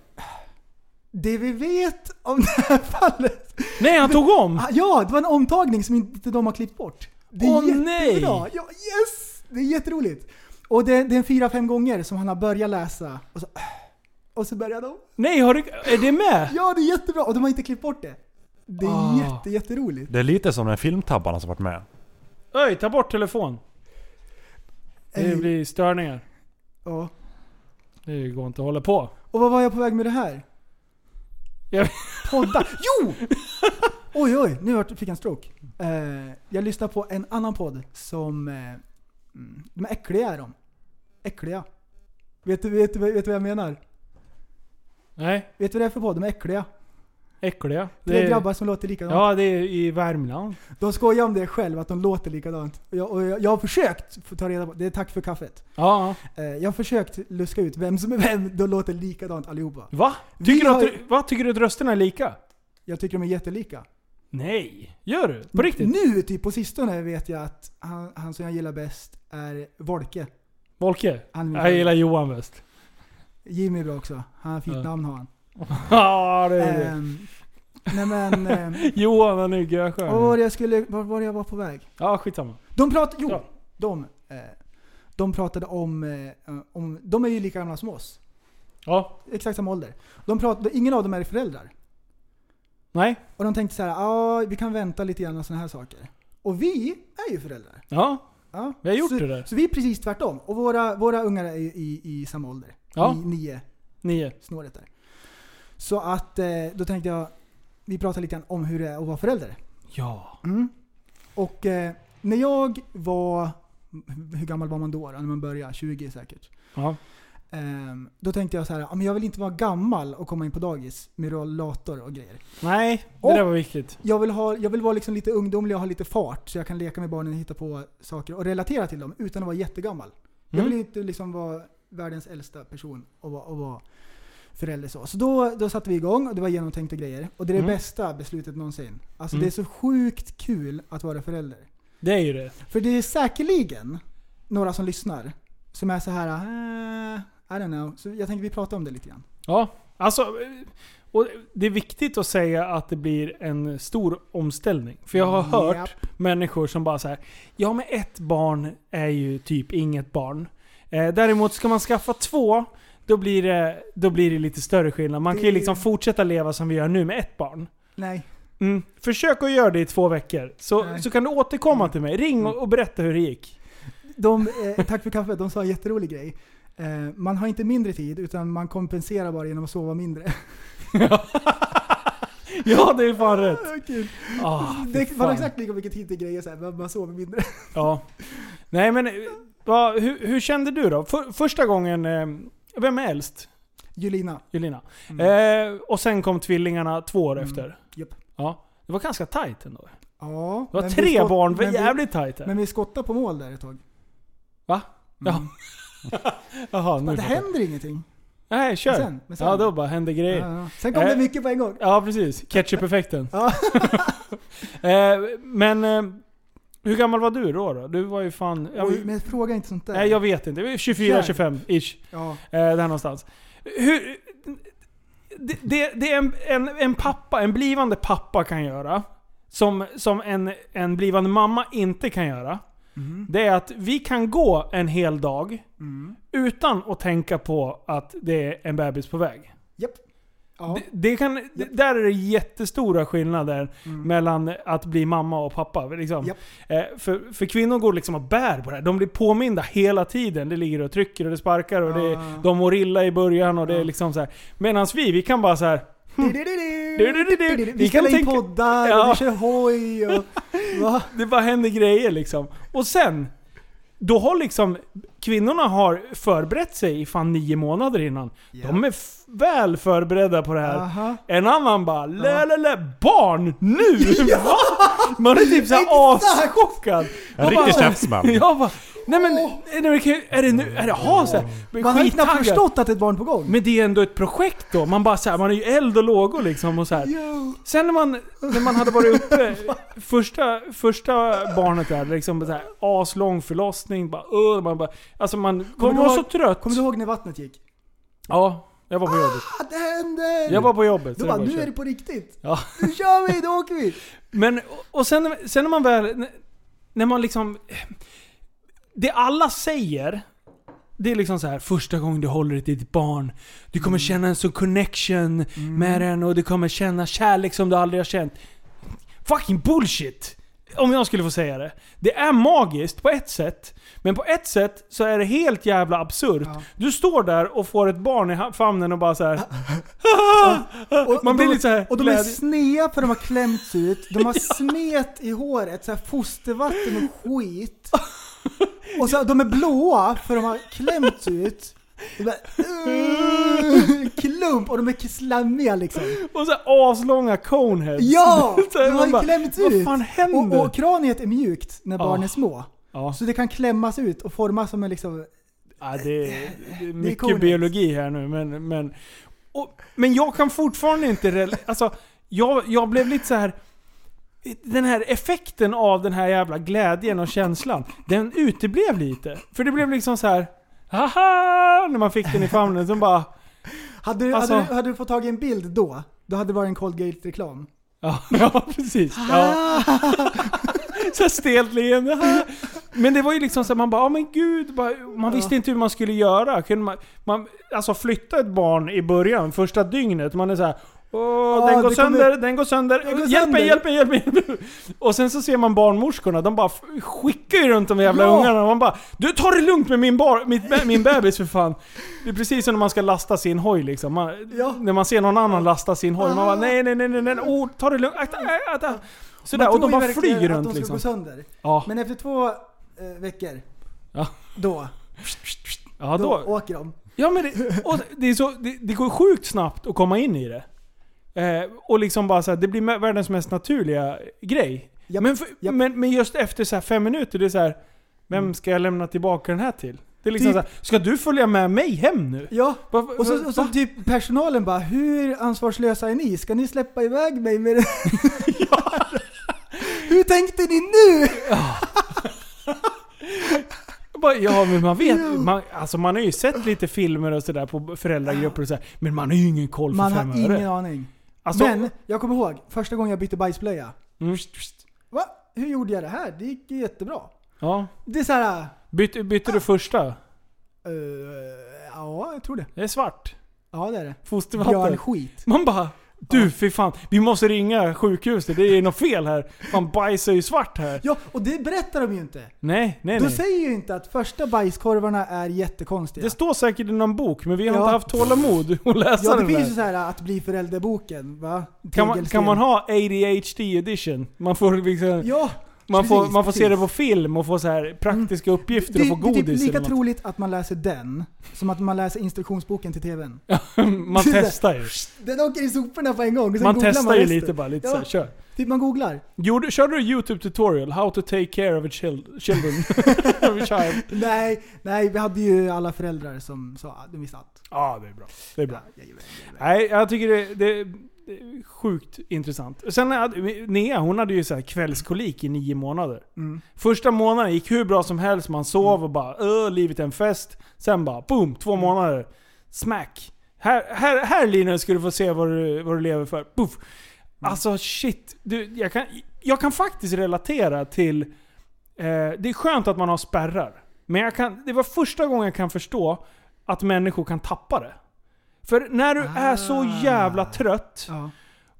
[SPEAKER 5] Det vi vet om det här fallet
[SPEAKER 4] Nej han tog om!
[SPEAKER 5] Ah, Ja, det var en omtagning som inte de har klippt bort. Det är
[SPEAKER 4] Åh,
[SPEAKER 5] jättebra!
[SPEAKER 4] nej!
[SPEAKER 5] Ja, yes! Det är jätteroligt. Och det, det är en fyra, fem gånger som han har börjat läsa och så, och så börjar de.
[SPEAKER 4] Nej, har du, är det med?
[SPEAKER 5] Ja, det är jättebra! Och de har inte klippt bort det. Det är
[SPEAKER 4] Ah.
[SPEAKER 5] jätte, jätteroligt.
[SPEAKER 6] Det är lite som den här filmtabbarna som varit med.
[SPEAKER 4] Öj, ta bort telefon. Det
[SPEAKER 5] Eh,
[SPEAKER 4] blir störningar.
[SPEAKER 5] ja.
[SPEAKER 4] Det går inte att hålla på.
[SPEAKER 5] Och vad var jag på väg med det här?
[SPEAKER 4] Jag-
[SPEAKER 5] Poddar. Jo! Oj, oj, nu vart- fick jag en stroke. Eh, jag lyssnar på en annan podd som... Eh, mm, de är äckliga är de. Äckliga. Vet du, vet, du, vet du vad jag menar?
[SPEAKER 4] Nej,
[SPEAKER 5] Vet du vad det är för podd? De är äckliga.
[SPEAKER 4] äckliga.
[SPEAKER 5] Tre
[SPEAKER 4] är-
[SPEAKER 5] grabbar som låter likadant.
[SPEAKER 4] Ja, det är i Värmland.
[SPEAKER 5] De skojar om det själv, att de låter likadant. Och jag, och jag, jag har försökt få ta reda på, det är tack för kaffet.
[SPEAKER 4] Ja.
[SPEAKER 5] Eh, Jag har försökt luska ut vem som är vem, de låter likadant allihopa.
[SPEAKER 4] Va?
[SPEAKER 5] Vi
[SPEAKER 4] Tycker, du att,
[SPEAKER 5] har-
[SPEAKER 4] du- va? Tycker du att rösterna är lika?
[SPEAKER 5] Jag tycker de är jättelika.
[SPEAKER 4] Nej. Gör du? På riktigt?
[SPEAKER 5] Nu typ på sistone vet jag att han, han som jag gillar bäst är Volke.
[SPEAKER 4] Volke?
[SPEAKER 5] Han
[SPEAKER 4] Jag gillar Johan bäst.
[SPEAKER 5] Jimmy är bra också. Han har fint
[SPEAKER 4] Ja.
[SPEAKER 5] namn har han.
[SPEAKER 4] Ja, det är det.
[SPEAKER 5] Ehm, nej men... ehm,
[SPEAKER 4] Johan han är
[SPEAKER 5] vad var
[SPEAKER 4] görskön.
[SPEAKER 5] det jag skulle... Var var det jag var på väg?
[SPEAKER 4] Ja, skitsamma.
[SPEAKER 5] De pratade... Jo!
[SPEAKER 4] Ja.
[SPEAKER 5] De, eh, de pratade om, eh, om... De är ju lika gamla som oss.
[SPEAKER 4] Ja.
[SPEAKER 5] Exakt samma ålder. De pratade, ingen av dem är föräldrar.
[SPEAKER 4] Nej.
[SPEAKER 5] Och de tänkte så här, ja vi kan vänta lite grann och sådana här saker. Och vi är ju föräldrar.
[SPEAKER 4] Ja.
[SPEAKER 5] Ja.
[SPEAKER 4] Vi har gjort
[SPEAKER 5] så,
[SPEAKER 4] det där.
[SPEAKER 5] Så vi är precis tvärtom. Och våra, våra ungar är ju i, i samma ålder.
[SPEAKER 4] Ja.
[SPEAKER 5] I, nio
[SPEAKER 4] Nio.
[SPEAKER 5] snåret där. Så att eh, då tänkte jag, vi pratar lite grann om hur det är att vara förälder.
[SPEAKER 4] Ja.
[SPEAKER 5] Mm. Och eh, när jag var, hur gammal var man då? då när man började? 20 säkert.
[SPEAKER 4] Ja.
[SPEAKER 5] Ehm, då tänkte jag så här, "Ja, men jag vill inte vara gammal och komma in på dagis med rollator och grejer.
[SPEAKER 4] Nej, det
[SPEAKER 5] Och-
[SPEAKER 4] där var viktigt.
[SPEAKER 5] Jag vill, ha, jag vill vara liksom lite ungdomlig och ha lite fart så jag kan leka med barnen och hitta på saker och relatera till dem utan att vara jättegammal. Jag
[SPEAKER 4] Mm.
[SPEAKER 5] vill inte liksom vara världens äldsta person och vara, och vara förälder så. Så då, då satte vi igång och det var genomtänkta grejer. Och det är det
[SPEAKER 4] Mm.
[SPEAKER 5] bästa beslutet någonsin. Alltså
[SPEAKER 4] Mm.
[SPEAKER 5] det är så sjukt kul att vara förälder.
[SPEAKER 4] Det är ju det.
[SPEAKER 5] För det är säkerligen några som lyssnar som är så här. Eh, I don't know. Så jag tänker vi pratar om det lite grann.
[SPEAKER 4] Ja. Alltså, och det är viktigt att säga att det blir en stor omställning. För jag har
[SPEAKER 5] Mm.
[SPEAKER 4] hört människor som bara så här. Ja men ett barn är ju typ inget barn. Eh, däremot ska man skaffa två, då blir, det, då blir det lite större skillnad. Man kan ju
[SPEAKER 5] Det-
[SPEAKER 4] liksom fortsätta leva som vi gör nu med ett barn.
[SPEAKER 5] Nej.
[SPEAKER 4] Mm. Försök att göra det i två veckor, så,
[SPEAKER 5] Nej. Mm.
[SPEAKER 4] så kan du återkomma till mig. Ring och, och berätta hur det gick.
[SPEAKER 5] De, eh, tack för kaffet, de sa en jätterolig grej. Eh, man har inte mindre tid utan man kompenserar bara genom att sova mindre.
[SPEAKER 4] Ja, det är fan rätt.
[SPEAKER 5] Kul.
[SPEAKER 4] Ah, fy
[SPEAKER 5] det var
[SPEAKER 4] fan.
[SPEAKER 5] exakt lika mycket tid till grejer såhär, men man sover mindre.
[SPEAKER 4] Ja. Nej men, eh, va, hur, hur kände du då? För, första gången, eh, vem är äldst?
[SPEAKER 5] Julina.
[SPEAKER 4] Julina. Eh, och sen kom tvillingarna två år
[SPEAKER 5] Mm.
[SPEAKER 4] efter.
[SPEAKER 5] Japp.
[SPEAKER 4] Ja. Det var ganska tajt ändå.
[SPEAKER 5] Ja.
[SPEAKER 4] Det var
[SPEAKER 5] men vi
[SPEAKER 4] tre
[SPEAKER 5] skott-
[SPEAKER 4] barn, det var
[SPEAKER 5] men vi-
[SPEAKER 4] jävligt Mm. tajt. där.
[SPEAKER 5] Men vi skottade på mål där ett tag.
[SPEAKER 4] Va? Ja. Jaha, nu
[SPEAKER 5] Men det
[SPEAKER 4] fattar jag.
[SPEAKER 5] händer ingenting.
[SPEAKER 4] Nej, kör.
[SPEAKER 5] Men sen- men sen-
[SPEAKER 4] Ja, då bara hände
[SPEAKER 5] Ja,
[SPEAKER 4] grejer.
[SPEAKER 5] ja. Sen kom
[SPEAKER 4] Eh.
[SPEAKER 5] det mycket på en gång.
[SPEAKER 4] Ja, precis. Ketchup-effekten.
[SPEAKER 5] Ja.
[SPEAKER 4] eh, men, eh, hur gammal var du då? då? Du var ju fan... Ja,
[SPEAKER 5] Oj, men fråga inte sånt där.
[SPEAKER 4] nej, jag vet inte. 24-25-ish.
[SPEAKER 5] ja.
[SPEAKER 4] Eh, där någonstans. Hur, det, det, det en, en, en pappa, en blivande pappa kan göra, som, som en, en blivande mamma inte kan göra, det är att vi kan gå en hel dag utan att tänka på att det är en bebis på väg.
[SPEAKER 5] Japp. Ja.
[SPEAKER 4] Det, det kan, det, där är det jättestora skillnader mellan att bli mamma och pappa. Liksom.
[SPEAKER 5] Mm. Japp.
[SPEAKER 4] Eh, för, för kvinnor går liksom och bär på det här. De blir påminda hela tiden. Det ligger och trycker och det sparkar och det,
[SPEAKER 5] Ja.
[SPEAKER 4] de mår illa i början och det är
[SPEAKER 5] Ah. Ja.
[SPEAKER 4] liksom så här. Medan vi, vi kan bara så här. Du-du-du-du. Vi
[SPEAKER 5] Vi
[SPEAKER 4] kan
[SPEAKER 5] spelar in
[SPEAKER 4] tänka-
[SPEAKER 5] poddar
[SPEAKER 4] Ja.
[SPEAKER 5] och vi kör hoj och... Va?
[SPEAKER 4] Det bara händer grejer liksom. Och sen, då har liksom kvinnorna har förberett sig i fan nio månader innan. De är f- väl förberedda på det här.
[SPEAKER 5] Aha.
[SPEAKER 4] En annan bara lä, lä, lä, barn nu! Va? Man är typ såhär aschockad.
[SPEAKER 6] En
[SPEAKER 4] Jag bara-
[SPEAKER 6] riktig käftsmäll.
[SPEAKER 4] Jag bara, nej men, nej, men kan ju- är det nu, är det ha så här,
[SPEAKER 5] Man har ju knappt
[SPEAKER 4] skittaggad.
[SPEAKER 5] förstått att det är ett barn på gång.
[SPEAKER 4] Men det är ändå ett projekt då. Man bara så här, man är ju eld och lågor liksom och så här.
[SPEAKER 5] Jo.
[SPEAKER 4] Sen när man, när man hade varit uppe, första, första barnet där, liksom så här, aslång förlossning, bara, uh, man bara, alltså man,
[SPEAKER 5] Kommer
[SPEAKER 4] man
[SPEAKER 5] du
[SPEAKER 4] var
[SPEAKER 5] ihåg-
[SPEAKER 4] så trött.
[SPEAKER 5] Kommer du ihåg när vattnet gick?
[SPEAKER 4] Ja, jag var på jobbet.
[SPEAKER 5] Att det händer!
[SPEAKER 4] Jag var på jobbet. så
[SPEAKER 5] Då
[SPEAKER 4] det
[SPEAKER 5] bara,
[SPEAKER 4] var
[SPEAKER 5] nu
[SPEAKER 4] kört.
[SPEAKER 5] är det på riktigt!
[SPEAKER 4] Ja.
[SPEAKER 5] Nu kör vi, då åker vi!
[SPEAKER 4] Men, och sen, sen när man väl... När man liksom... Det alla säger, det är liksom så här första gången du håller i ditt barn. Du
[SPEAKER 5] Mm.
[SPEAKER 4] kommer känna en sån connection med den och du kommer känna kärlek som du aldrig har känt. Fucking bullshit! Om jag skulle få säga det. Det är magiskt på ett sätt. Men på ett sätt så är det helt jävla absurt.
[SPEAKER 5] Ja.
[SPEAKER 4] Du står där och får ett barn i ha- famnen och bara så här.
[SPEAKER 5] Och
[SPEAKER 4] Man blir
[SPEAKER 5] de,
[SPEAKER 4] lite så här
[SPEAKER 5] Och de är
[SPEAKER 4] glädje.
[SPEAKER 5] snea för de har klämts ut, de har smet i håret, så här fostervatten och skit. Och så, de är blåa för de har klämts ut. De bara, "Ugh", klump och de är slammiga liksom.
[SPEAKER 4] Och så här aslånga coneheads.
[SPEAKER 5] Ja!
[SPEAKER 4] Så här,
[SPEAKER 5] De har
[SPEAKER 4] man
[SPEAKER 5] ju
[SPEAKER 4] bara,
[SPEAKER 5] klämts
[SPEAKER 4] Vad
[SPEAKER 5] ut.
[SPEAKER 4] fan händer?
[SPEAKER 5] Och, och kraniet är mjukt när barn
[SPEAKER 4] Ah.
[SPEAKER 5] är små.
[SPEAKER 4] ja.
[SPEAKER 5] Så det kan klämmas ut och formas som en liksom...
[SPEAKER 4] Ja, det, är, det är mycket
[SPEAKER 5] coolare.
[SPEAKER 4] biologi här nu, men... Men, och, men jag kan fortfarande inte... rel- Alltså, jag, jag blev lite så här... Den här effekten av den här jävla glädjen och känslan, den uteblev lite. För det blev liksom så här... Haha! När man fick den i famnen, så bara...
[SPEAKER 5] Hade du,
[SPEAKER 4] Alltså-
[SPEAKER 5] hade, du, hade du fått tag i en bild då, då hade det varit en Colgate-reklam.
[SPEAKER 4] Ja, ja precis. Ja.
[SPEAKER 5] Ah!
[SPEAKER 4] Så här stelt leende. "Haha." Men det var ju liksom så här, man bara, ja men gud. Bara, man visste inte hur man skulle göra. Kunde man, man, alltså flytta ett barn i början, första dygnet. Man är så här. Åh,
[SPEAKER 5] Ja,
[SPEAKER 4] den, går
[SPEAKER 5] det
[SPEAKER 4] sönder,
[SPEAKER 5] Ah, kommer-
[SPEAKER 4] den går sönder,
[SPEAKER 5] Den går
[SPEAKER 4] Hjälp mig,
[SPEAKER 5] sönder."
[SPEAKER 4] hjälp mig, hjälp mig! hjälp mig. Och sen så ser man barnmorskorna, de bara f- skickar ju runt de jävla
[SPEAKER 5] Ja.
[SPEAKER 4] ungarna. Man bara Du tar det lugnt med min, bar, mitt, be- min bebis för fan. Det är precis som när man ska lasta sin hoj liksom. Man,
[SPEAKER 5] Ja.
[SPEAKER 4] När man ser någon annan lasta sin hoj. Man bara
[SPEAKER 5] Ah.
[SPEAKER 4] nej, nej, nej, nej, nej. Oh, ta det lugnt. Akta, äh, akta. Sådär,
[SPEAKER 5] Man
[SPEAKER 4] och de
[SPEAKER 5] tror ju
[SPEAKER 4] bara
[SPEAKER 5] verkligen
[SPEAKER 4] flyger
[SPEAKER 5] att de
[SPEAKER 4] runt
[SPEAKER 5] ska
[SPEAKER 4] liksom.
[SPEAKER 5] gå sönder.
[SPEAKER 4] Ja,
[SPEAKER 5] Men efter två eh, veckor,
[SPEAKER 4] Ja.
[SPEAKER 5] då,
[SPEAKER 4] ja,
[SPEAKER 5] då
[SPEAKER 4] då.
[SPEAKER 5] åker de.
[SPEAKER 4] ja men det, och det, är så, det, det går sjukt snabbt att komma in i det. Eh, och liksom bara så här, det blir me- världens mest naturliga grej.
[SPEAKER 5] Japp,
[SPEAKER 4] men, för,
[SPEAKER 5] japp. Mm.
[SPEAKER 4] men, men just efter så här fem minuter, det är så här, vem ska jag lämna tillbaka den här till? Det är liksom så
[SPEAKER 5] Typ-
[SPEAKER 4] här, ska du följa med mig hem nu?
[SPEAKER 5] Ja,
[SPEAKER 4] Va- va-
[SPEAKER 5] och så, och så
[SPEAKER 4] va?
[SPEAKER 5] typ personalen bara Hur ansvarslösa är ni? Ska ni släppa iväg mig med det Hur tänkte ni nu?
[SPEAKER 4] Jag bara, Ja men man vet, man, alltså man har ju sett lite filmer och sådär på föräldragrupper och så här, men man har ju ingen koll för
[SPEAKER 5] Man
[SPEAKER 4] fem
[SPEAKER 5] har
[SPEAKER 4] öre.
[SPEAKER 5] ingen aning.
[SPEAKER 4] Alltså,
[SPEAKER 5] Men jag kommer ihåg första gången jag bytte bajsblöja.
[SPEAKER 4] Mm.
[SPEAKER 5] Va? Hur gjorde jag det här? Det gick ju jättebra.
[SPEAKER 4] Ja.
[SPEAKER 5] Det är såhär...
[SPEAKER 4] Bytte, bytte du första?
[SPEAKER 5] Uh, ja, jag tror det.
[SPEAKER 4] Det är svart.
[SPEAKER 5] Ja, det är det.
[SPEAKER 4] Fostervatten.
[SPEAKER 5] Björnskit.
[SPEAKER 4] Man bara, du fy fan, vi måste ringa sjukhuset, det är något fel här. Man bajsar ju svart här.
[SPEAKER 5] Ja, och det berättar de ju inte.
[SPEAKER 4] Nej, nej,
[SPEAKER 5] De
[SPEAKER 4] nej.
[SPEAKER 5] säger ju inte att första bajskorvarna är jättekonstiga.
[SPEAKER 4] Det står säkert i någon bok, men vi har
[SPEAKER 5] Ja.
[SPEAKER 4] inte haft tålamod att läsa
[SPEAKER 5] ja, det
[SPEAKER 4] den
[SPEAKER 5] finns ju
[SPEAKER 4] där.
[SPEAKER 5] så här att bli förälder-boken, va?
[SPEAKER 4] Kan man,
[SPEAKER 5] Tegelsten.
[SPEAKER 4] kan man ha ADHD edition? Man får, liksom,
[SPEAKER 5] Ja!
[SPEAKER 4] man får,
[SPEAKER 5] precis,
[SPEAKER 4] man får se det
[SPEAKER 5] precis. Mm.
[SPEAKER 4] på film och få så här praktiska uppgifter
[SPEAKER 5] Det, det
[SPEAKER 4] och få
[SPEAKER 5] är
[SPEAKER 4] godis.
[SPEAKER 5] typ lika
[SPEAKER 4] eller något.
[SPEAKER 5] troligt att man läser den, som att man läser instruktionsboken till TVn.
[SPEAKER 4] man testar ju.
[SPEAKER 5] Den åker i soporna på en gång, och sen
[SPEAKER 4] Man
[SPEAKER 5] googlar
[SPEAKER 4] testar
[SPEAKER 5] man
[SPEAKER 4] ju
[SPEAKER 5] resten.
[SPEAKER 4] lite bara, lite
[SPEAKER 5] Ja.
[SPEAKER 4] så här, kör.
[SPEAKER 5] Typ man googlar.
[SPEAKER 4] Gjorde, körde du YouTube tutorial? How to take care of a child, children? of a child.
[SPEAKER 5] Nej, nej, vi hade ju alla föräldrar som sa att de visste allt.
[SPEAKER 4] Ja, det är bra. Det är bra.
[SPEAKER 5] Ja, jajamän.
[SPEAKER 4] Nej, jag tycker det, det, det är sjukt intressant. Sen hade, Nea, hon hade ju så här kvällskolik i nio månader.
[SPEAKER 5] Mm.
[SPEAKER 4] Första månaden gick hur bra som helst, man sov och bara öh, livet är en fest. Sen bara boom, två
[SPEAKER 5] Mm.
[SPEAKER 4] månader. Smack. Här, här, här Linus ska du få se vad du, vad du lever för. Puff.
[SPEAKER 5] Mm.
[SPEAKER 4] Alltså shit. Du, jag, kan, jag kan faktiskt relatera till... Eh, det är skönt att man har spärrar. Men jag kan, det var första gången jag kan förstå att människor kan tappa det. För när du är så
[SPEAKER 5] Ah.
[SPEAKER 4] jävla trött
[SPEAKER 5] Ja.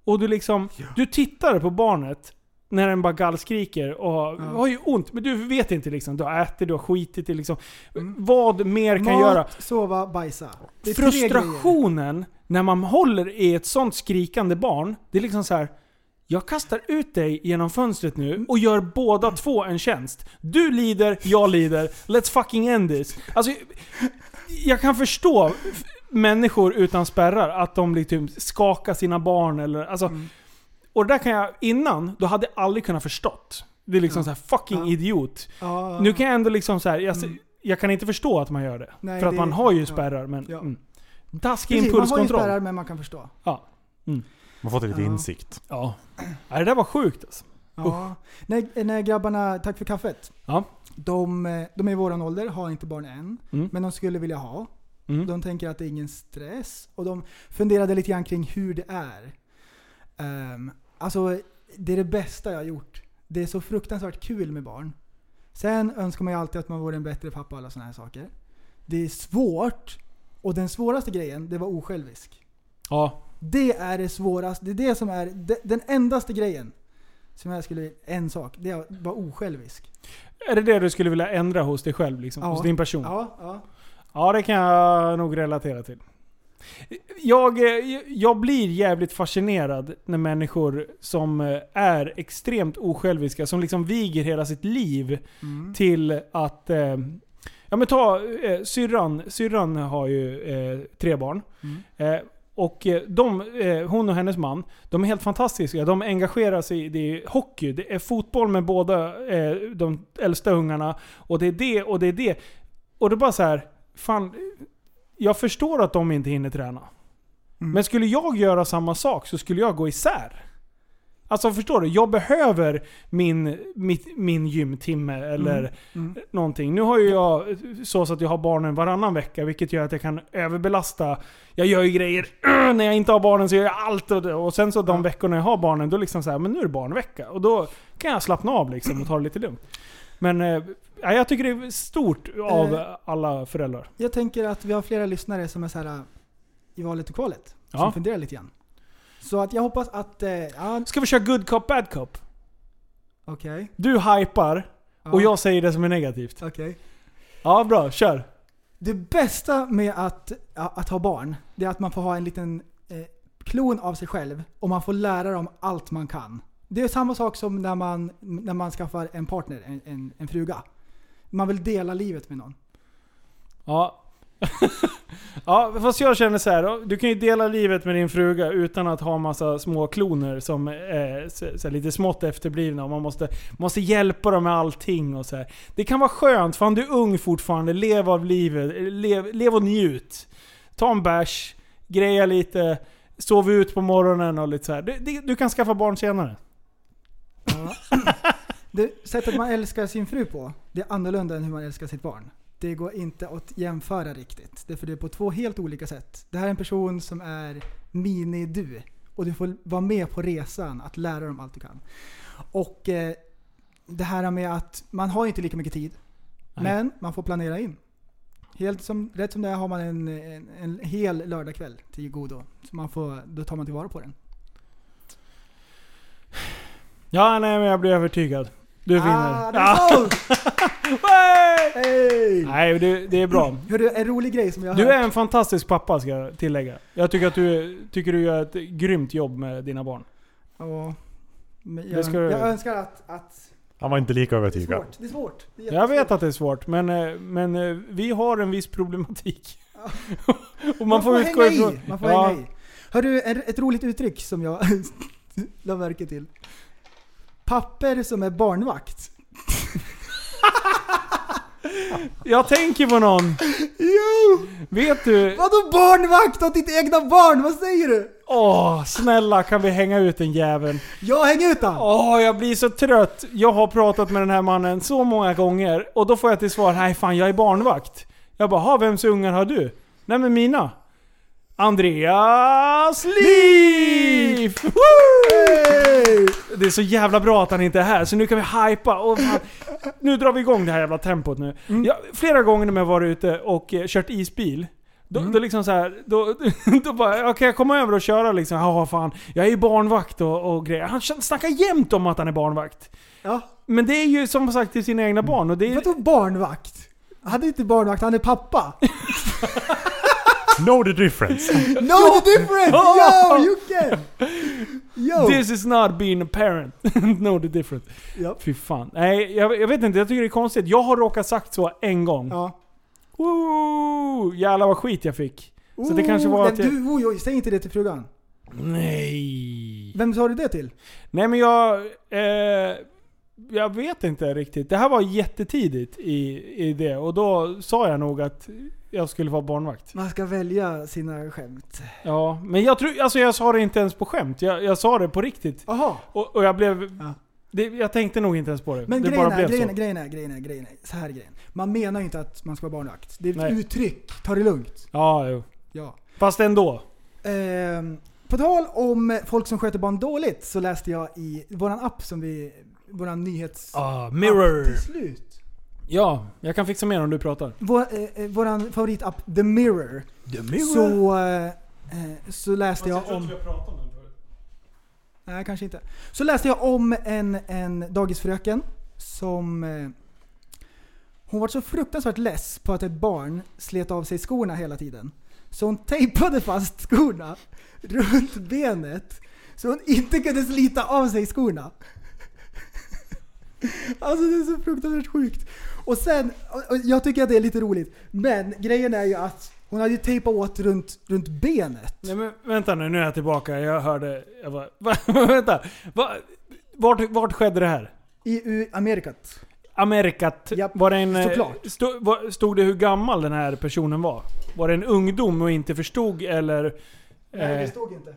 [SPEAKER 4] och du liksom, du tittar på barnet när den bara gallskriker och har, har ju ont. Men du vet inte liksom, du har ätit, du har skitit. det Liksom. Vad mer kan
[SPEAKER 5] Mm. Mat,
[SPEAKER 4] göra?
[SPEAKER 5] sova, bajsa. Det är tre grejer.
[SPEAKER 4] Frustrationen när man håller i ett sånt skrikande barn, det är liksom så här. Jag kastar ut dig genom fönstret nu och gör båda två en tjänst. Du lider, jag lider. Let's fucking end this. Alltså, jag kan förstå f- människor utan spärrar, att de liksom skakar sina barn eller... Alltså,
[SPEAKER 5] Mm.
[SPEAKER 4] Och det där kan jag, innan, då hade jag aldrig kunnat förstått. Det är liksom
[SPEAKER 5] Ja.
[SPEAKER 4] så här fucking
[SPEAKER 5] Ja.
[SPEAKER 4] idiot.
[SPEAKER 5] Ja.
[SPEAKER 4] Nu kan jag ändå liksom så här, jag, jag kan inte förstå att man gör det.
[SPEAKER 5] Mm. Nej,
[SPEAKER 4] för att
[SPEAKER 5] det-
[SPEAKER 4] man har ju
[SPEAKER 5] ja.
[SPEAKER 4] spärrar men...
[SPEAKER 5] Ja.
[SPEAKER 4] Mm. Taskig
[SPEAKER 5] Precis, man har ju
[SPEAKER 4] impulskontroll.
[SPEAKER 5] spärrar men man kan förstå.
[SPEAKER 6] Man har fått lite
[SPEAKER 5] Ja.
[SPEAKER 6] insikt.
[SPEAKER 4] Ja. Nej, det där var sjukt alltså.
[SPEAKER 5] Ja. När, när grabbarna, tack för kaffet.
[SPEAKER 4] Ja.
[SPEAKER 5] De, eh, de är i våran ålder, har inte barn än.
[SPEAKER 4] Mm.
[SPEAKER 5] Men de skulle vilja ha.
[SPEAKER 4] Mm.
[SPEAKER 5] De tänker att det är ingen stress. Och de funderade lite grann kring hur det är. Ehm, alltså, det är det bästa jag har gjort. Det är så fruktansvärt kul med barn. Sen önskar man ju alltid att man vore en bättre pappa och alla sådana här saker. Det är svårt. Och den svåraste grejen, det var osjälvisk.
[SPEAKER 4] Ja.
[SPEAKER 5] Det är det svåraste. Det är det som är de- den endaste grejen. Som jag skulle, en sak, det är att vara osjälvisk.
[SPEAKER 4] Är det det du skulle vilja ändra hos dig själv? Liksom,
[SPEAKER 5] Ja.
[SPEAKER 4] Hos din person?
[SPEAKER 5] Ja, ja.
[SPEAKER 4] Ja, det kan jag nog relatera till. Jag, eh, jag blir jävligt fascinerad när människor som eh, är extremt osjälviska, som liksom viger hela sitt liv till att eh, Ja men ta eh, syrran, syrran har ju eh, tre barn. Eh, och eh, de, eh, hon och hennes man, de är helt fantastiska. De engagerar sig i det är hockey, det är fotboll med båda eh, de äldsta ungarna. Och det är det och det är det. Och det är bara så här, fan, jag förstår att de inte hinner träna. Men skulle jag göra samma sak så skulle jag gå isär. Alltså förstår du? Jag behöver min, mitt, min gymtimme eller någonting. Nu har ju jag så så att jag har barnen varannan vecka, vilket gör att jag kan överbelasta. Jag gör ju grejer när jag inte har barnen så gör jag allt. Och, det. och sen så de veckorna jag har barnen, då liksom så här, men nu är det barnvecka. Och då kan jag slappna av liksom och ta det lite lugnt. Men eh, ja, jag tycker det är stort av
[SPEAKER 5] Eh.
[SPEAKER 4] alla föräldrar.
[SPEAKER 5] Jag tänker att vi har flera lyssnare som är så här äh, i valet och kvalet.
[SPEAKER 4] Ja.
[SPEAKER 5] Som funderar lite grann. Så att jag hoppas att... Eh, ja,
[SPEAKER 4] Ska vi köra good cop, bad cop?
[SPEAKER 5] okej.
[SPEAKER 4] Du hypar
[SPEAKER 5] Ja,
[SPEAKER 4] och jag säger det som är negativt.
[SPEAKER 5] okej.
[SPEAKER 4] Ja, bra. Kör.
[SPEAKER 5] Det bästa med att, ja, att ha barn, det är att man får ha en liten eh, klon av sig själv och man får lära dem allt man kan. Det är samma sak som när man, när man skaffar en partner, en, en, en fruga. Man vill dela livet med någon.
[SPEAKER 4] Ja. ja, fast jag känner så här. Du kan ju dela livet med din fruga utan att ha massa små kloner som är så, så här, lite smått efterblivna. Och man måste, måste hjälpa dem med allting och så här. Det kan vara skönt, fan du är ung fortfarande. Lev av livet. Lev, lev och njut. Ta en bärs, greja lite, sov ut på morgonen och lite så här. Det, det, du kan skaffa barn senare.
[SPEAKER 5] Det sättet man älskar sin fru på, det är annorlunda än hur man älskar sitt barn. Det går inte att jämföra riktigt. Det är för det är på två helt olika sätt. Det här är en person som är mini-du. Och du får vara med på resan att lära dem allt du kan. Och eh, det här med att man har ju inte lika mycket tid.
[SPEAKER 4] Nej.
[SPEAKER 5] Men man får planera in. Helt som, rätt som det är har man en, en, en hel lördagkväll till godo. Så man får, då tar man tillvara på den.
[SPEAKER 4] Ja, nej men jag blir övertygad. Du vinner.
[SPEAKER 5] Ah, det
[SPEAKER 4] Ah,
[SPEAKER 5] är sålt!
[SPEAKER 4] Hey!
[SPEAKER 5] Hej!
[SPEAKER 4] Nej, det, det är bra.
[SPEAKER 5] Hörru, en rolig grej som jag har
[SPEAKER 4] Du
[SPEAKER 5] hört.
[SPEAKER 4] är en fantastisk pappa ska jag tillägga. Jag tycker att du, tycker du gör ett grymt jobb med dina barn.
[SPEAKER 5] Ja. Men
[SPEAKER 4] Det
[SPEAKER 5] jag,
[SPEAKER 4] ska du-
[SPEAKER 5] jag önskar att... att
[SPEAKER 6] Han var inte
[SPEAKER 5] det
[SPEAKER 6] lika
[SPEAKER 5] är
[SPEAKER 6] övertygad.
[SPEAKER 5] svårt. Det är svårt. Det är
[SPEAKER 4] Jag vet
[SPEAKER 5] jättesvårt.
[SPEAKER 4] att det är svårt, men, eh, men eh, vi har en viss problematik. Och
[SPEAKER 5] Man får,
[SPEAKER 4] utgå
[SPEAKER 5] hänga
[SPEAKER 4] ifrån-
[SPEAKER 5] i. Man får
[SPEAKER 4] Ja.
[SPEAKER 5] hänga i. Hörru, en- ett roligt uttryck som jag la märke till. Papper som är barnvakt.
[SPEAKER 4] Jag tänker på någon. Vet du?
[SPEAKER 5] Vadå barnvakt åt ditt egna barn? Vad säger du?
[SPEAKER 4] Åh, snälla kan vi hänga ut den jäveln?
[SPEAKER 5] Jag hänger ut han.
[SPEAKER 4] Åh, jag blir så trött. Jag har pratat med den här mannen så många gånger och då får jag till svar nej fan jag är barnvakt. Jag bara, "Ha, vems ungar har du? Nej men mina. Andreas liv! Woo! Det är så jävla bra att han inte är här, så nu kan vi hypa. Och fan, nu drar vi igång det här jävla tempot nu. Jag, flera gånger när jag varit ute och eh, kört isbil, då, då liksom så här, då, då bara, ja, kan jag komma över och köra liksom? Ja fan, jag är ju barnvakt och, och grejer. Han snackar jämt om att han är barnvakt.
[SPEAKER 5] Ja.
[SPEAKER 4] Men det är ju som sagt till sina egna barn. Och det är,
[SPEAKER 5] Vadå barnvakt? Han är inte barnvakt, han är pappa.
[SPEAKER 6] Know the difference.
[SPEAKER 5] No the difference!
[SPEAKER 4] Ja.
[SPEAKER 5] Yo Jocke! Yo!
[SPEAKER 4] this is not being a parent. no the difference.
[SPEAKER 5] Ja.
[SPEAKER 4] Fy fan. Nej, jag, jag vet inte. Jag tycker det är konstigt. Jag har råkat sagt så en gång.
[SPEAKER 5] ja.
[SPEAKER 4] Ooh, jävlar vad skit jag fick. Så det kanske var
[SPEAKER 5] Oh,
[SPEAKER 4] att
[SPEAKER 5] men
[SPEAKER 4] jag-
[SPEAKER 5] du, oj, oj, säg inte det till frugan.
[SPEAKER 4] Nej.
[SPEAKER 5] Vem sa du det till?
[SPEAKER 4] Nej men jag... Eh, jag vet inte riktigt. Det här var jättetidigt i, i det. Och då sa jag nog att jag skulle vara barnvakt.
[SPEAKER 5] Man ska välja sina skämt.
[SPEAKER 4] Ja, men jag tror... Alltså jag sa det inte ens på skämt. Jag, jag sa det på riktigt.
[SPEAKER 5] Aha.
[SPEAKER 4] Och, och jag blev...
[SPEAKER 5] Ja.
[SPEAKER 4] Det, jag tänkte nog inte ens på det.
[SPEAKER 5] Men
[SPEAKER 4] det
[SPEAKER 5] grejen
[SPEAKER 4] bara
[SPEAKER 5] är,
[SPEAKER 4] blev
[SPEAKER 5] grejen, är,
[SPEAKER 4] så.
[SPEAKER 5] grejen är, grejen är, grejen är, så här är grejen. Man menar ju inte att man ska vara barnvakt. Det är ett
[SPEAKER 4] Nej.
[SPEAKER 5] uttryck. Ta det lugnt.
[SPEAKER 4] Ja, jo.
[SPEAKER 5] Ja.
[SPEAKER 4] Fast ändå.
[SPEAKER 5] Ehm, på tal om folk som sköter barn dåligt så läste jag i våran app som vi, våran nyhets...
[SPEAKER 4] Ah,
[SPEAKER 5] app Till slut.
[SPEAKER 4] Ja, jag kan fixa mer om du pratar.
[SPEAKER 5] Vår, eh, eh, våran favoritapp The Mirror.
[SPEAKER 4] The
[SPEAKER 5] Så, eh, eh, så läste jag om... Nej, kanske inte. Så läste jag om en, en dagisfröken som... Eh, hon var så fruktansvärt less på att ett barn slet av sig skorna hela tiden. Så hon tejpade fast skorna runt benet så hon inte kunde slita av sig skorna. Alltså det är så fruktansvärt sjukt. Och sen, och- och jag tycker att det är lite roligt, men grejen är ju att hon hade ju tejpat åt runt, runt benet.
[SPEAKER 4] Nej men vänta nu, nu är jag tillbaka. Jag hörde... Jag bara, va, vänta. Va, vart, vart skedde det här?
[SPEAKER 5] I U- Amerikat.
[SPEAKER 4] Amerikat.
[SPEAKER 5] Japp,
[SPEAKER 4] var det en, eh,
[SPEAKER 5] såklart.
[SPEAKER 4] Stod, var, stod det hur gammal den här personen var? Var det en ungdom och inte förstod eller?
[SPEAKER 5] Nej, det
[SPEAKER 4] eh,
[SPEAKER 5] stod inte.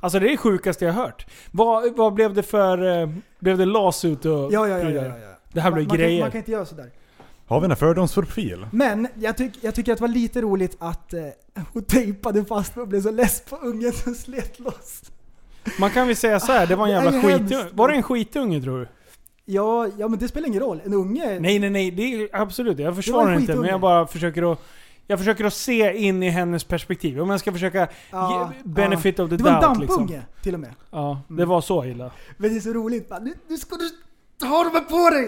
[SPEAKER 4] alltså det är det sjukaste jag hört. Vad, vad blev det för... Eh, blev det lasut och
[SPEAKER 5] Ja, ja, ja. ja,
[SPEAKER 4] prylar?
[SPEAKER 5] ja, ja.
[SPEAKER 4] Det här blev
[SPEAKER 5] man, man, kan,
[SPEAKER 4] grejer.
[SPEAKER 5] man kan inte göra sådär.
[SPEAKER 6] Har vi en fördomsprofil?
[SPEAKER 5] Men jag, tyck, jag tycker att det var lite roligt att eh, hon tejpade fast mig och blev så less på ungen som slet loss.
[SPEAKER 4] Man kan väl säga så här, det var en
[SPEAKER 5] Det är
[SPEAKER 4] jävla
[SPEAKER 5] ju
[SPEAKER 4] skitunge.
[SPEAKER 5] hemskt.
[SPEAKER 4] Var det en skitunge tror du?
[SPEAKER 5] Ja, ja, men det spelar ingen roll. En unge...
[SPEAKER 4] Nej, nej, nej. Det är, absolut, jag
[SPEAKER 5] Det var
[SPEAKER 4] försvarar
[SPEAKER 5] en
[SPEAKER 4] inte. Men
[SPEAKER 5] skitunge.
[SPEAKER 4] jag bara försöker att... Jag försöker att se in i hennes perspektiv. Om jag ska försöka
[SPEAKER 5] Ja,
[SPEAKER 4] ge benefit of the
[SPEAKER 5] Det var en
[SPEAKER 4] doubt
[SPEAKER 5] dampunge Mm.
[SPEAKER 4] liksom.
[SPEAKER 5] till och med.
[SPEAKER 4] Ja, det var så illa.
[SPEAKER 5] Men det är så roligt. Bara, nu, nu ska du ta dem här på dig!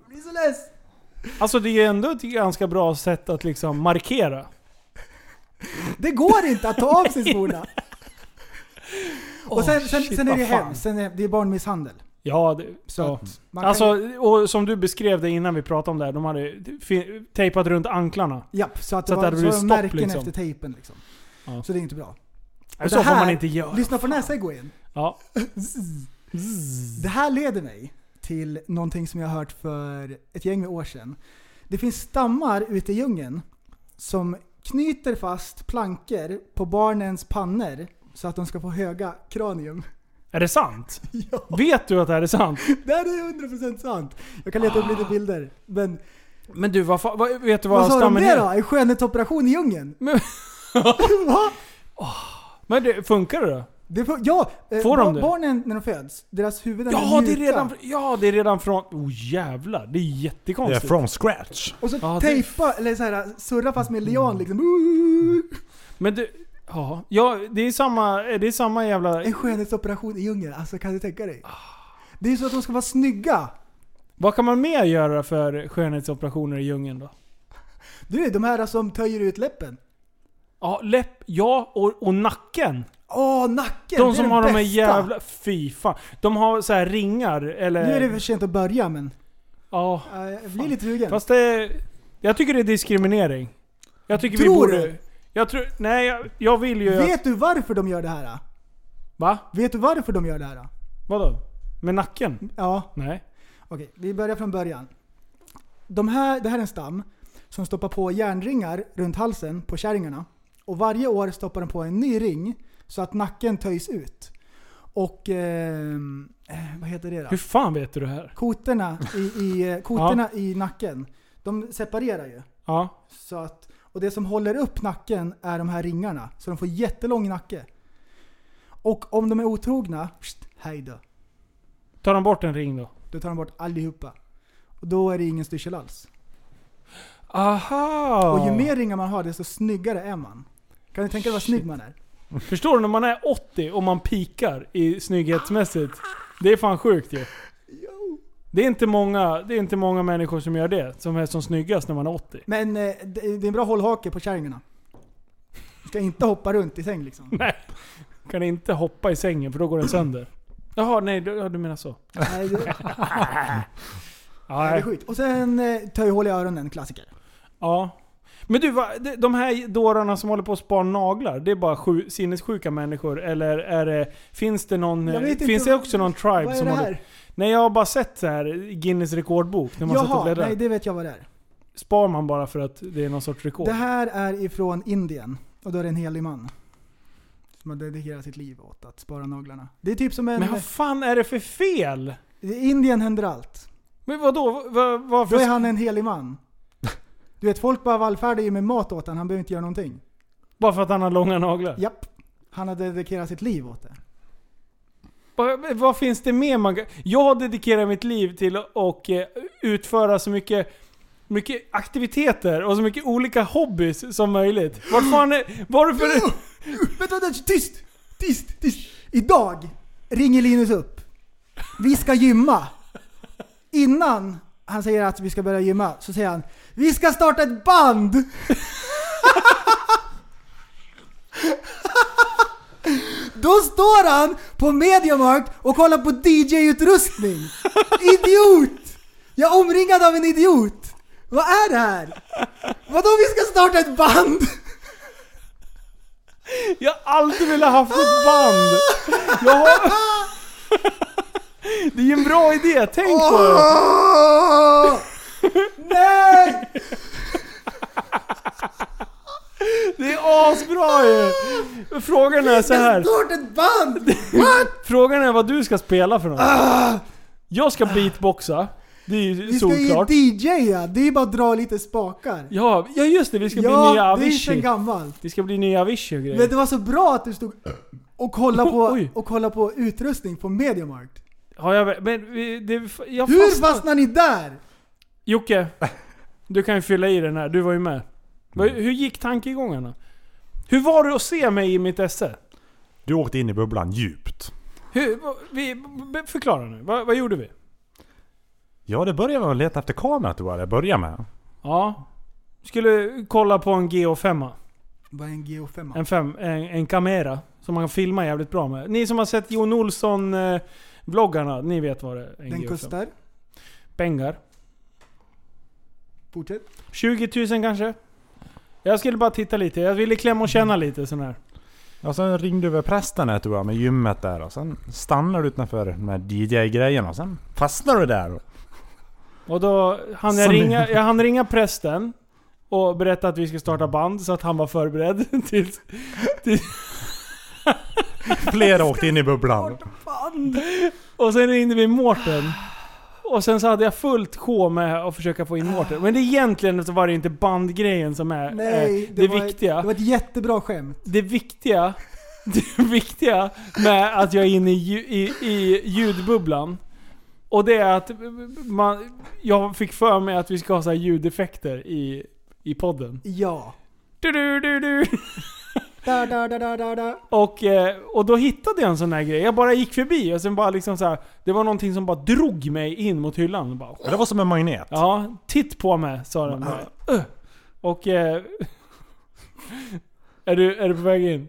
[SPEAKER 5] Jag blir så less.
[SPEAKER 4] Alltså det är ju ändå ett ganska bra sätt att liksom markera.
[SPEAKER 5] Det går inte att ta av sig skorna. och sen, sen,
[SPEAKER 4] shit,
[SPEAKER 5] sen är det
[SPEAKER 4] vad fan.
[SPEAKER 5] hemskt. Sen är det är barnmisshandel.
[SPEAKER 4] Ja, det,
[SPEAKER 5] Så
[SPEAKER 4] ja.
[SPEAKER 5] att man kan
[SPEAKER 4] Alltså, och som du beskrev det innan vi pratade om det här, de hade ju fi- tejpat runt anklarna.
[SPEAKER 5] Japp, så att det
[SPEAKER 4] Så att
[SPEAKER 5] var,
[SPEAKER 4] det
[SPEAKER 5] så
[SPEAKER 4] hade
[SPEAKER 5] var
[SPEAKER 4] blivit
[SPEAKER 5] märken
[SPEAKER 4] stopp, liksom.
[SPEAKER 5] efter tejpen liksom.
[SPEAKER 4] Ja.
[SPEAKER 5] Så det är inte bra.
[SPEAKER 4] Och så
[SPEAKER 5] det
[SPEAKER 4] får
[SPEAKER 5] här-
[SPEAKER 4] man inte göra.
[SPEAKER 5] Lyssna på nästa gå igen.
[SPEAKER 4] Ja. Mm.
[SPEAKER 5] Det här leder mig till någonting som jag har hört för ett gäng med år sedan. Det finns stammar ute i djungeln som knyter fast plankor på barnens pannor så att de ska få höga kranium.
[SPEAKER 4] Är det sant? Vet du att det här är sant?
[SPEAKER 5] Det här är 100% sant. Jag kan leta upp lite bilder. Men
[SPEAKER 4] Men du, Ah. vad, fa- vad vet du vad,
[SPEAKER 5] vad sa de
[SPEAKER 4] stammen
[SPEAKER 5] det
[SPEAKER 4] är?
[SPEAKER 5] då? En skönhetsoperation i djungeln?
[SPEAKER 4] Men-
[SPEAKER 5] Va?
[SPEAKER 4] Men det, funkar det då?
[SPEAKER 5] Det får, ja, eh,
[SPEAKER 4] Får de
[SPEAKER 5] ba-
[SPEAKER 4] det?
[SPEAKER 5] barnen när de föds, deras huvuden
[SPEAKER 4] Ja det, är
[SPEAKER 5] mjuka.
[SPEAKER 4] redan, ja, det är redan från... Oh jävlar, det är
[SPEAKER 6] Det är
[SPEAKER 4] jättekonstigt.
[SPEAKER 6] from scratch.
[SPEAKER 5] Och så
[SPEAKER 4] Ja, det- Mm.
[SPEAKER 5] tejpa, eller så här, surra fast med lian liksom. Ooh.
[SPEAKER 4] Men du... Ja, ja, det är samma, det är samma jävla...
[SPEAKER 5] En skönhetsoperation i djungeln, alltså kan du tänka dig?
[SPEAKER 4] Ah.
[SPEAKER 5] Det är ju så att de ska vara snygga.
[SPEAKER 4] Vad kan man mer göra för skönhetsoperationer i djungeln då?
[SPEAKER 5] Du, de här som töjer ut läppen.
[SPEAKER 4] Ja, läpp, ja och, och nacken.
[SPEAKER 5] Åh, nacken! det
[SPEAKER 4] De
[SPEAKER 5] är
[SPEAKER 4] som
[SPEAKER 5] det
[SPEAKER 4] har de
[SPEAKER 5] bästa.
[SPEAKER 4] här jävla... Fy fan. De har så här ringar eller...
[SPEAKER 5] Nu är det för sent att börja men,
[SPEAKER 4] Ja.
[SPEAKER 5] eh, jag blir lite sugen.
[SPEAKER 4] Fast det... Jag tycker det är diskriminering. Jag tycker vi
[SPEAKER 5] Tror
[SPEAKER 4] borde...
[SPEAKER 5] du?
[SPEAKER 4] Jag tror... Nej, jag, jag vill ju... att-
[SPEAKER 5] Vet du varför de gör det här? då?
[SPEAKER 4] Va?
[SPEAKER 5] Vet du varför de gör det här? då?
[SPEAKER 4] Vadå? Med nacken?
[SPEAKER 5] Ja,
[SPEAKER 4] Nej.
[SPEAKER 5] Okej, vi börjar från början. De här, det här är en stam som stoppar på järnringar runt halsen på kärringarna. Och varje år stoppar de på en ny ring så att nacken töjs ut. Och ehm, eh, vad heter det då?
[SPEAKER 4] Hur fan vet du det här?
[SPEAKER 5] Koterna, i, i, eh, koterna i nacken, de separerar ju.
[SPEAKER 4] Ja.
[SPEAKER 5] Så att, och det som håller upp nacken är de här ringarna. Så de får jättelång nacke. Och om de är otrogna, pst, hej då.
[SPEAKER 4] Tar de bort en ring då?
[SPEAKER 5] Då tar de bort allihopa. Och då är det ingen styrsel alls.
[SPEAKER 4] Aha!
[SPEAKER 5] Och ju mer ringar man har desto snyggare är man. Kan du tänka dig vad snygg man är?
[SPEAKER 4] Förstår du? När man är 80 och man pikar i snygghetsmässigt. Det är fan sjukt ju. Det är, inte många, det är inte många människor som gör det, som är som snyggast när man är 80.
[SPEAKER 5] Men eh, det det är en bra hållhake på kärringarna. Du ska inte hoppa runt i säng liksom.
[SPEAKER 4] Nej. Kan inte hoppa i sängen för då går den sönder. Jaha, nej du, ja, du menar så.
[SPEAKER 5] Nej, det, det är
[SPEAKER 4] Nej.
[SPEAKER 5] skit. Och sen eh, ta ju hål i öronen, klassiker.
[SPEAKER 4] Ja. Men du, va, de- de här dårarna som håller på att spara naglar, det är bara sju, sinnessjuka människor? Eller är det, finns det någon... eh,
[SPEAKER 5] Jag vet inte
[SPEAKER 4] Finns det
[SPEAKER 5] vad-
[SPEAKER 4] också någon
[SPEAKER 5] Vad
[SPEAKER 4] tribe
[SPEAKER 5] är
[SPEAKER 4] som
[SPEAKER 5] det
[SPEAKER 4] håller
[SPEAKER 5] här?
[SPEAKER 4] Nej jag har bara sett så här Guinness rekordbok när man satt och
[SPEAKER 5] Jaha,
[SPEAKER 4] bläddrade.
[SPEAKER 5] nej det vet jag vad det är.
[SPEAKER 4] Spar man bara för att det är någon sorts rekord?
[SPEAKER 5] Det här är ifrån Indien. Och då är det en helig man. Som har dedikerat sitt liv åt att spara naglarna. Det är typ som en...
[SPEAKER 4] Men vad fan är det för fel?
[SPEAKER 5] I Indien händer allt.
[SPEAKER 4] Men vadå? Vad, vad,
[SPEAKER 5] Då
[SPEAKER 4] varför?
[SPEAKER 5] är han en helig man. Du vet, folk bara vallfärdar ju med mat åt honom, han behöver inte göra någonting.
[SPEAKER 4] Bara för att han har långa naglar?
[SPEAKER 5] Japp. Han har dedikerat sitt liv åt det.
[SPEAKER 4] Vad, vad finns det mer man kan- Jag dedikerar mitt liv till att och, eh, utföra så mycket, mycket aktiviteter och så mycket olika hobbys som möjligt. Vart fan är... Varför...
[SPEAKER 5] Vänta, vänta, tyst! Tyst, tyst! Idag ringer Linus upp. Vi ska gymma. Innan han säger att vi ska börja gymma så säger han Vi ska starta ett band! Då står han på Mediamarkt och kollar på DJ-utrustning. Idiot! Jag är omringad av en idiot. Vad är det här? Vadå vi ska starta ett band?
[SPEAKER 4] Jag har alltid velat haft ett band. Jag har... Det är en bra idé, tänk på det.
[SPEAKER 5] Ah. Åh! Nej!
[SPEAKER 4] Det är asbra ju. Frågan är så här.
[SPEAKER 5] Starta ett band! What?
[SPEAKER 4] Frågan är vad du ska spela för något. Jag ska beatboxa. Det är ju
[SPEAKER 5] Ah! Vi ska ju
[SPEAKER 4] solklart.
[SPEAKER 5] DJa, det är ju bara att dra lite spakar.
[SPEAKER 4] Ja, ja just det. Vi ska bli nya
[SPEAKER 5] Ja, det är ju sen
[SPEAKER 4] Avicii.
[SPEAKER 5] gammalt.
[SPEAKER 4] Vi ska bli nya Avicii och
[SPEAKER 5] Men
[SPEAKER 4] grejer.
[SPEAKER 5] det var så bra att du stod och kollade på,
[SPEAKER 4] Oj.
[SPEAKER 5] och kollade på utrustning på Mediamarkt.
[SPEAKER 4] Har jag, men vi- det, jag
[SPEAKER 5] Hur
[SPEAKER 4] fastnar-
[SPEAKER 5] fastnar ni där?
[SPEAKER 4] Jocke, du kan ju fylla i den här. Du var ju med. Vad- Hur gick tankegångarna? Hur var det att se mig i mitt esse?
[SPEAKER 6] Du åkte in i bubblan djupt.
[SPEAKER 4] Hur, vad- vi, be- förklara nu. Vad, vad gjorde vi?
[SPEAKER 6] Ja, det började med att leta efter kameran tror jag det började med.
[SPEAKER 4] Ja. Skulle kolla på en GH5.
[SPEAKER 5] Bara en GH5.
[SPEAKER 4] En, fem, en, en kamera. Som man kan filma jävligt bra med. Ni som har sett Jon Olsson-vloggarna, ni vet vad det är. En
[SPEAKER 5] Den
[SPEAKER 4] GH5.
[SPEAKER 5] kostar.
[SPEAKER 4] Pengar.
[SPEAKER 5] Fortsätt.
[SPEAKER 4] 20 000 kanske? Jag skulle bara titta lite. Jag ville klämma och känna
[SPEAKER 5] Mm.
[SPEAKER 4] lite sån här.
[SPEAKER 6] Och sen ringde du över prästen där tror jag med gymmet där och sen stannade du utanför de här DJ-grejerna och sen fastnade du där.
[SPEAKER 4] Och då hann jag
[SPEAKER 6] Som-
[SPEAKER 4] ringa, jag hann ringa prästen och berätta att vi skulle starta band så att han var förberedd. Till,
[SPEAKER 6] Flera åkte in i bubblan.
[SPEAKER 4] och sen ringde vi Mårten. Och sen så hade jag fullt sjå med att försöka få in Mårten. Men det egentligen så var det inte bandgrejen som är
[SPEAKER 5] Nej,
[SPEAKER 4] eh, det,
[SPEAKER 5] var
[SPEAKER 4] viktiga.
[SPEAKER 5] Ett, det var ett jättebra skämt.
[SPEAKER 4] det viktiga, det viktiga med att jag är inne i, lju- i, i ljudbubblan. Och det är att man, jag fick för mig att vi ska ha så här ljudeffekter i, i podden.
[SPEAKER 5] Ja.
[SPEAKER 4] Du, du, du, du.
[SPEAKER 5] Da, da, da, da, da, da.
[SPEAKER 4] Och, eh, och då hittade jag en sån här grej. Jag bara gick förbi och sen bara liksom så här, Det var någonting som bara drog mig in mot hyllan. Och bara,
[SPEAKER 6] Ja, Det var som en magnet.
[SPEAKER 4] ja, titt på mig sa den. Bara, "Ugh." Och... Eh, är, du, är du på väg in?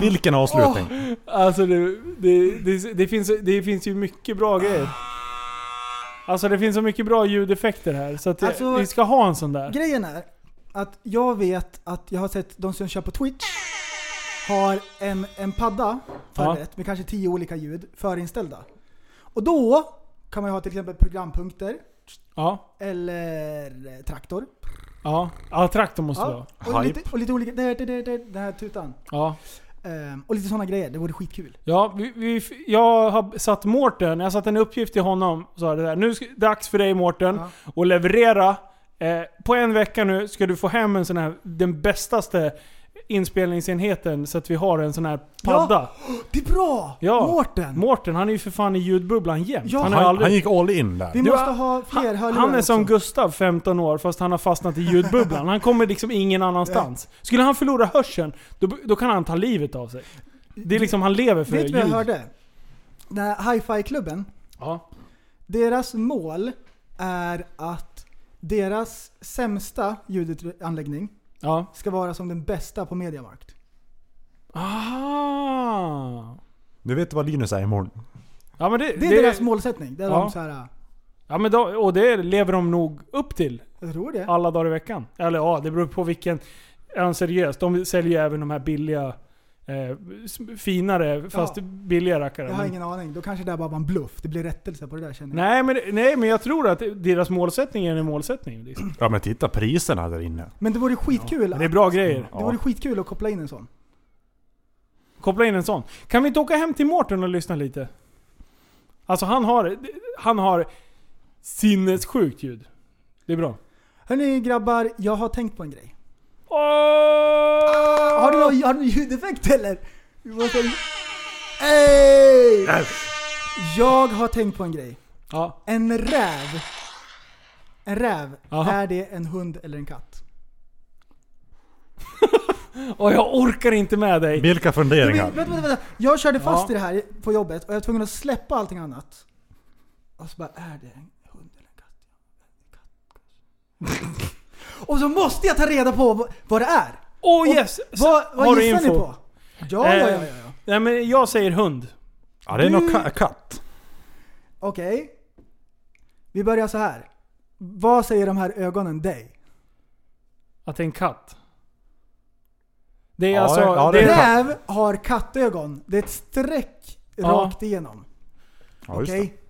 [SPEAKER 6] Vilken avslutning.
[SPEAKER 4] Alltså det, det, det, det, finns, det finns ju mycket bra grejer. Alltså det finns så mycket bra ljudeffekter här så att eh,
[SPEAKER 5] Alltså-
[SPEAKER 4] vi ska ha en sån där.
[SPEAKER 5] Grejen är att jag vet att jag har sett de som kör på Twitch har en, en padda förrätt med kanske tio olika ljud förinställda. Och då kan man ju ha till exempel programpunkter
[SPEAKER 4] Ja,
[SPEAKER 5] eller traktor.
[SPEAKER 4] ja. Ja, traktor måste vi ha.
[SPEAKER 5] Ja. Och, lite, och lite olika... Det, det, det, det, den här tutan.
[SPEAKER 4] Ja.
[SPEAKER 5] Ehm, och lite sådana grejer. Det vore skitkul.
[SPEAKER 4] Ja, vi, vi, jag har satt Mårten, jag satt en uppgift till honom och sa det där. Nu är det dags för dig Mårten
[SPEAKER 5] Ja.
[SPEAKER 4] att leverera. Eh, på en vecka nu ska du få hem en sån här, den bästaste inspelningsenheten så att vi har en sån här padda.
[SPEAKER 5] Det är bra!
[SPEAKER 4] Ja.
[SPEAKER 5] Mårten!
[SPEAKER 4] Mårten han är ju för fan i ljudbubblan jämt.
[SPEAKER 5] Ja,
[SPEAKER 4] han, har
[SPEAKER 6] Han,
[SPEAKER 4] aldrig...
[SPEAKER 6] han gick all in där.
[SPEAKER 5] Vi
[SPEAKER 4] Du,
[SPEAKER 5] måste
[SPEAKER 4] han-
[SPEAKER 5] ha fler
[SPEAKER 4] han,
[SPEAKER 5] hörlurar
[SPEAKER 4] han är som
[SPEAKER 5] också.
[SPEAKER 4] Gustav, 15 år, fast han har fastnat i ljudbubblan. Han kommer liksom ingen annanstans. Skulle han förlora hörseln, då, då kan han ta livet av sig. Det är liksom, han lever för
[SPEAKER 5] Vet du vad jag
[SPEAKER 4] ljud.
[SPEAKER 5] hörde? Den här hi-fi-klubben.
[SPEAKER 4] Ja.
[SPEAKER 5] Deras mål är att deras sämsta ljudanläggning
[SPEAKER 4] ja.
[SPEAKER 5] ska vara som den bästa på Mediamarkt.
[SPEAKER 4] Ah.
[SPEAKER 6] Du vet vad Linus är imorgon.
[SPEAKER 4] Ja men det,
[SPEAKER 5] Det är
[SPEAKER 4] det-
[SPEAKER 5] deras målsättning. Det är
[SPEAKER 4] Ja.
[SPEAKER 5] de så här,
[SPEAKER 4] Ja, men då, och det lever de nog upp till
[SPEAKER 5] jag tror det.
[SPEAKER 4] alla dagar i veckan. Eller ja, det beror på vilken... Är han seriös? De säljer ju även de här billiga... Eh, s- finare, fast
[SPEAKER 5] Ja.
[SPEAKER 4] billiga rackare.
[SPEAKER 5] Jag har
[SPEAKER 4] Men-
[SPEAKER 5] ingen aning. Då kanske det där bara var en bluff. Det blir rättelse på det där känner jag.
[SPEAKER 4] Nej men, nej, men jag tror att deras målsättning är en målsättning. Liksom.
[SPEAKER 6] Ja men titta priserna där inne.
[SPEAKER 5] Men det vore skitkul.
[SPEAKER 4] Men
[SPEAKER 5] att-
[SPEAKER 4] Det är bra grejer.
[SPEAKER 5] Det vore skitkul att koppla in en sån.
[SPEAKER 4] Koppla in en sån. Kan vi inte åka hem till Mårten och lyssna lite? Alltså han har, han har sinnessjukt ljud. Det är bra.
[SPEAKER 5] Hörni grabbar, jag har tänkt på en grej.
[SPEAKER 4] Åh!
[SPEAKER 5] Har du någon, har du någon ljudeffekt eller? Vi måste... Ey! Jag har tänkt på en grej.
[SPEAKER 4] Ja.
[SPEAKER 5] En räv. En räv.
[SPEAKER 4] Aha.
[SPEAKER 5] Är det en hund eller en katt?
[SPEAKER 4] Och jag orkar inte med dig.
[SPEAKER 6] Vilka
[SPEAKER 5] Men,
[SPEAKER 6] funderingar?
[SPEAKER 5] vänta, vänta, vänta. Jag körde fast
[SPEAKER 4] Ja.
[SPEAKER 5] i det här på jobbet och jag var tvungen att släppa allting annat. Och så bara, är det en hund eller en katt? Ja, en katt kanske. och så måste jag ta reda på vad- vad det är.
[SPEAKER 4] Oh yes!
[SPEAKER 5] Vad,
[SPEAKER 4] Har
[SPEAKER 5] vad
[SPEAKER 4] du
[SPEAKER 5] gissar ni
[SPEAKER 4] info?
[SPEAKER 5] på? Ja, ja, ja, ja.
[SPEAKER 4] Eh,
[SPEAKER 5] ja.
[SPEAKER 4] Nej men jag säger hund.
[SPEAKER 6] Ja det är nog ka- katt.
[SPEAKER 5] Okej. Vi börjar så här. Vad säger de här ögonen dig?
[SPEAKER 4] Att det är en katt. Det är
[SPEAKER 6] Ja,
[SPEAKER 4] alltså...
[SPEAKER 6] ja,
[SPEAKER 4] det
[SPEAKER 6] det
[SPEAKER 4] är,
[SPEAKER 6] är-
[SPEAKER 5] Räv har kattögon. Det är ett streck
[SPEAKER 4] Ja.
[SPEAKER 5] rakt igenom.
[SPEAKER 6] Ja, just
[SPEAKER 5] Okej?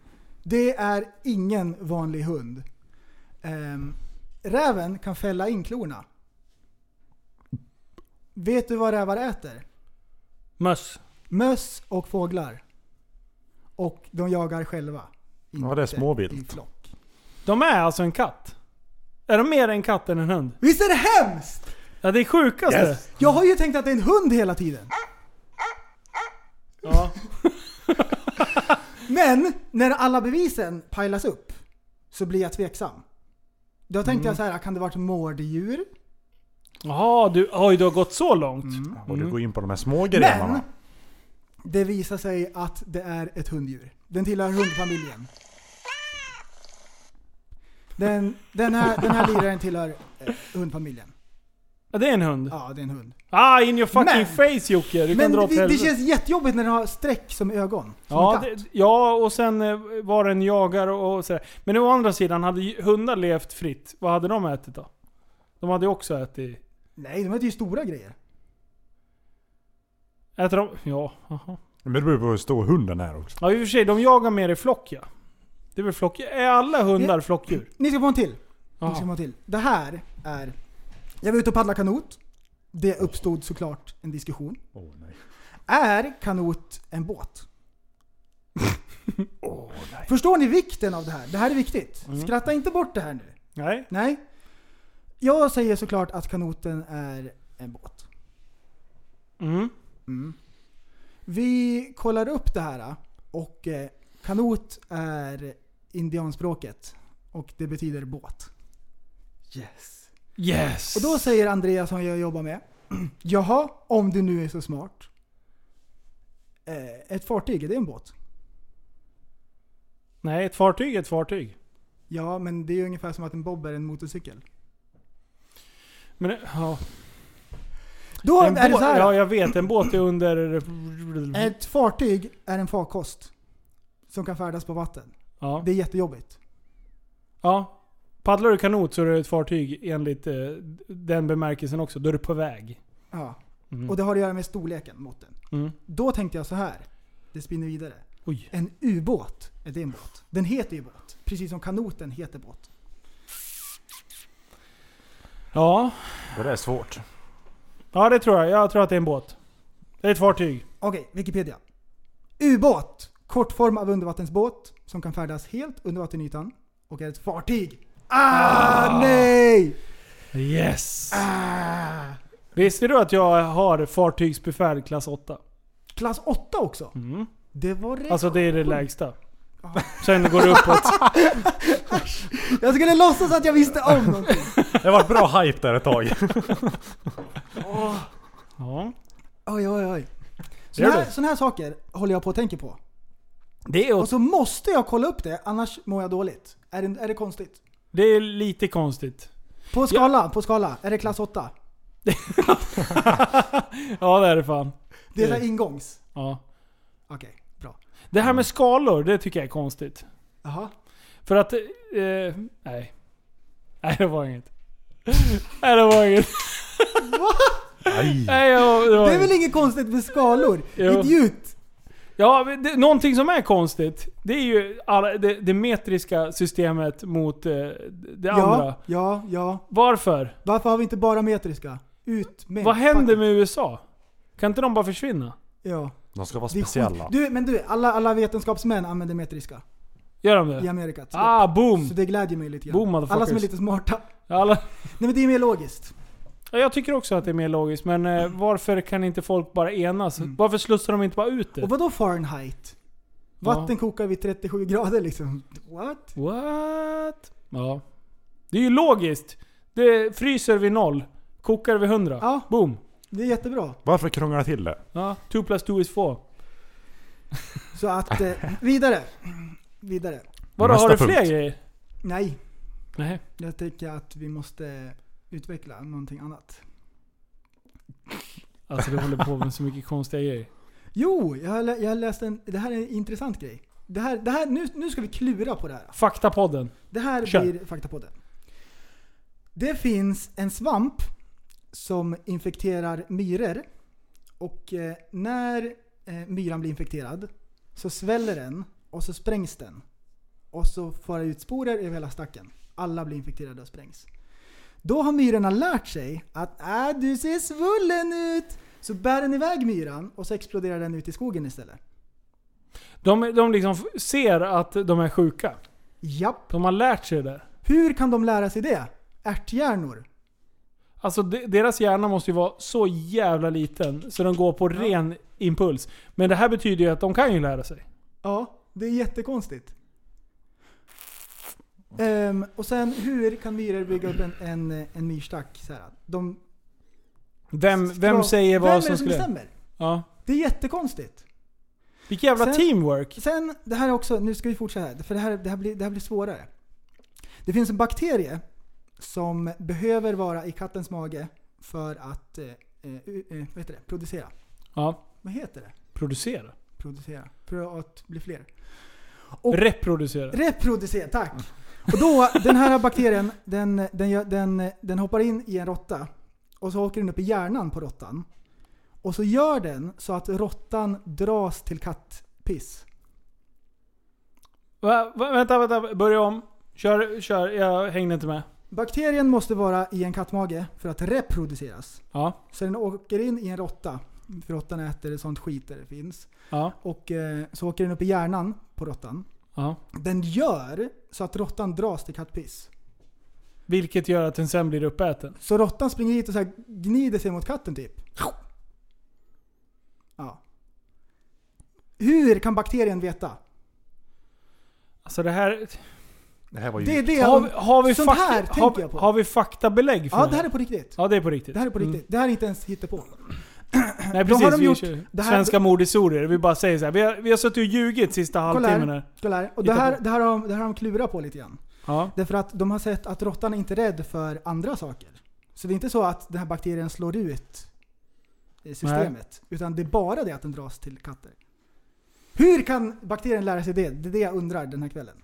[SPEAKER 5] Det är ingen vanlig hund. Ehm, räven kan fälla in klorna. Vet du vad rävar äter?
[SPEAKER 4] möss.
[SPEAKER 5] Möss och fåglar. Och de jagar själva.
[SPEAKER 6] Ja, det är
[SPEAKER 5] Inte
[SPEAKER 6] småvilt.
[SPEAKER 5] i flock.
[SPEAKER 4] De är alltså en katt. Är de mer en katt än en hund?
[SPEAKER 5] Visst är det hemskt?
[SPEAKER 4] Ja det är sjukaste.
[SPEAKER 5] Jag har ju tänkt att det är en hund hela tiden.
[SPEAKER 4] Ja.
[SPEAKER 5] Men när alla bevisen pilas upp så blir jag tveksam. Då
[SPEAKER 6] Mm.
[SPEAKER 5] tänkte jag så här, kan det varit mårddjur?
[SPEAKER 4] Jaha, du, oj du har gått så långt.
[SPEAKER 5] Mm.
[SPEAKER 6] det. Och du går in på de här små
[SPEAKER 5] Men
[SPEAKER 6] grenarna.
[SPEAKER 5] det visar sig att det är ett hunddjur. Den tillhör hundfamiljen. Den, den, här, den här liraren tillhör eh, hundfamiljen.
[SPEAKER 4] Ja, det är en hund.
[SPEAKER 5] Ja, det är en hund.
[SPEAKER 4] Ah, in your fucking
[SPEAKER 5] Men-
[SPEAKER 4] face Jocke. Du kan
[SPEAKER 5] Men
[SPEAKER 4] dra åt
[SPEAKER 5] det, det
[SPEAKER 4] helvete.
[SPEAKER 5] känns jättejobbigt när den har streck som ögon. Som en
[SPEAKER 4] Ja,
[SPEAKER 5] katt.
[SPEAKER 4] det, ja, och sen eh, var den jagar och, och sådär. Men å andra sidan, hade ju hundar levt fritt, vad hade de ätit då? De hade ju också ätit...
[SPEAKER 5] Nej, de äter ju stora grejer.
[SPEAKER 4] Äter de? Ja, aha.
[SPEAKER 6] Men det beror på hur stor hunden är också.
[SPEAKER 4] Ja i och för sig, de jagar mer i flock ja. Det är väl flock... Är alla hundar flockdjur?
[SPEAKER 5] Ni ska få en till. Ni ska
[SPEAKER 4] Ja.
[SPEAKER 5] få en till. Det här är... Jag var ute och paddlade kanot. Det uppstod såklart en diskussion.
[SPEAKER 6] Åh nej.
[SPEAKER 5] Är kanot en båt? Förstår ni vikten av det här? Det här är viktigt. Skratta inte bort det här nu.
[SPEAKER 4] Nej.
[SPEAKER 5] Nej. Jag säger såklart att kanoten är en båt.
[SPEAKER 4] Mm.
[SPEAKER 5] Vi kollar upp det här och eh, kanot är indianspråket och det betyder båt. Yes.
[SPEAKER 4] Yes!
[SPEAKER 5] Och då säger Andreas som jag jobbar med. Jaha, om du nu är så smart. Eh, Ett fartyg, är det en båt?
[SPEAKER 4] Nej, ett fartyg är ett fartyg.
[SPEAKER 5] Ja, men det är ju ungefär som att en bob är en motorcykel.
[SPEAKER 4] Men, ja.
[SPEAKER 5] Då
[SPEAKER 4] En
[SPEAKER 5] är det
[SPEAKER 4] båt-
[SPEAKER 5] så här.
[SPEAKER 4] Ja, jag vet. En båt är under...
[SPEAKER 5] Ett fartyg är en farkost. Som kan färdas på vatten.
[SPEAKER 4] Ja.
[SPEAKER 5] Det är jättejobbigt.
[SPEAKER 4] ja. Paddlar du kanot så är det ett fartyg enligt eh, den bemärkelsen också. Då är du på väg.
[SPEAKER 5] Ja.
[SPEAKER 4] Mm.
[SPEAKER 5] Och det har att göra med storleken, måtten.
[SPEAKER 4] Mm.
[SPEAKER 5] Då tänkte jag så här. Det spinner vidare.
[SPEAKER 4] Oj.
[SPEAKER 5] En ubåt, är det en båt? Den heter ju båt. Precis som kanoten heter båt.
[SPEAKER 4] Ja.
[SPEAKER 6] Det där är svårt.
[SPEAKER 4] ja, det tror jag. Jag tror att det är en båt. Det är ett fartyg.
[SPEAKER 5] Okej, Wikipedia. Ubåt. Kort form av undervattensbåt som kan färdas helt under vattenytan och är ett fartyg. Ah, nej!
[SPEAKER 4] Yes! Ah. Visste du att jag har fartygsbefäl klass 8?
[SPEAKER 5] Klass 8 också.
[SPEAKER 4] Mm.
[SPEAKER 5] Det var rätt.
[SPEAKER 4] Alltså det är det lägsta. Sen går det uppåt.
[SPEAKER 5] Jag skulle låtsas att jag visste om någonting.
[SPEAKER 6] Det var bra hype där ett tag.
[SPEAKER 4] Ja.
[SPEAKER 5] Oj, oj,
[SPEAKER 4] Gör
[SPEAKER 5] oj. Såna här,
[SPEAKER 4] det.
[SPEAKER 5] såna här saker håller jag på att tänka på.
[SPEAKER 4] Det är,
[SPEAKER 5] Och så måste jag kolla upp det, annars mår jag dåligt. Är det, är det konstigt?
[SPEAKER 4] det är lite konstigt.
[SPEAKER 5] På skala, på skala. Är det klass 8?
[SPEAKER 4] Ja det är det fan.
[SPEAKER 5] Det är
[SPEAKER 4] Det-
[SPEAKER 5] så här ingångs.
[SPEAKER 4] Ja.
[SPEAKER 5] Okej, bra.
[SPEAKER 4] Det här med skalor, det tycker jag är konstigt.
[SPEAKER 5] Jaha.
[SPEAKER 4] För att... Eh, nej. Nej det var inget. Nej det var inget.
[SPEAKER 6] Aj.
[SPEAKER 4] Nej, jag, det var
[SPEAKER 5] Det är väl
[SPEAKER 4] inget.
[SPEAKER 5] inget konstigt med skalor?
[SPEAKER 4] Jo.
[SPEAKER 5] Idiot!
[SPEAKER 4] Ja, men det, någonting som är konstigt. Det är ju alla, det, det metriska systemet mot eh, det andra.
[SPEAKER 5] Ja, ja, ja.
[SPEAKER 4] Varför?
[SPEAKER 5] Varför har vi inte bara metriska? Ut med...
[SPEAKER 4] Vad händer
[SPEAKER 5] Fuck.
[SPEAKER 4] med USA? Kan inte de bara försvinna?
[SPEAKER 5] Ja.
[SPEAKER 6] De ska vara
[SPEAKER 5] Det är
[SPEAKER 6] speciella.
[SPEAKER 5] skit. Du, men du, alla, alla vetenskapsmän använder metriska.
[SPEAKER 4] Gör de det?
[SPEAKER 5] I Amerika. Så,
[SPEAKER 4] Ah, boom!
[SPEAKER 5] så det glädjer mig lite
[SPEAKER 4] Boom,
[SPEAKER 5] grann. Alla som är
[SPEAKER 4] motherfuckers.
[SPEAKER 5] lite smarta.
[SPEAKER 4] Alla,
[SPEAKER 5] Nej men det är mer logiskt.
[SPEAKER 4] Ja, jag tycker också att det är mer logiskt, men eh,
[SPEAKER 5] Mm.
[SPEAKER 4] varför kan inte folk bara enas? Varför slussar de inte bara ut det?
[SPEAKER 5] Och vadå Fahrenheit? Vatten kokar vid 37 grader liksom. What?
[SPEAKER 4] What? Ja. Det är ju logiskt. Det fryser vid noll, kokar vid 100.
[SPEAKER 5] Ja.
[SPEAKER 4] Boom!
[SPEAKER 5] Det är jättebra.
[SPEAKER 6] Varför krånglar jag till det?
[SPEAKER 4] Ja, 2 plus 2 is 4.
[SPEAKER 5] Så att, eh, vidare. Vidare.
[SPEAKER 4] Vadå,
[SPEAKER 6] Nästa
[SPEAKER 4] har du
[SPEAKER 6] punkt.
[SPEAKER 4] fler grejer?
[SPEAKER 5] Nej,
[SPEAKER 4] Nej.
[SPEAKER 5] jag tycker att vi måste utveckla någonting annat.
[SPEAKER 4] Alltså du håller på med så mycket konstiga grejer.
[SPEAKER 5] Jo, jag har, lä- jag har läst en... Det här är en intressant grej. Det här, det här, nu, nu ska vi klura på det här.
[SPEAKER 4] Faktapodden.
[SPEAKER 5] Det här
[SPEAKER 4] Kör.
[SPEAKER 5] blir faktapodden. Det finns en svamp som infekterar myror. Och eh, när eh, myran blir infekterad så sväller den och så sprängs den. Och så får det ut sporer över hela stacken. Alla blir infekterade och sprängs. Då har myrorna lärt sig att äh, du ser svullen ut. Så bär den iväg myran och så exploderar den ut i skogen istället.
[SPEAKER 4] De, de liksom f- ser att de är sjuka.
[SPEAKER 5] Japp.
[SPEAKER 4] De har lärt sig det.
[SPEAKER 5] Hur kan de lära sig det? Ärthjärnor.
[SPEAKER 4] Alltså de, deras hjärna måste ju vara så jävla liten så den går på ren impuls. Men det här betyder ju att de kan ju lära sig.
[SPEAKER 5] Ja, det är jättekonstigt. Ehm, och sen hur kan myror bygga upp en, en, en myrstack? Så här, de
[SPEAKER 4] Vem,
[SPEAKER 5] drar-
[SPEAKER 4] vem säger
[SPEAKER 5] vem är
[SPEAKER 4] vad
[SPEAKER 5] det
[SPEAKER 4] som skulle...
[SPEAKER 5] bestämmer?
[SPEAKER 4] Ja.
[SPEAKER 5] Det är jättekonstigt.
[SPEAKER 4] Vilket jävla
[SPEAKER 5] Sen-
[SPEAKER 4] teamwork.
[SPEAKER 5] Sen, det här är också, nu ska vi fortsätta här, för det här, det, här blir, det här blir svårare. Det finns en bakterie som behöver vara i kattens mage för att eh, eh, eh, vad heter det? producera.
[SPEAKER 4] Ja.
[SPEAKER 5] Vad heter det?
[SPEAKER 4] Producera.
[SPEAKER 5] Producera. För att bli fler. Och-
[SPEAKER 4] Reproducera.
[SPEAKER 5] Reproducera, tack! Och då, den här bakterien, den, den, gör- den, den hoppar in i en råtta. Och så åker den upp i hjärnan på råttan. Och så gör den så att råttan dras till kattpiss.
[SPEAKER 4] Va, va, vänta, vänta. Börja om. Kör, kör. Jag hängde inte med.
[SPEAKER 5] Bakterien måste vara i en kattmage för att reproduceras.
[SPEAKER 4] Ja.
[SPEAKER 5] Så den åker in i en råtta. För råttan äter sånt skit där det finns.
[SPEAKER 4] Ja.
[SPEAKER 5] Och eh, så åker den upp i hjärnan på råttan.
[SPEAKER 4] Ja.
[SPEAKER 5] Den gör så att råttan dras till kattpiss.
[SPEAKER 4] Vilket gör att den sen blir uppäten.
[SPEAKER 5] Så råttan springer hit och så här gnider sig mot katten typ. Ja. Hur kan bakterien veta?
[SPEAKER 4] Alltså det här...
[SPEAKER 6] Det här var ju...
[SPEAKER 5] Det är det
[SPEAKER 4] Har vi, har vi,
[SPEAKER 5] Sånt
[SPEAKER 4] fakta,
[SPEAKER 5] här
[SPEAKER 4] har,
[SPEAKER 5] tänker jag på.
[SPEAKER 4] har vi faktabelägg för
[SPEAKER 5] ja, det här är på riktigt.
[SPEAKER 4] Ja, det är på riktigt.
[SPEAKER 5] Det här är på riktigt.
[SPEAKER 4] Mm.
[SPEAKER 5] Det här är inte ens hittepå.
[SPEAKER 4] Nej
[SPEAKER 5] Då
[SPEAKER 4] precis,
[SPEAKER 5] har de
[SPEAKER 4] vi
[SPEAKER 5] gjort-
[SPEAKER 4] kör
[SPEAKER 5] det här-
[SPEAKER 4] svenska mordhistorier. Vi bara säger så här. Vi har, vi har suttit och ljugit sista
[SPEAKER 5] Kolla
[SPEAKER 4] halvtimmen
[SPEAKER 5] här.
[SPEAKER 4] här.
[SPEAKER 5] Kolla här. Och det
[SPEAKER 4] Hitta
[SPEAKER 5] här,
[SPEAKER 4] på.
[SPEAKER 5] det här har de, det här har de klurat på lite grann.
[SPEAKER 4] Ja.
[SPEAKER 5] Därför att de har sett att råttan är inte rädd för andra saker. Så det är inte så att den här bakterien slår ut eh, systemet. Utan det är bara det att den dras till katter. Hur kan bakterien lära sig det? Det är det jag undrar den här kvällen.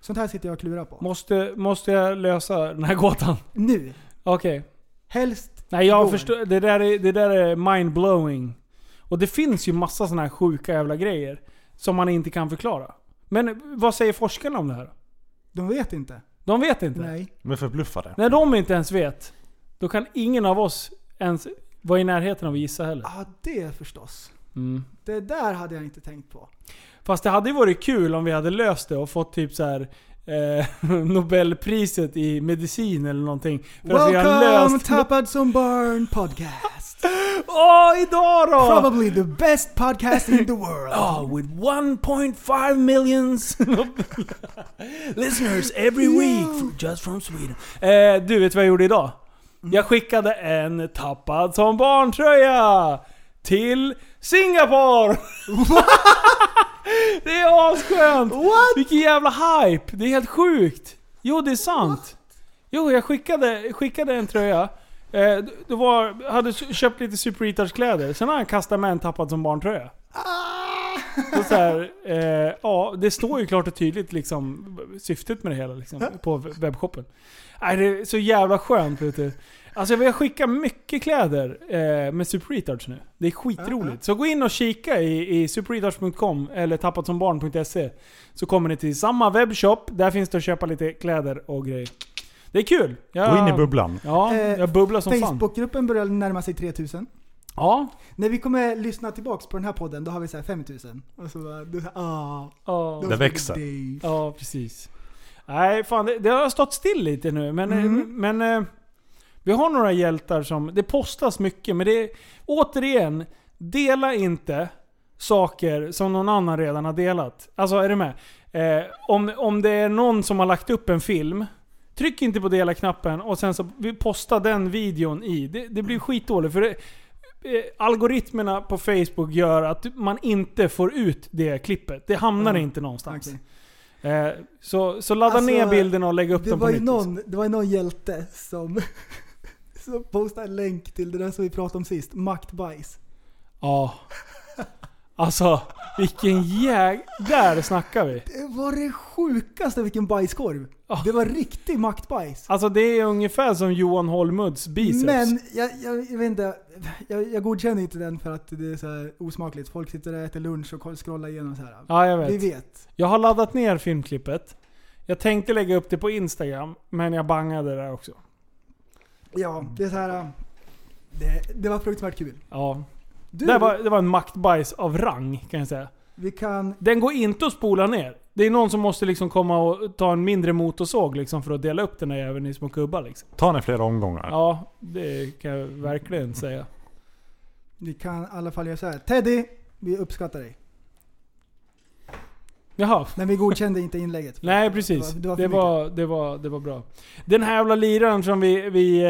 [SPEAKER 5] Sånt här sitter jag och klurar på.
[SPEAKER 4] Måste, måste jag lösa den här gåtan?
[SPEAKER 5] Nu.
[SPEAKER 4] Okej.
[SPEAKER 5] Helst.
[SPEAKER 4] Nej jag
[SPEAKER 5] igår.
[SPEAKER 4] förstår. Det där är, det där är mind-blowing. Och det finns ju massa sådana här sjuka jävla grejer. Som man inte kan förklara. Men vad säger forskarna om det här?
[SPEAKER 5] De vet inte.
[SPEAKER 4] De vet inte.
[SPEAKER 5] Nej.
[SPEAKER 6] De är förbluffade.
[SPEAKER 4] När de inte ens vet, då kan ingen av oss ens vara i närheten av att gissa heller.
[SPEAKER 5] Ja, ah, det förstås.
[SPEAKER 4] Mm.
[SPEAKER 5] Det där hade jag inte tänkt på.
[SPEAKER 4] Fast det hade ju varit kul om vi hade löst det och fått typ så här. Eh, Nobelpriset i medicin eller någonting. För att vi har
[SPEAKER 5] Welcome
[SPEAKER 4] löst...
[SPEAKER 5] Tappad som barn podcast.
[SPEAKER 4] Åh, idag då!
[SPEAKER 5] Probably the best podcast in the world.
[SPEAKER 4] Oh, with 1.5 millions listeners every week from- just from Sweden. Eh, du, vet vad jag gjorde idag?
[SPEAKER 5] Mm.
[SPEAKER 4] Jag skickade en tappad som barntröja till Singapore! det är asskönt!
[SPEAKER 5] What?
[SPEAKER 4] Vilken jävla hype! Det är helt sjukt! Jo, det är sant. Jo, jag skickade, skickade en tröja. Eh, då var, hade s- köpt lite Super Retards kläder. Sen har han kastat med en tappad som barntröja. Och så här, eh, ja, det står ju klart och tydligt liksom, syftet med det hela liksom, på webbshoppen. Nej, det är så jävla skönt vet du. Alltså vi har skickat mycket kläder eh, med Super Retards nu. Det är skitroligt. Så gå in och kika i, i superretards.com eller tappatsombarn.se så kommer ni till samma webbshop. Där finns det att köpa lite kläder och grejer. Det är kul. Jag,
[SPEAKER 6] Gå in i bubblan.
[SPEAKER 4] Ja,
[SPEAKER 5] Eh,
[SPEAKER 4] jag bubblar som fan.
[SPEAKER 5] Facebookgruppen börjar närma sig 3000.
[SPEAKER 4] Ja.
[SPEAKER 5] När vi kommer lyssna tillbaks på den här podden, då har vi så här 5000. Och så bara, du, ah,
[SPEAKER 4] Ja.
[SPEAKER 5] those
[SPEAKER 6] Det
[SPEAKER 5] were the
[SPEAKER 6] växer.
[SPEAKER 5] days.
[SPEAKER 4] Ja, precis. Nej, fan det, det har stått still lite nu. Men,
[SPEAKER 5] Mm.
[SPEAKER 4] men eh, vi har några hjältar som... Det postas mycket, men det är... Återigen, dela inte saker som någon annan redan har delat. Alltså, är du med? Eh, om, om det är någon som har lagt upp en film, tryck inte på dela-knappen och sen så vi posta den videon i. Det, det blir skitdåligt. För det, eh, algoritmerna på Facebook gör att man inte får ut det klippet. Det hamnar
[SPEAKER 5] Mm.
[SPEAKER 4] inte någonstans.
[SPEAKER 5] Okej.
[SPEAKER 4] Eh, så, så ladda
[SPEAKER 5] Alltså,
[SPEAKER 4] ner bilderna och lägg upp
[SPEAKER 5] Det
[SPEAKER 4] dem på
[SPEAKER 5] var, ju
[SPEAKER 4] nytt. liksom.
[SPEAKER 5] någon, det var ju någon hjälte som, som postade en länk till det där som vi pratade om sist. Maktbajs.
[SPEAKER 4] Ja. Alltså, vilken jäg... Där snackar vi.
[SPEAKER 5] Det var det sjukaste vilken bajskorv.
[SPEAKER 4] Ja.
[SPEAKER 5] Det var riktig maktbajs.
[SPEAKER 4] Alltså det är ungefär som Johan Holmuds biceps.
[SPEAKER 5] Men jag, jag, jag vet inte, jag, jag godkänner inte den för att det är så här osmakligt. Folk sitter och äter lunch och scrollar igenom så här.
[SPEAKER 4] Ja, jag vet.
[SPEAKER 5] Vi vet.
[SPEAKER 4] Jag har laddat ner filmklippet. Jag tänkte lägga upp det på Instagram, men jag bangade där också.
[SPEAKER 5] Ja, det är så här. Det, det var fruktansvärt kul.
[SPEAKER 4] Ja.
[SPEAKER 5] Du,
[SPEAKER 4] Det, var, det var en maktbajs av rang, kan jag säga.
[SPEAKER 5] vi kan...
[SPEAKER 4] Den går inte att spola ner. Det är någon som måste liksom komma och ta en mindre motorsåg liksom för att dela upp den där jäveln i små kubbar. Liksom.
[SPEAKER 6] Ta den i flera omgångar.
[SPEAKER 4] Ja, det kan jag verkligen säga.
[SPEAKER 5] Vi kan i alla fall göra så här. Teddy, vi uppskattar dig.
[SPEAKER 4] Jaha.
[SPEAKER 5] Men vi godkände inte inlägget.
[SPEAKER 4] Nej precis.
[SPEAKER 5] Det var-
[SPEAKER 4] Det
[SPEAKER 5] det var för
[SPEAKER 4] var, det, var, det var bra. Den här jävla liraren som vi... vi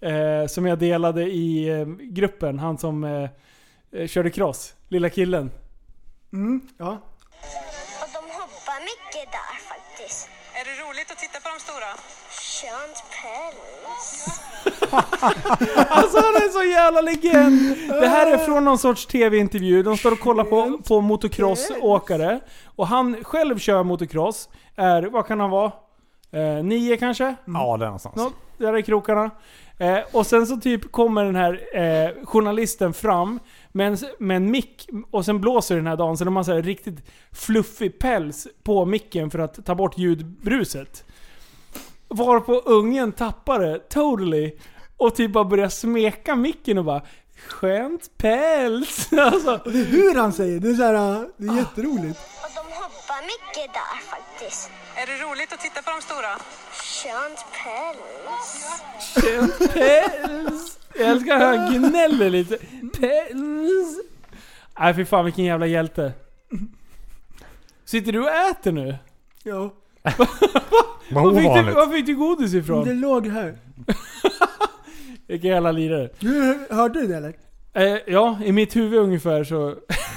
[SPEAKER 4] eh, eh, som jag delade i eh, gruppen. Han som eh, eh, körde cross. Lilla killen.
[SPEAKER 5] Mm, ja.
[SPEAKER 8] Och de hoppar mycket där faktiskt.
[SPEAKER 9] Är det roligt att titta på de stora?
[SPEAKER 8] Skönt päls.
[SPEAKER 4] Alltså han är så jävla legend! Det här är från någon sorts tv-intervju. De står och kollar på, på motocrossåkare. Och han själv kör motocross. Är, vad kan han vara? Eh, nio kanske?
[SPEAKER 6] Ja, det är någonstans.
[SPEAKER 4] Nå, där i krokarna. Eh, och sen så typ kommer den här eh, journalisten fram med en, med en mick och sen blåser den här dagen så de har så här riktigt fluffig päls på micken för att ta bort ljudbruset. Varpå ungen tappar det totally och typ bara börjar smeka micken och bara Skönt päls! Alltså,
[SPEAKER 5] Och det är hur han säger, det är så här, äh, det är jätteroligt.
[SPEAKER 8] Och de hoppar mycket där faktiskt.
[SPEAKER 9] Är det roligt att titta på de stora?
[SPEAKER 8] Skönt päls.
[SPEAKER 4] Päls! Jag älskar hur han gnäller lite. Päls! Nej fy fan vilken jävla hjälte. Sitter du och äter nu?
[SPEAKER 5] Ja.
[SPEAKER 6] Vad
[SPEAKER 4] Var fick, du,
[SPEAKER 6] ovanligt.
[SPEAKER 4] var fick du godis
[SPEAKER 5] Det
[SPEAKER 4] ifrån?
[SPEAKER 5] låg här.
[SPEAKER 4] Vilken jävla lirare.
[SPEAKER 5] Du, hörde du det eller?
[SPEAKER 4] Eh, ja, i mitt huvud ungefär så...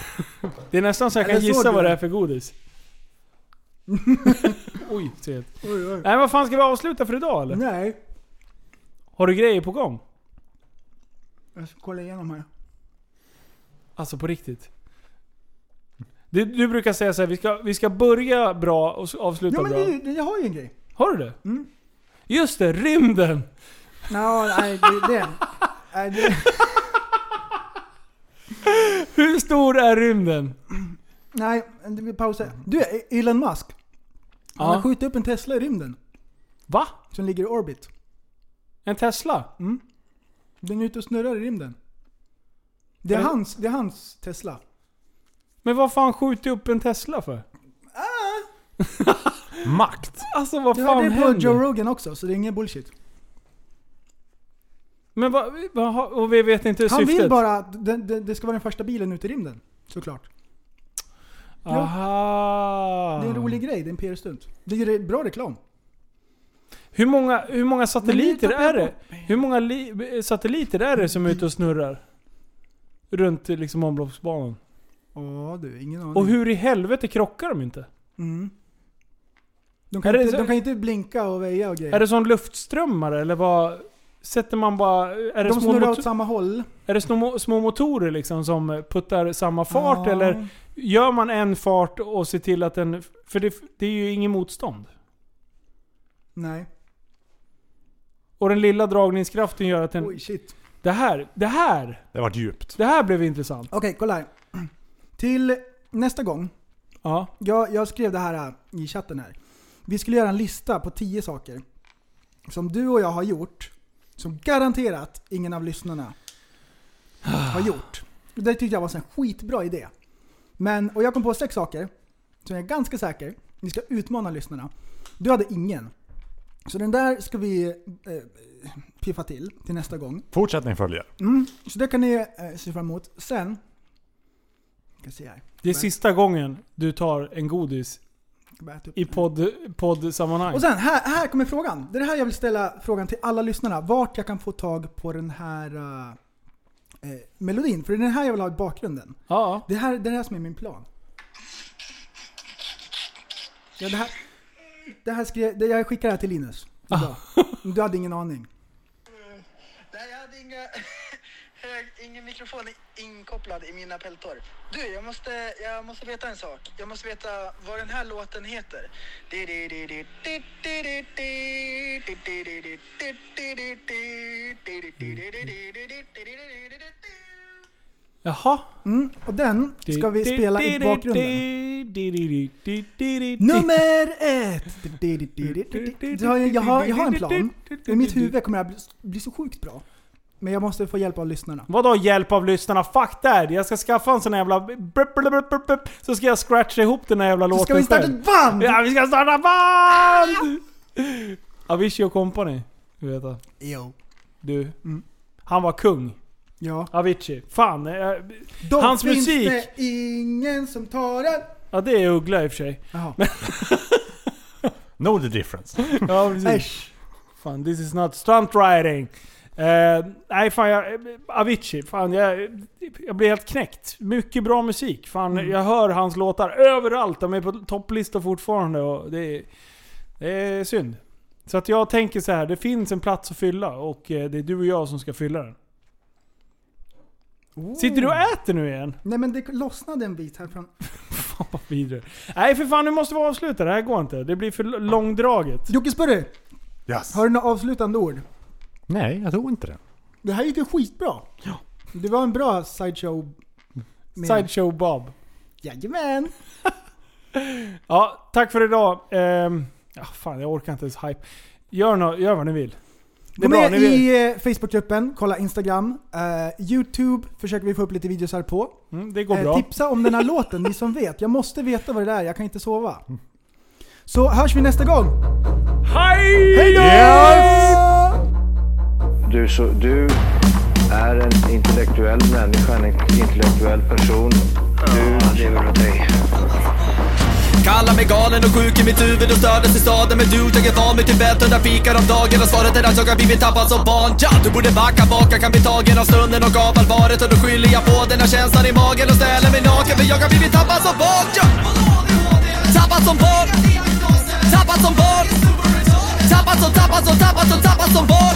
[SPEAKER 4] det är nästan så jag kan
[SPEAKER 5] Eller såg
[SPEAKER 4] gissa
[SPEAKER 5] du
[SPEAKER 4] vad det
[SPEAKER 5] det?
[SPEAKER 4] är för godis. Oj, trevligt.
[SPEAKER 5] Oj, oj.
[SPEAKER 4] Nej vad fan ska vi avsluta för idag eller?
[SPEAKER 5] Nej.
[SPEAKER 4] Har du grejer på gång?
[SPEAKER 5] Jag ska kolla igenom här.
[SPEAKER 4] Alltså på riktigt. Du, du brukar säga så här, vi ska, vi ska börja bra och s- avsluta
[SPEAKER 5] Ja men
[SPEAKER 4] bra.
[SPEAKER 5] det, det, jag har ju en grej.
[SPEAKER 4] Har du det?
[SPEAKER 5] Mm.
[SPEAKER 4] Just det, rymden!
[SPEAKER 5] No, nej, det, det. Nej, det.
[SPEAKER 4] Hur stor är rymden?
[SPEAKER 5] Nej, vi pausar. Du, Elon Musk. Han har
[SPEAKER 4] Ja.
[SPEAKER 5] skjutit upp en Tesla i rymden.
[SPEAKER 4] Va?
[SPEAKER 5] Som ligger i orbit.
[SPEAKER 4] En Tesla?
[SPEAKER 5] Mm. Den är ute och snurrar i rymden. Det
[SPEAKER 4] Är
[SPEAKER 5] är
[SPEAKER 4] det-
[SPEAKER 5] hans, det är hans Tesla.
[SPEAKER 4] Men vad fan skjuter upp en Tesla för?
[SPEAKER 6] Makt.
[SPEAKER 4] Alltså vad
[SPEAKER 5] Du
[SPEAKER 4] fan
[SPEAKER 5] hörde Ah. det på
[SPEAKER 4] händer?
[SPEAKER 5] Joe Rogan också, så det är ingen bullshit.
[SPEAKER 4] Men vad, vad, har- och vi vet inte
[SPEAKER 5] Han
[SPEAKER 4] syftet?
[SPEAKER 5] vill bara att det, det, det ska vara den första bilen ut i rymden. Såklart.
[SPEAKER 4] Aha.
[SPEAKER 5] Det
[SPEAKER 4] Ah.
[SPEAKER 5] är en rolig grej, det är en PR-stunt. Det är re- bra reklam.
[SPEAKER 4] Hur många, hur många satelliter
[SPEAKER 5] Men nu
[SPEAKER 4] är
[SPEAKER 5] tappar jag
[SPEAKER 4] det? Hur många li, satelliter är det som är ute och snurrar? Runt liksom omloppsbanan.
[SPEAKER 5] Ja du, ingen aning.
[SPEAKER 4] Och hur i helvete krockar de inte?
[SPEAKER 5] Mm. De, kan
[SPEAKER 4] Är det
[SPEAKER 5] inte,
[SPEAKER 4] så-
[SPEAKER 5] de kan inte blinka och väja och grejer.
[SPEAKER 4] Är det sån luftströmmare eller vad? Sätter man bara... Är det,
[SPEAKER 5] de
[SPEAKER 4] små,
[SPEAKER 5] snurrar
[SPEAKER 4] mot,
[SPEAKER 5] åt samma håll.
[SPEAKER 4] är det små, små motorer liksom som puttar samma fart
[SPEAKER 5] Ja.
[SPEAKER 4] eller gör man en fart och ser till att den... För det, det är ju ingen motstånd.
[SPEAKER 5] Nej.
[SPEAKER 4] Och den lilla dragningskraften gör att den...
[SPEAKER 5] Oj shit.
[SPEAKER 4] Det här, det här,
[SPEAKER 6] Det vart djupt.
[SPEAKER 4] det här blev intressant.
[SPEAKER 5] Okej, kolla här. Till nästa gång.
[SPEAKER 4] Ja.
[SPEAKER 5] Jag, jag skrev det här äh, i chatten här. Vi skulle göra en lista på tio saker som du och jag har gjort, som garanterat ingen av lyssnarna har gjort. Och Det tyckte jag var en sån här skitbra idé. Men, och jag kom på sex saker, som jag är ganska säker, vi ska utmana lyssnarna. Du hade ingen. Så den där ska vi eh, piffa till, till nästa gång.
[SPEAKER 6] Fortsättning följer.
[SPEAKER 5] Mm, så det kan ni eh, se fram emot. Sen... Ska se här.
[SPEAKER 4] Det är sista gången du tar en godis
[SPEAKER 5] Ska bara äta upp
[SPEAKER 4] i
[SPEAKER 5] den.
[SPEAKER 4] podd, poddsammanhang.
[SPEAKER 5] Och sen, här, här kommer frågan. Det är det här jag vill ställa frågan till alla lyssnarna. Vart jag kan få tag på den här eh, eh, melodin. För det är den här jag vill ha i bakgrunden.
[SPEAKER 4] ja.
[SPEAKER 5] Det här, det här som är min plan. Ja, det här, det här skrev, det, jag skickade det här till Linus. idag. Du hade ingen aning.
[SPEAKER 10] Nej, jag hade inga, hög, ingen mikrofon inkopplad i mina peltor. Du, jag måste, jag måste veta en sak. Jag måste veta vad den här låten heter.
[SPEAKER 4] Jaha.
[SPEAKER 5] Mm, och den ska vi spela i bakgrunden.
[SPEAKER 4] bakgrunden.
[SPEAKER 5] Nummer ett! Så har Jag, jag, har, jag har en plan. I mitt huvud kommer det här bli, bli så sjukt bra. Men jag måste få hjälp av lyssnarna.
[SPEAKER 4] Vadå hjälp av lyssnarna? Fuck that! Jag ska skaffa en sån här jävla... brup, brup, brup, brup, brup, Så ska jag scratcha ihop den här jävla
[SPEAKER 5] Så
[SPEAKER 4] låten
[SPEAKER 5] ska vi starta
[SPEAKER 4] själv.
[SPEAKER 5] ett band!
[SPEAKER 4] Ja, vi ska starta band! Avicii och Company. Du vet det.
[SPEAKER 5] Jo.
[SPEAKER 4] Du.
[SPEAKER 5] Mm.
[SPEAKER 4] Han var kung.
[SPEAKER 5] Ja.
[SPEAKER 4] Avicii. Fan. eh,
[SPEAKER 5] Då
[SPEAKER 4] Hans
[SPEAKER 5] finns
[SPEAKER 4] musik.
[SPEAKER 5] det ingen som tar den.
[SPEAKER 4] Ja, det är Uggla i och för sig.
[SPEAKER 5] Jaha.
[SPEAKER 6] Know the difference.
[SPEAKER 4] Ja, precis.
[SPEAKER 5] Äsch.
[SPEAKER 4] Fan, this is not stunt riding. Eh, nej fan, jag, eh, Avicii. Fan, jag, jag blir helt knäckt. Mycket bra musik. Fan, jag hör hans låtar överallt. De är på topplistor fortfarande och det är, det är synd. Så att jag tänker så här, det finns en plats att fylla och eh, det är du och jag som ska fylla den. Sitter du och äter nu igen?
[SPEAKER 5] Nej men det lossnade en bit här från...
[SPEAKER 4] Fan vad vidrigt. Nej för fan, nu måste vi avsluta. Det här går inte. Det blir för l- långdraget.
[SPEAKER 5] Jockesburry,
[SPEAKER 6] Yes.
[SPEAKER 5] har du några avslutande ord?
[SPEAKER 6] Nej, jag tror inte det.
[SPEAKER 5] Det här gick ju skitbra. Ja. Det var en bra sideshow. med-
[SPEAKER 4] Sideshow Bob.
[SPEAKER 5] Jajamän!
[SPEAKER 4] Ja, tack för idag. Ehm, ja, fan, jag orkar inte ens hype. Gör, nå, gör vad ni vill. Det
[SPEAKER 5] Gå
[SPEAKER 4] är bra,
[SPEAKER 5] med
[SPEAKER 4] ni vill.
[SPEAKER 5] i eh, Facebookgruppen, kolla Instagram, eh, Youtube försöker vi få upp lite videos här på.
[SPEAKER 4] Mm, det går
[SPEAKER 5] Eh,
[SPEAKER 4] bra.
[SPEAKER 5] tipsa om den här låten, ni som vet. Jag måste veta vad det är, jag kan inte sova.
[SPEAKER 4] Mm.
[SPEAKER 5] Så hörs vi nästa gång!
[SPEAKER 4] Hej!
[SPEAKER 1] Du, så, du är en intellektuell människa, en intellektuell person. Du lever av dig.
[SPEAKER 2] Kallar mig galen och sjuk i mitt huvud och stördes i staden Men du, jag är van vid Tibet och där fikar om dagen Och svaret är att jag har blivit tappad som barn ja, Du borde backa bak, jag kan bli tagen av stunden och av allvaret Och då skyller jag på den här känslan i magen och ställer mig naken För jag har blivit tappad som barn ja. Tappad som barn Tappad som barn Tappad som, tappad som, tappad som, tappad som barn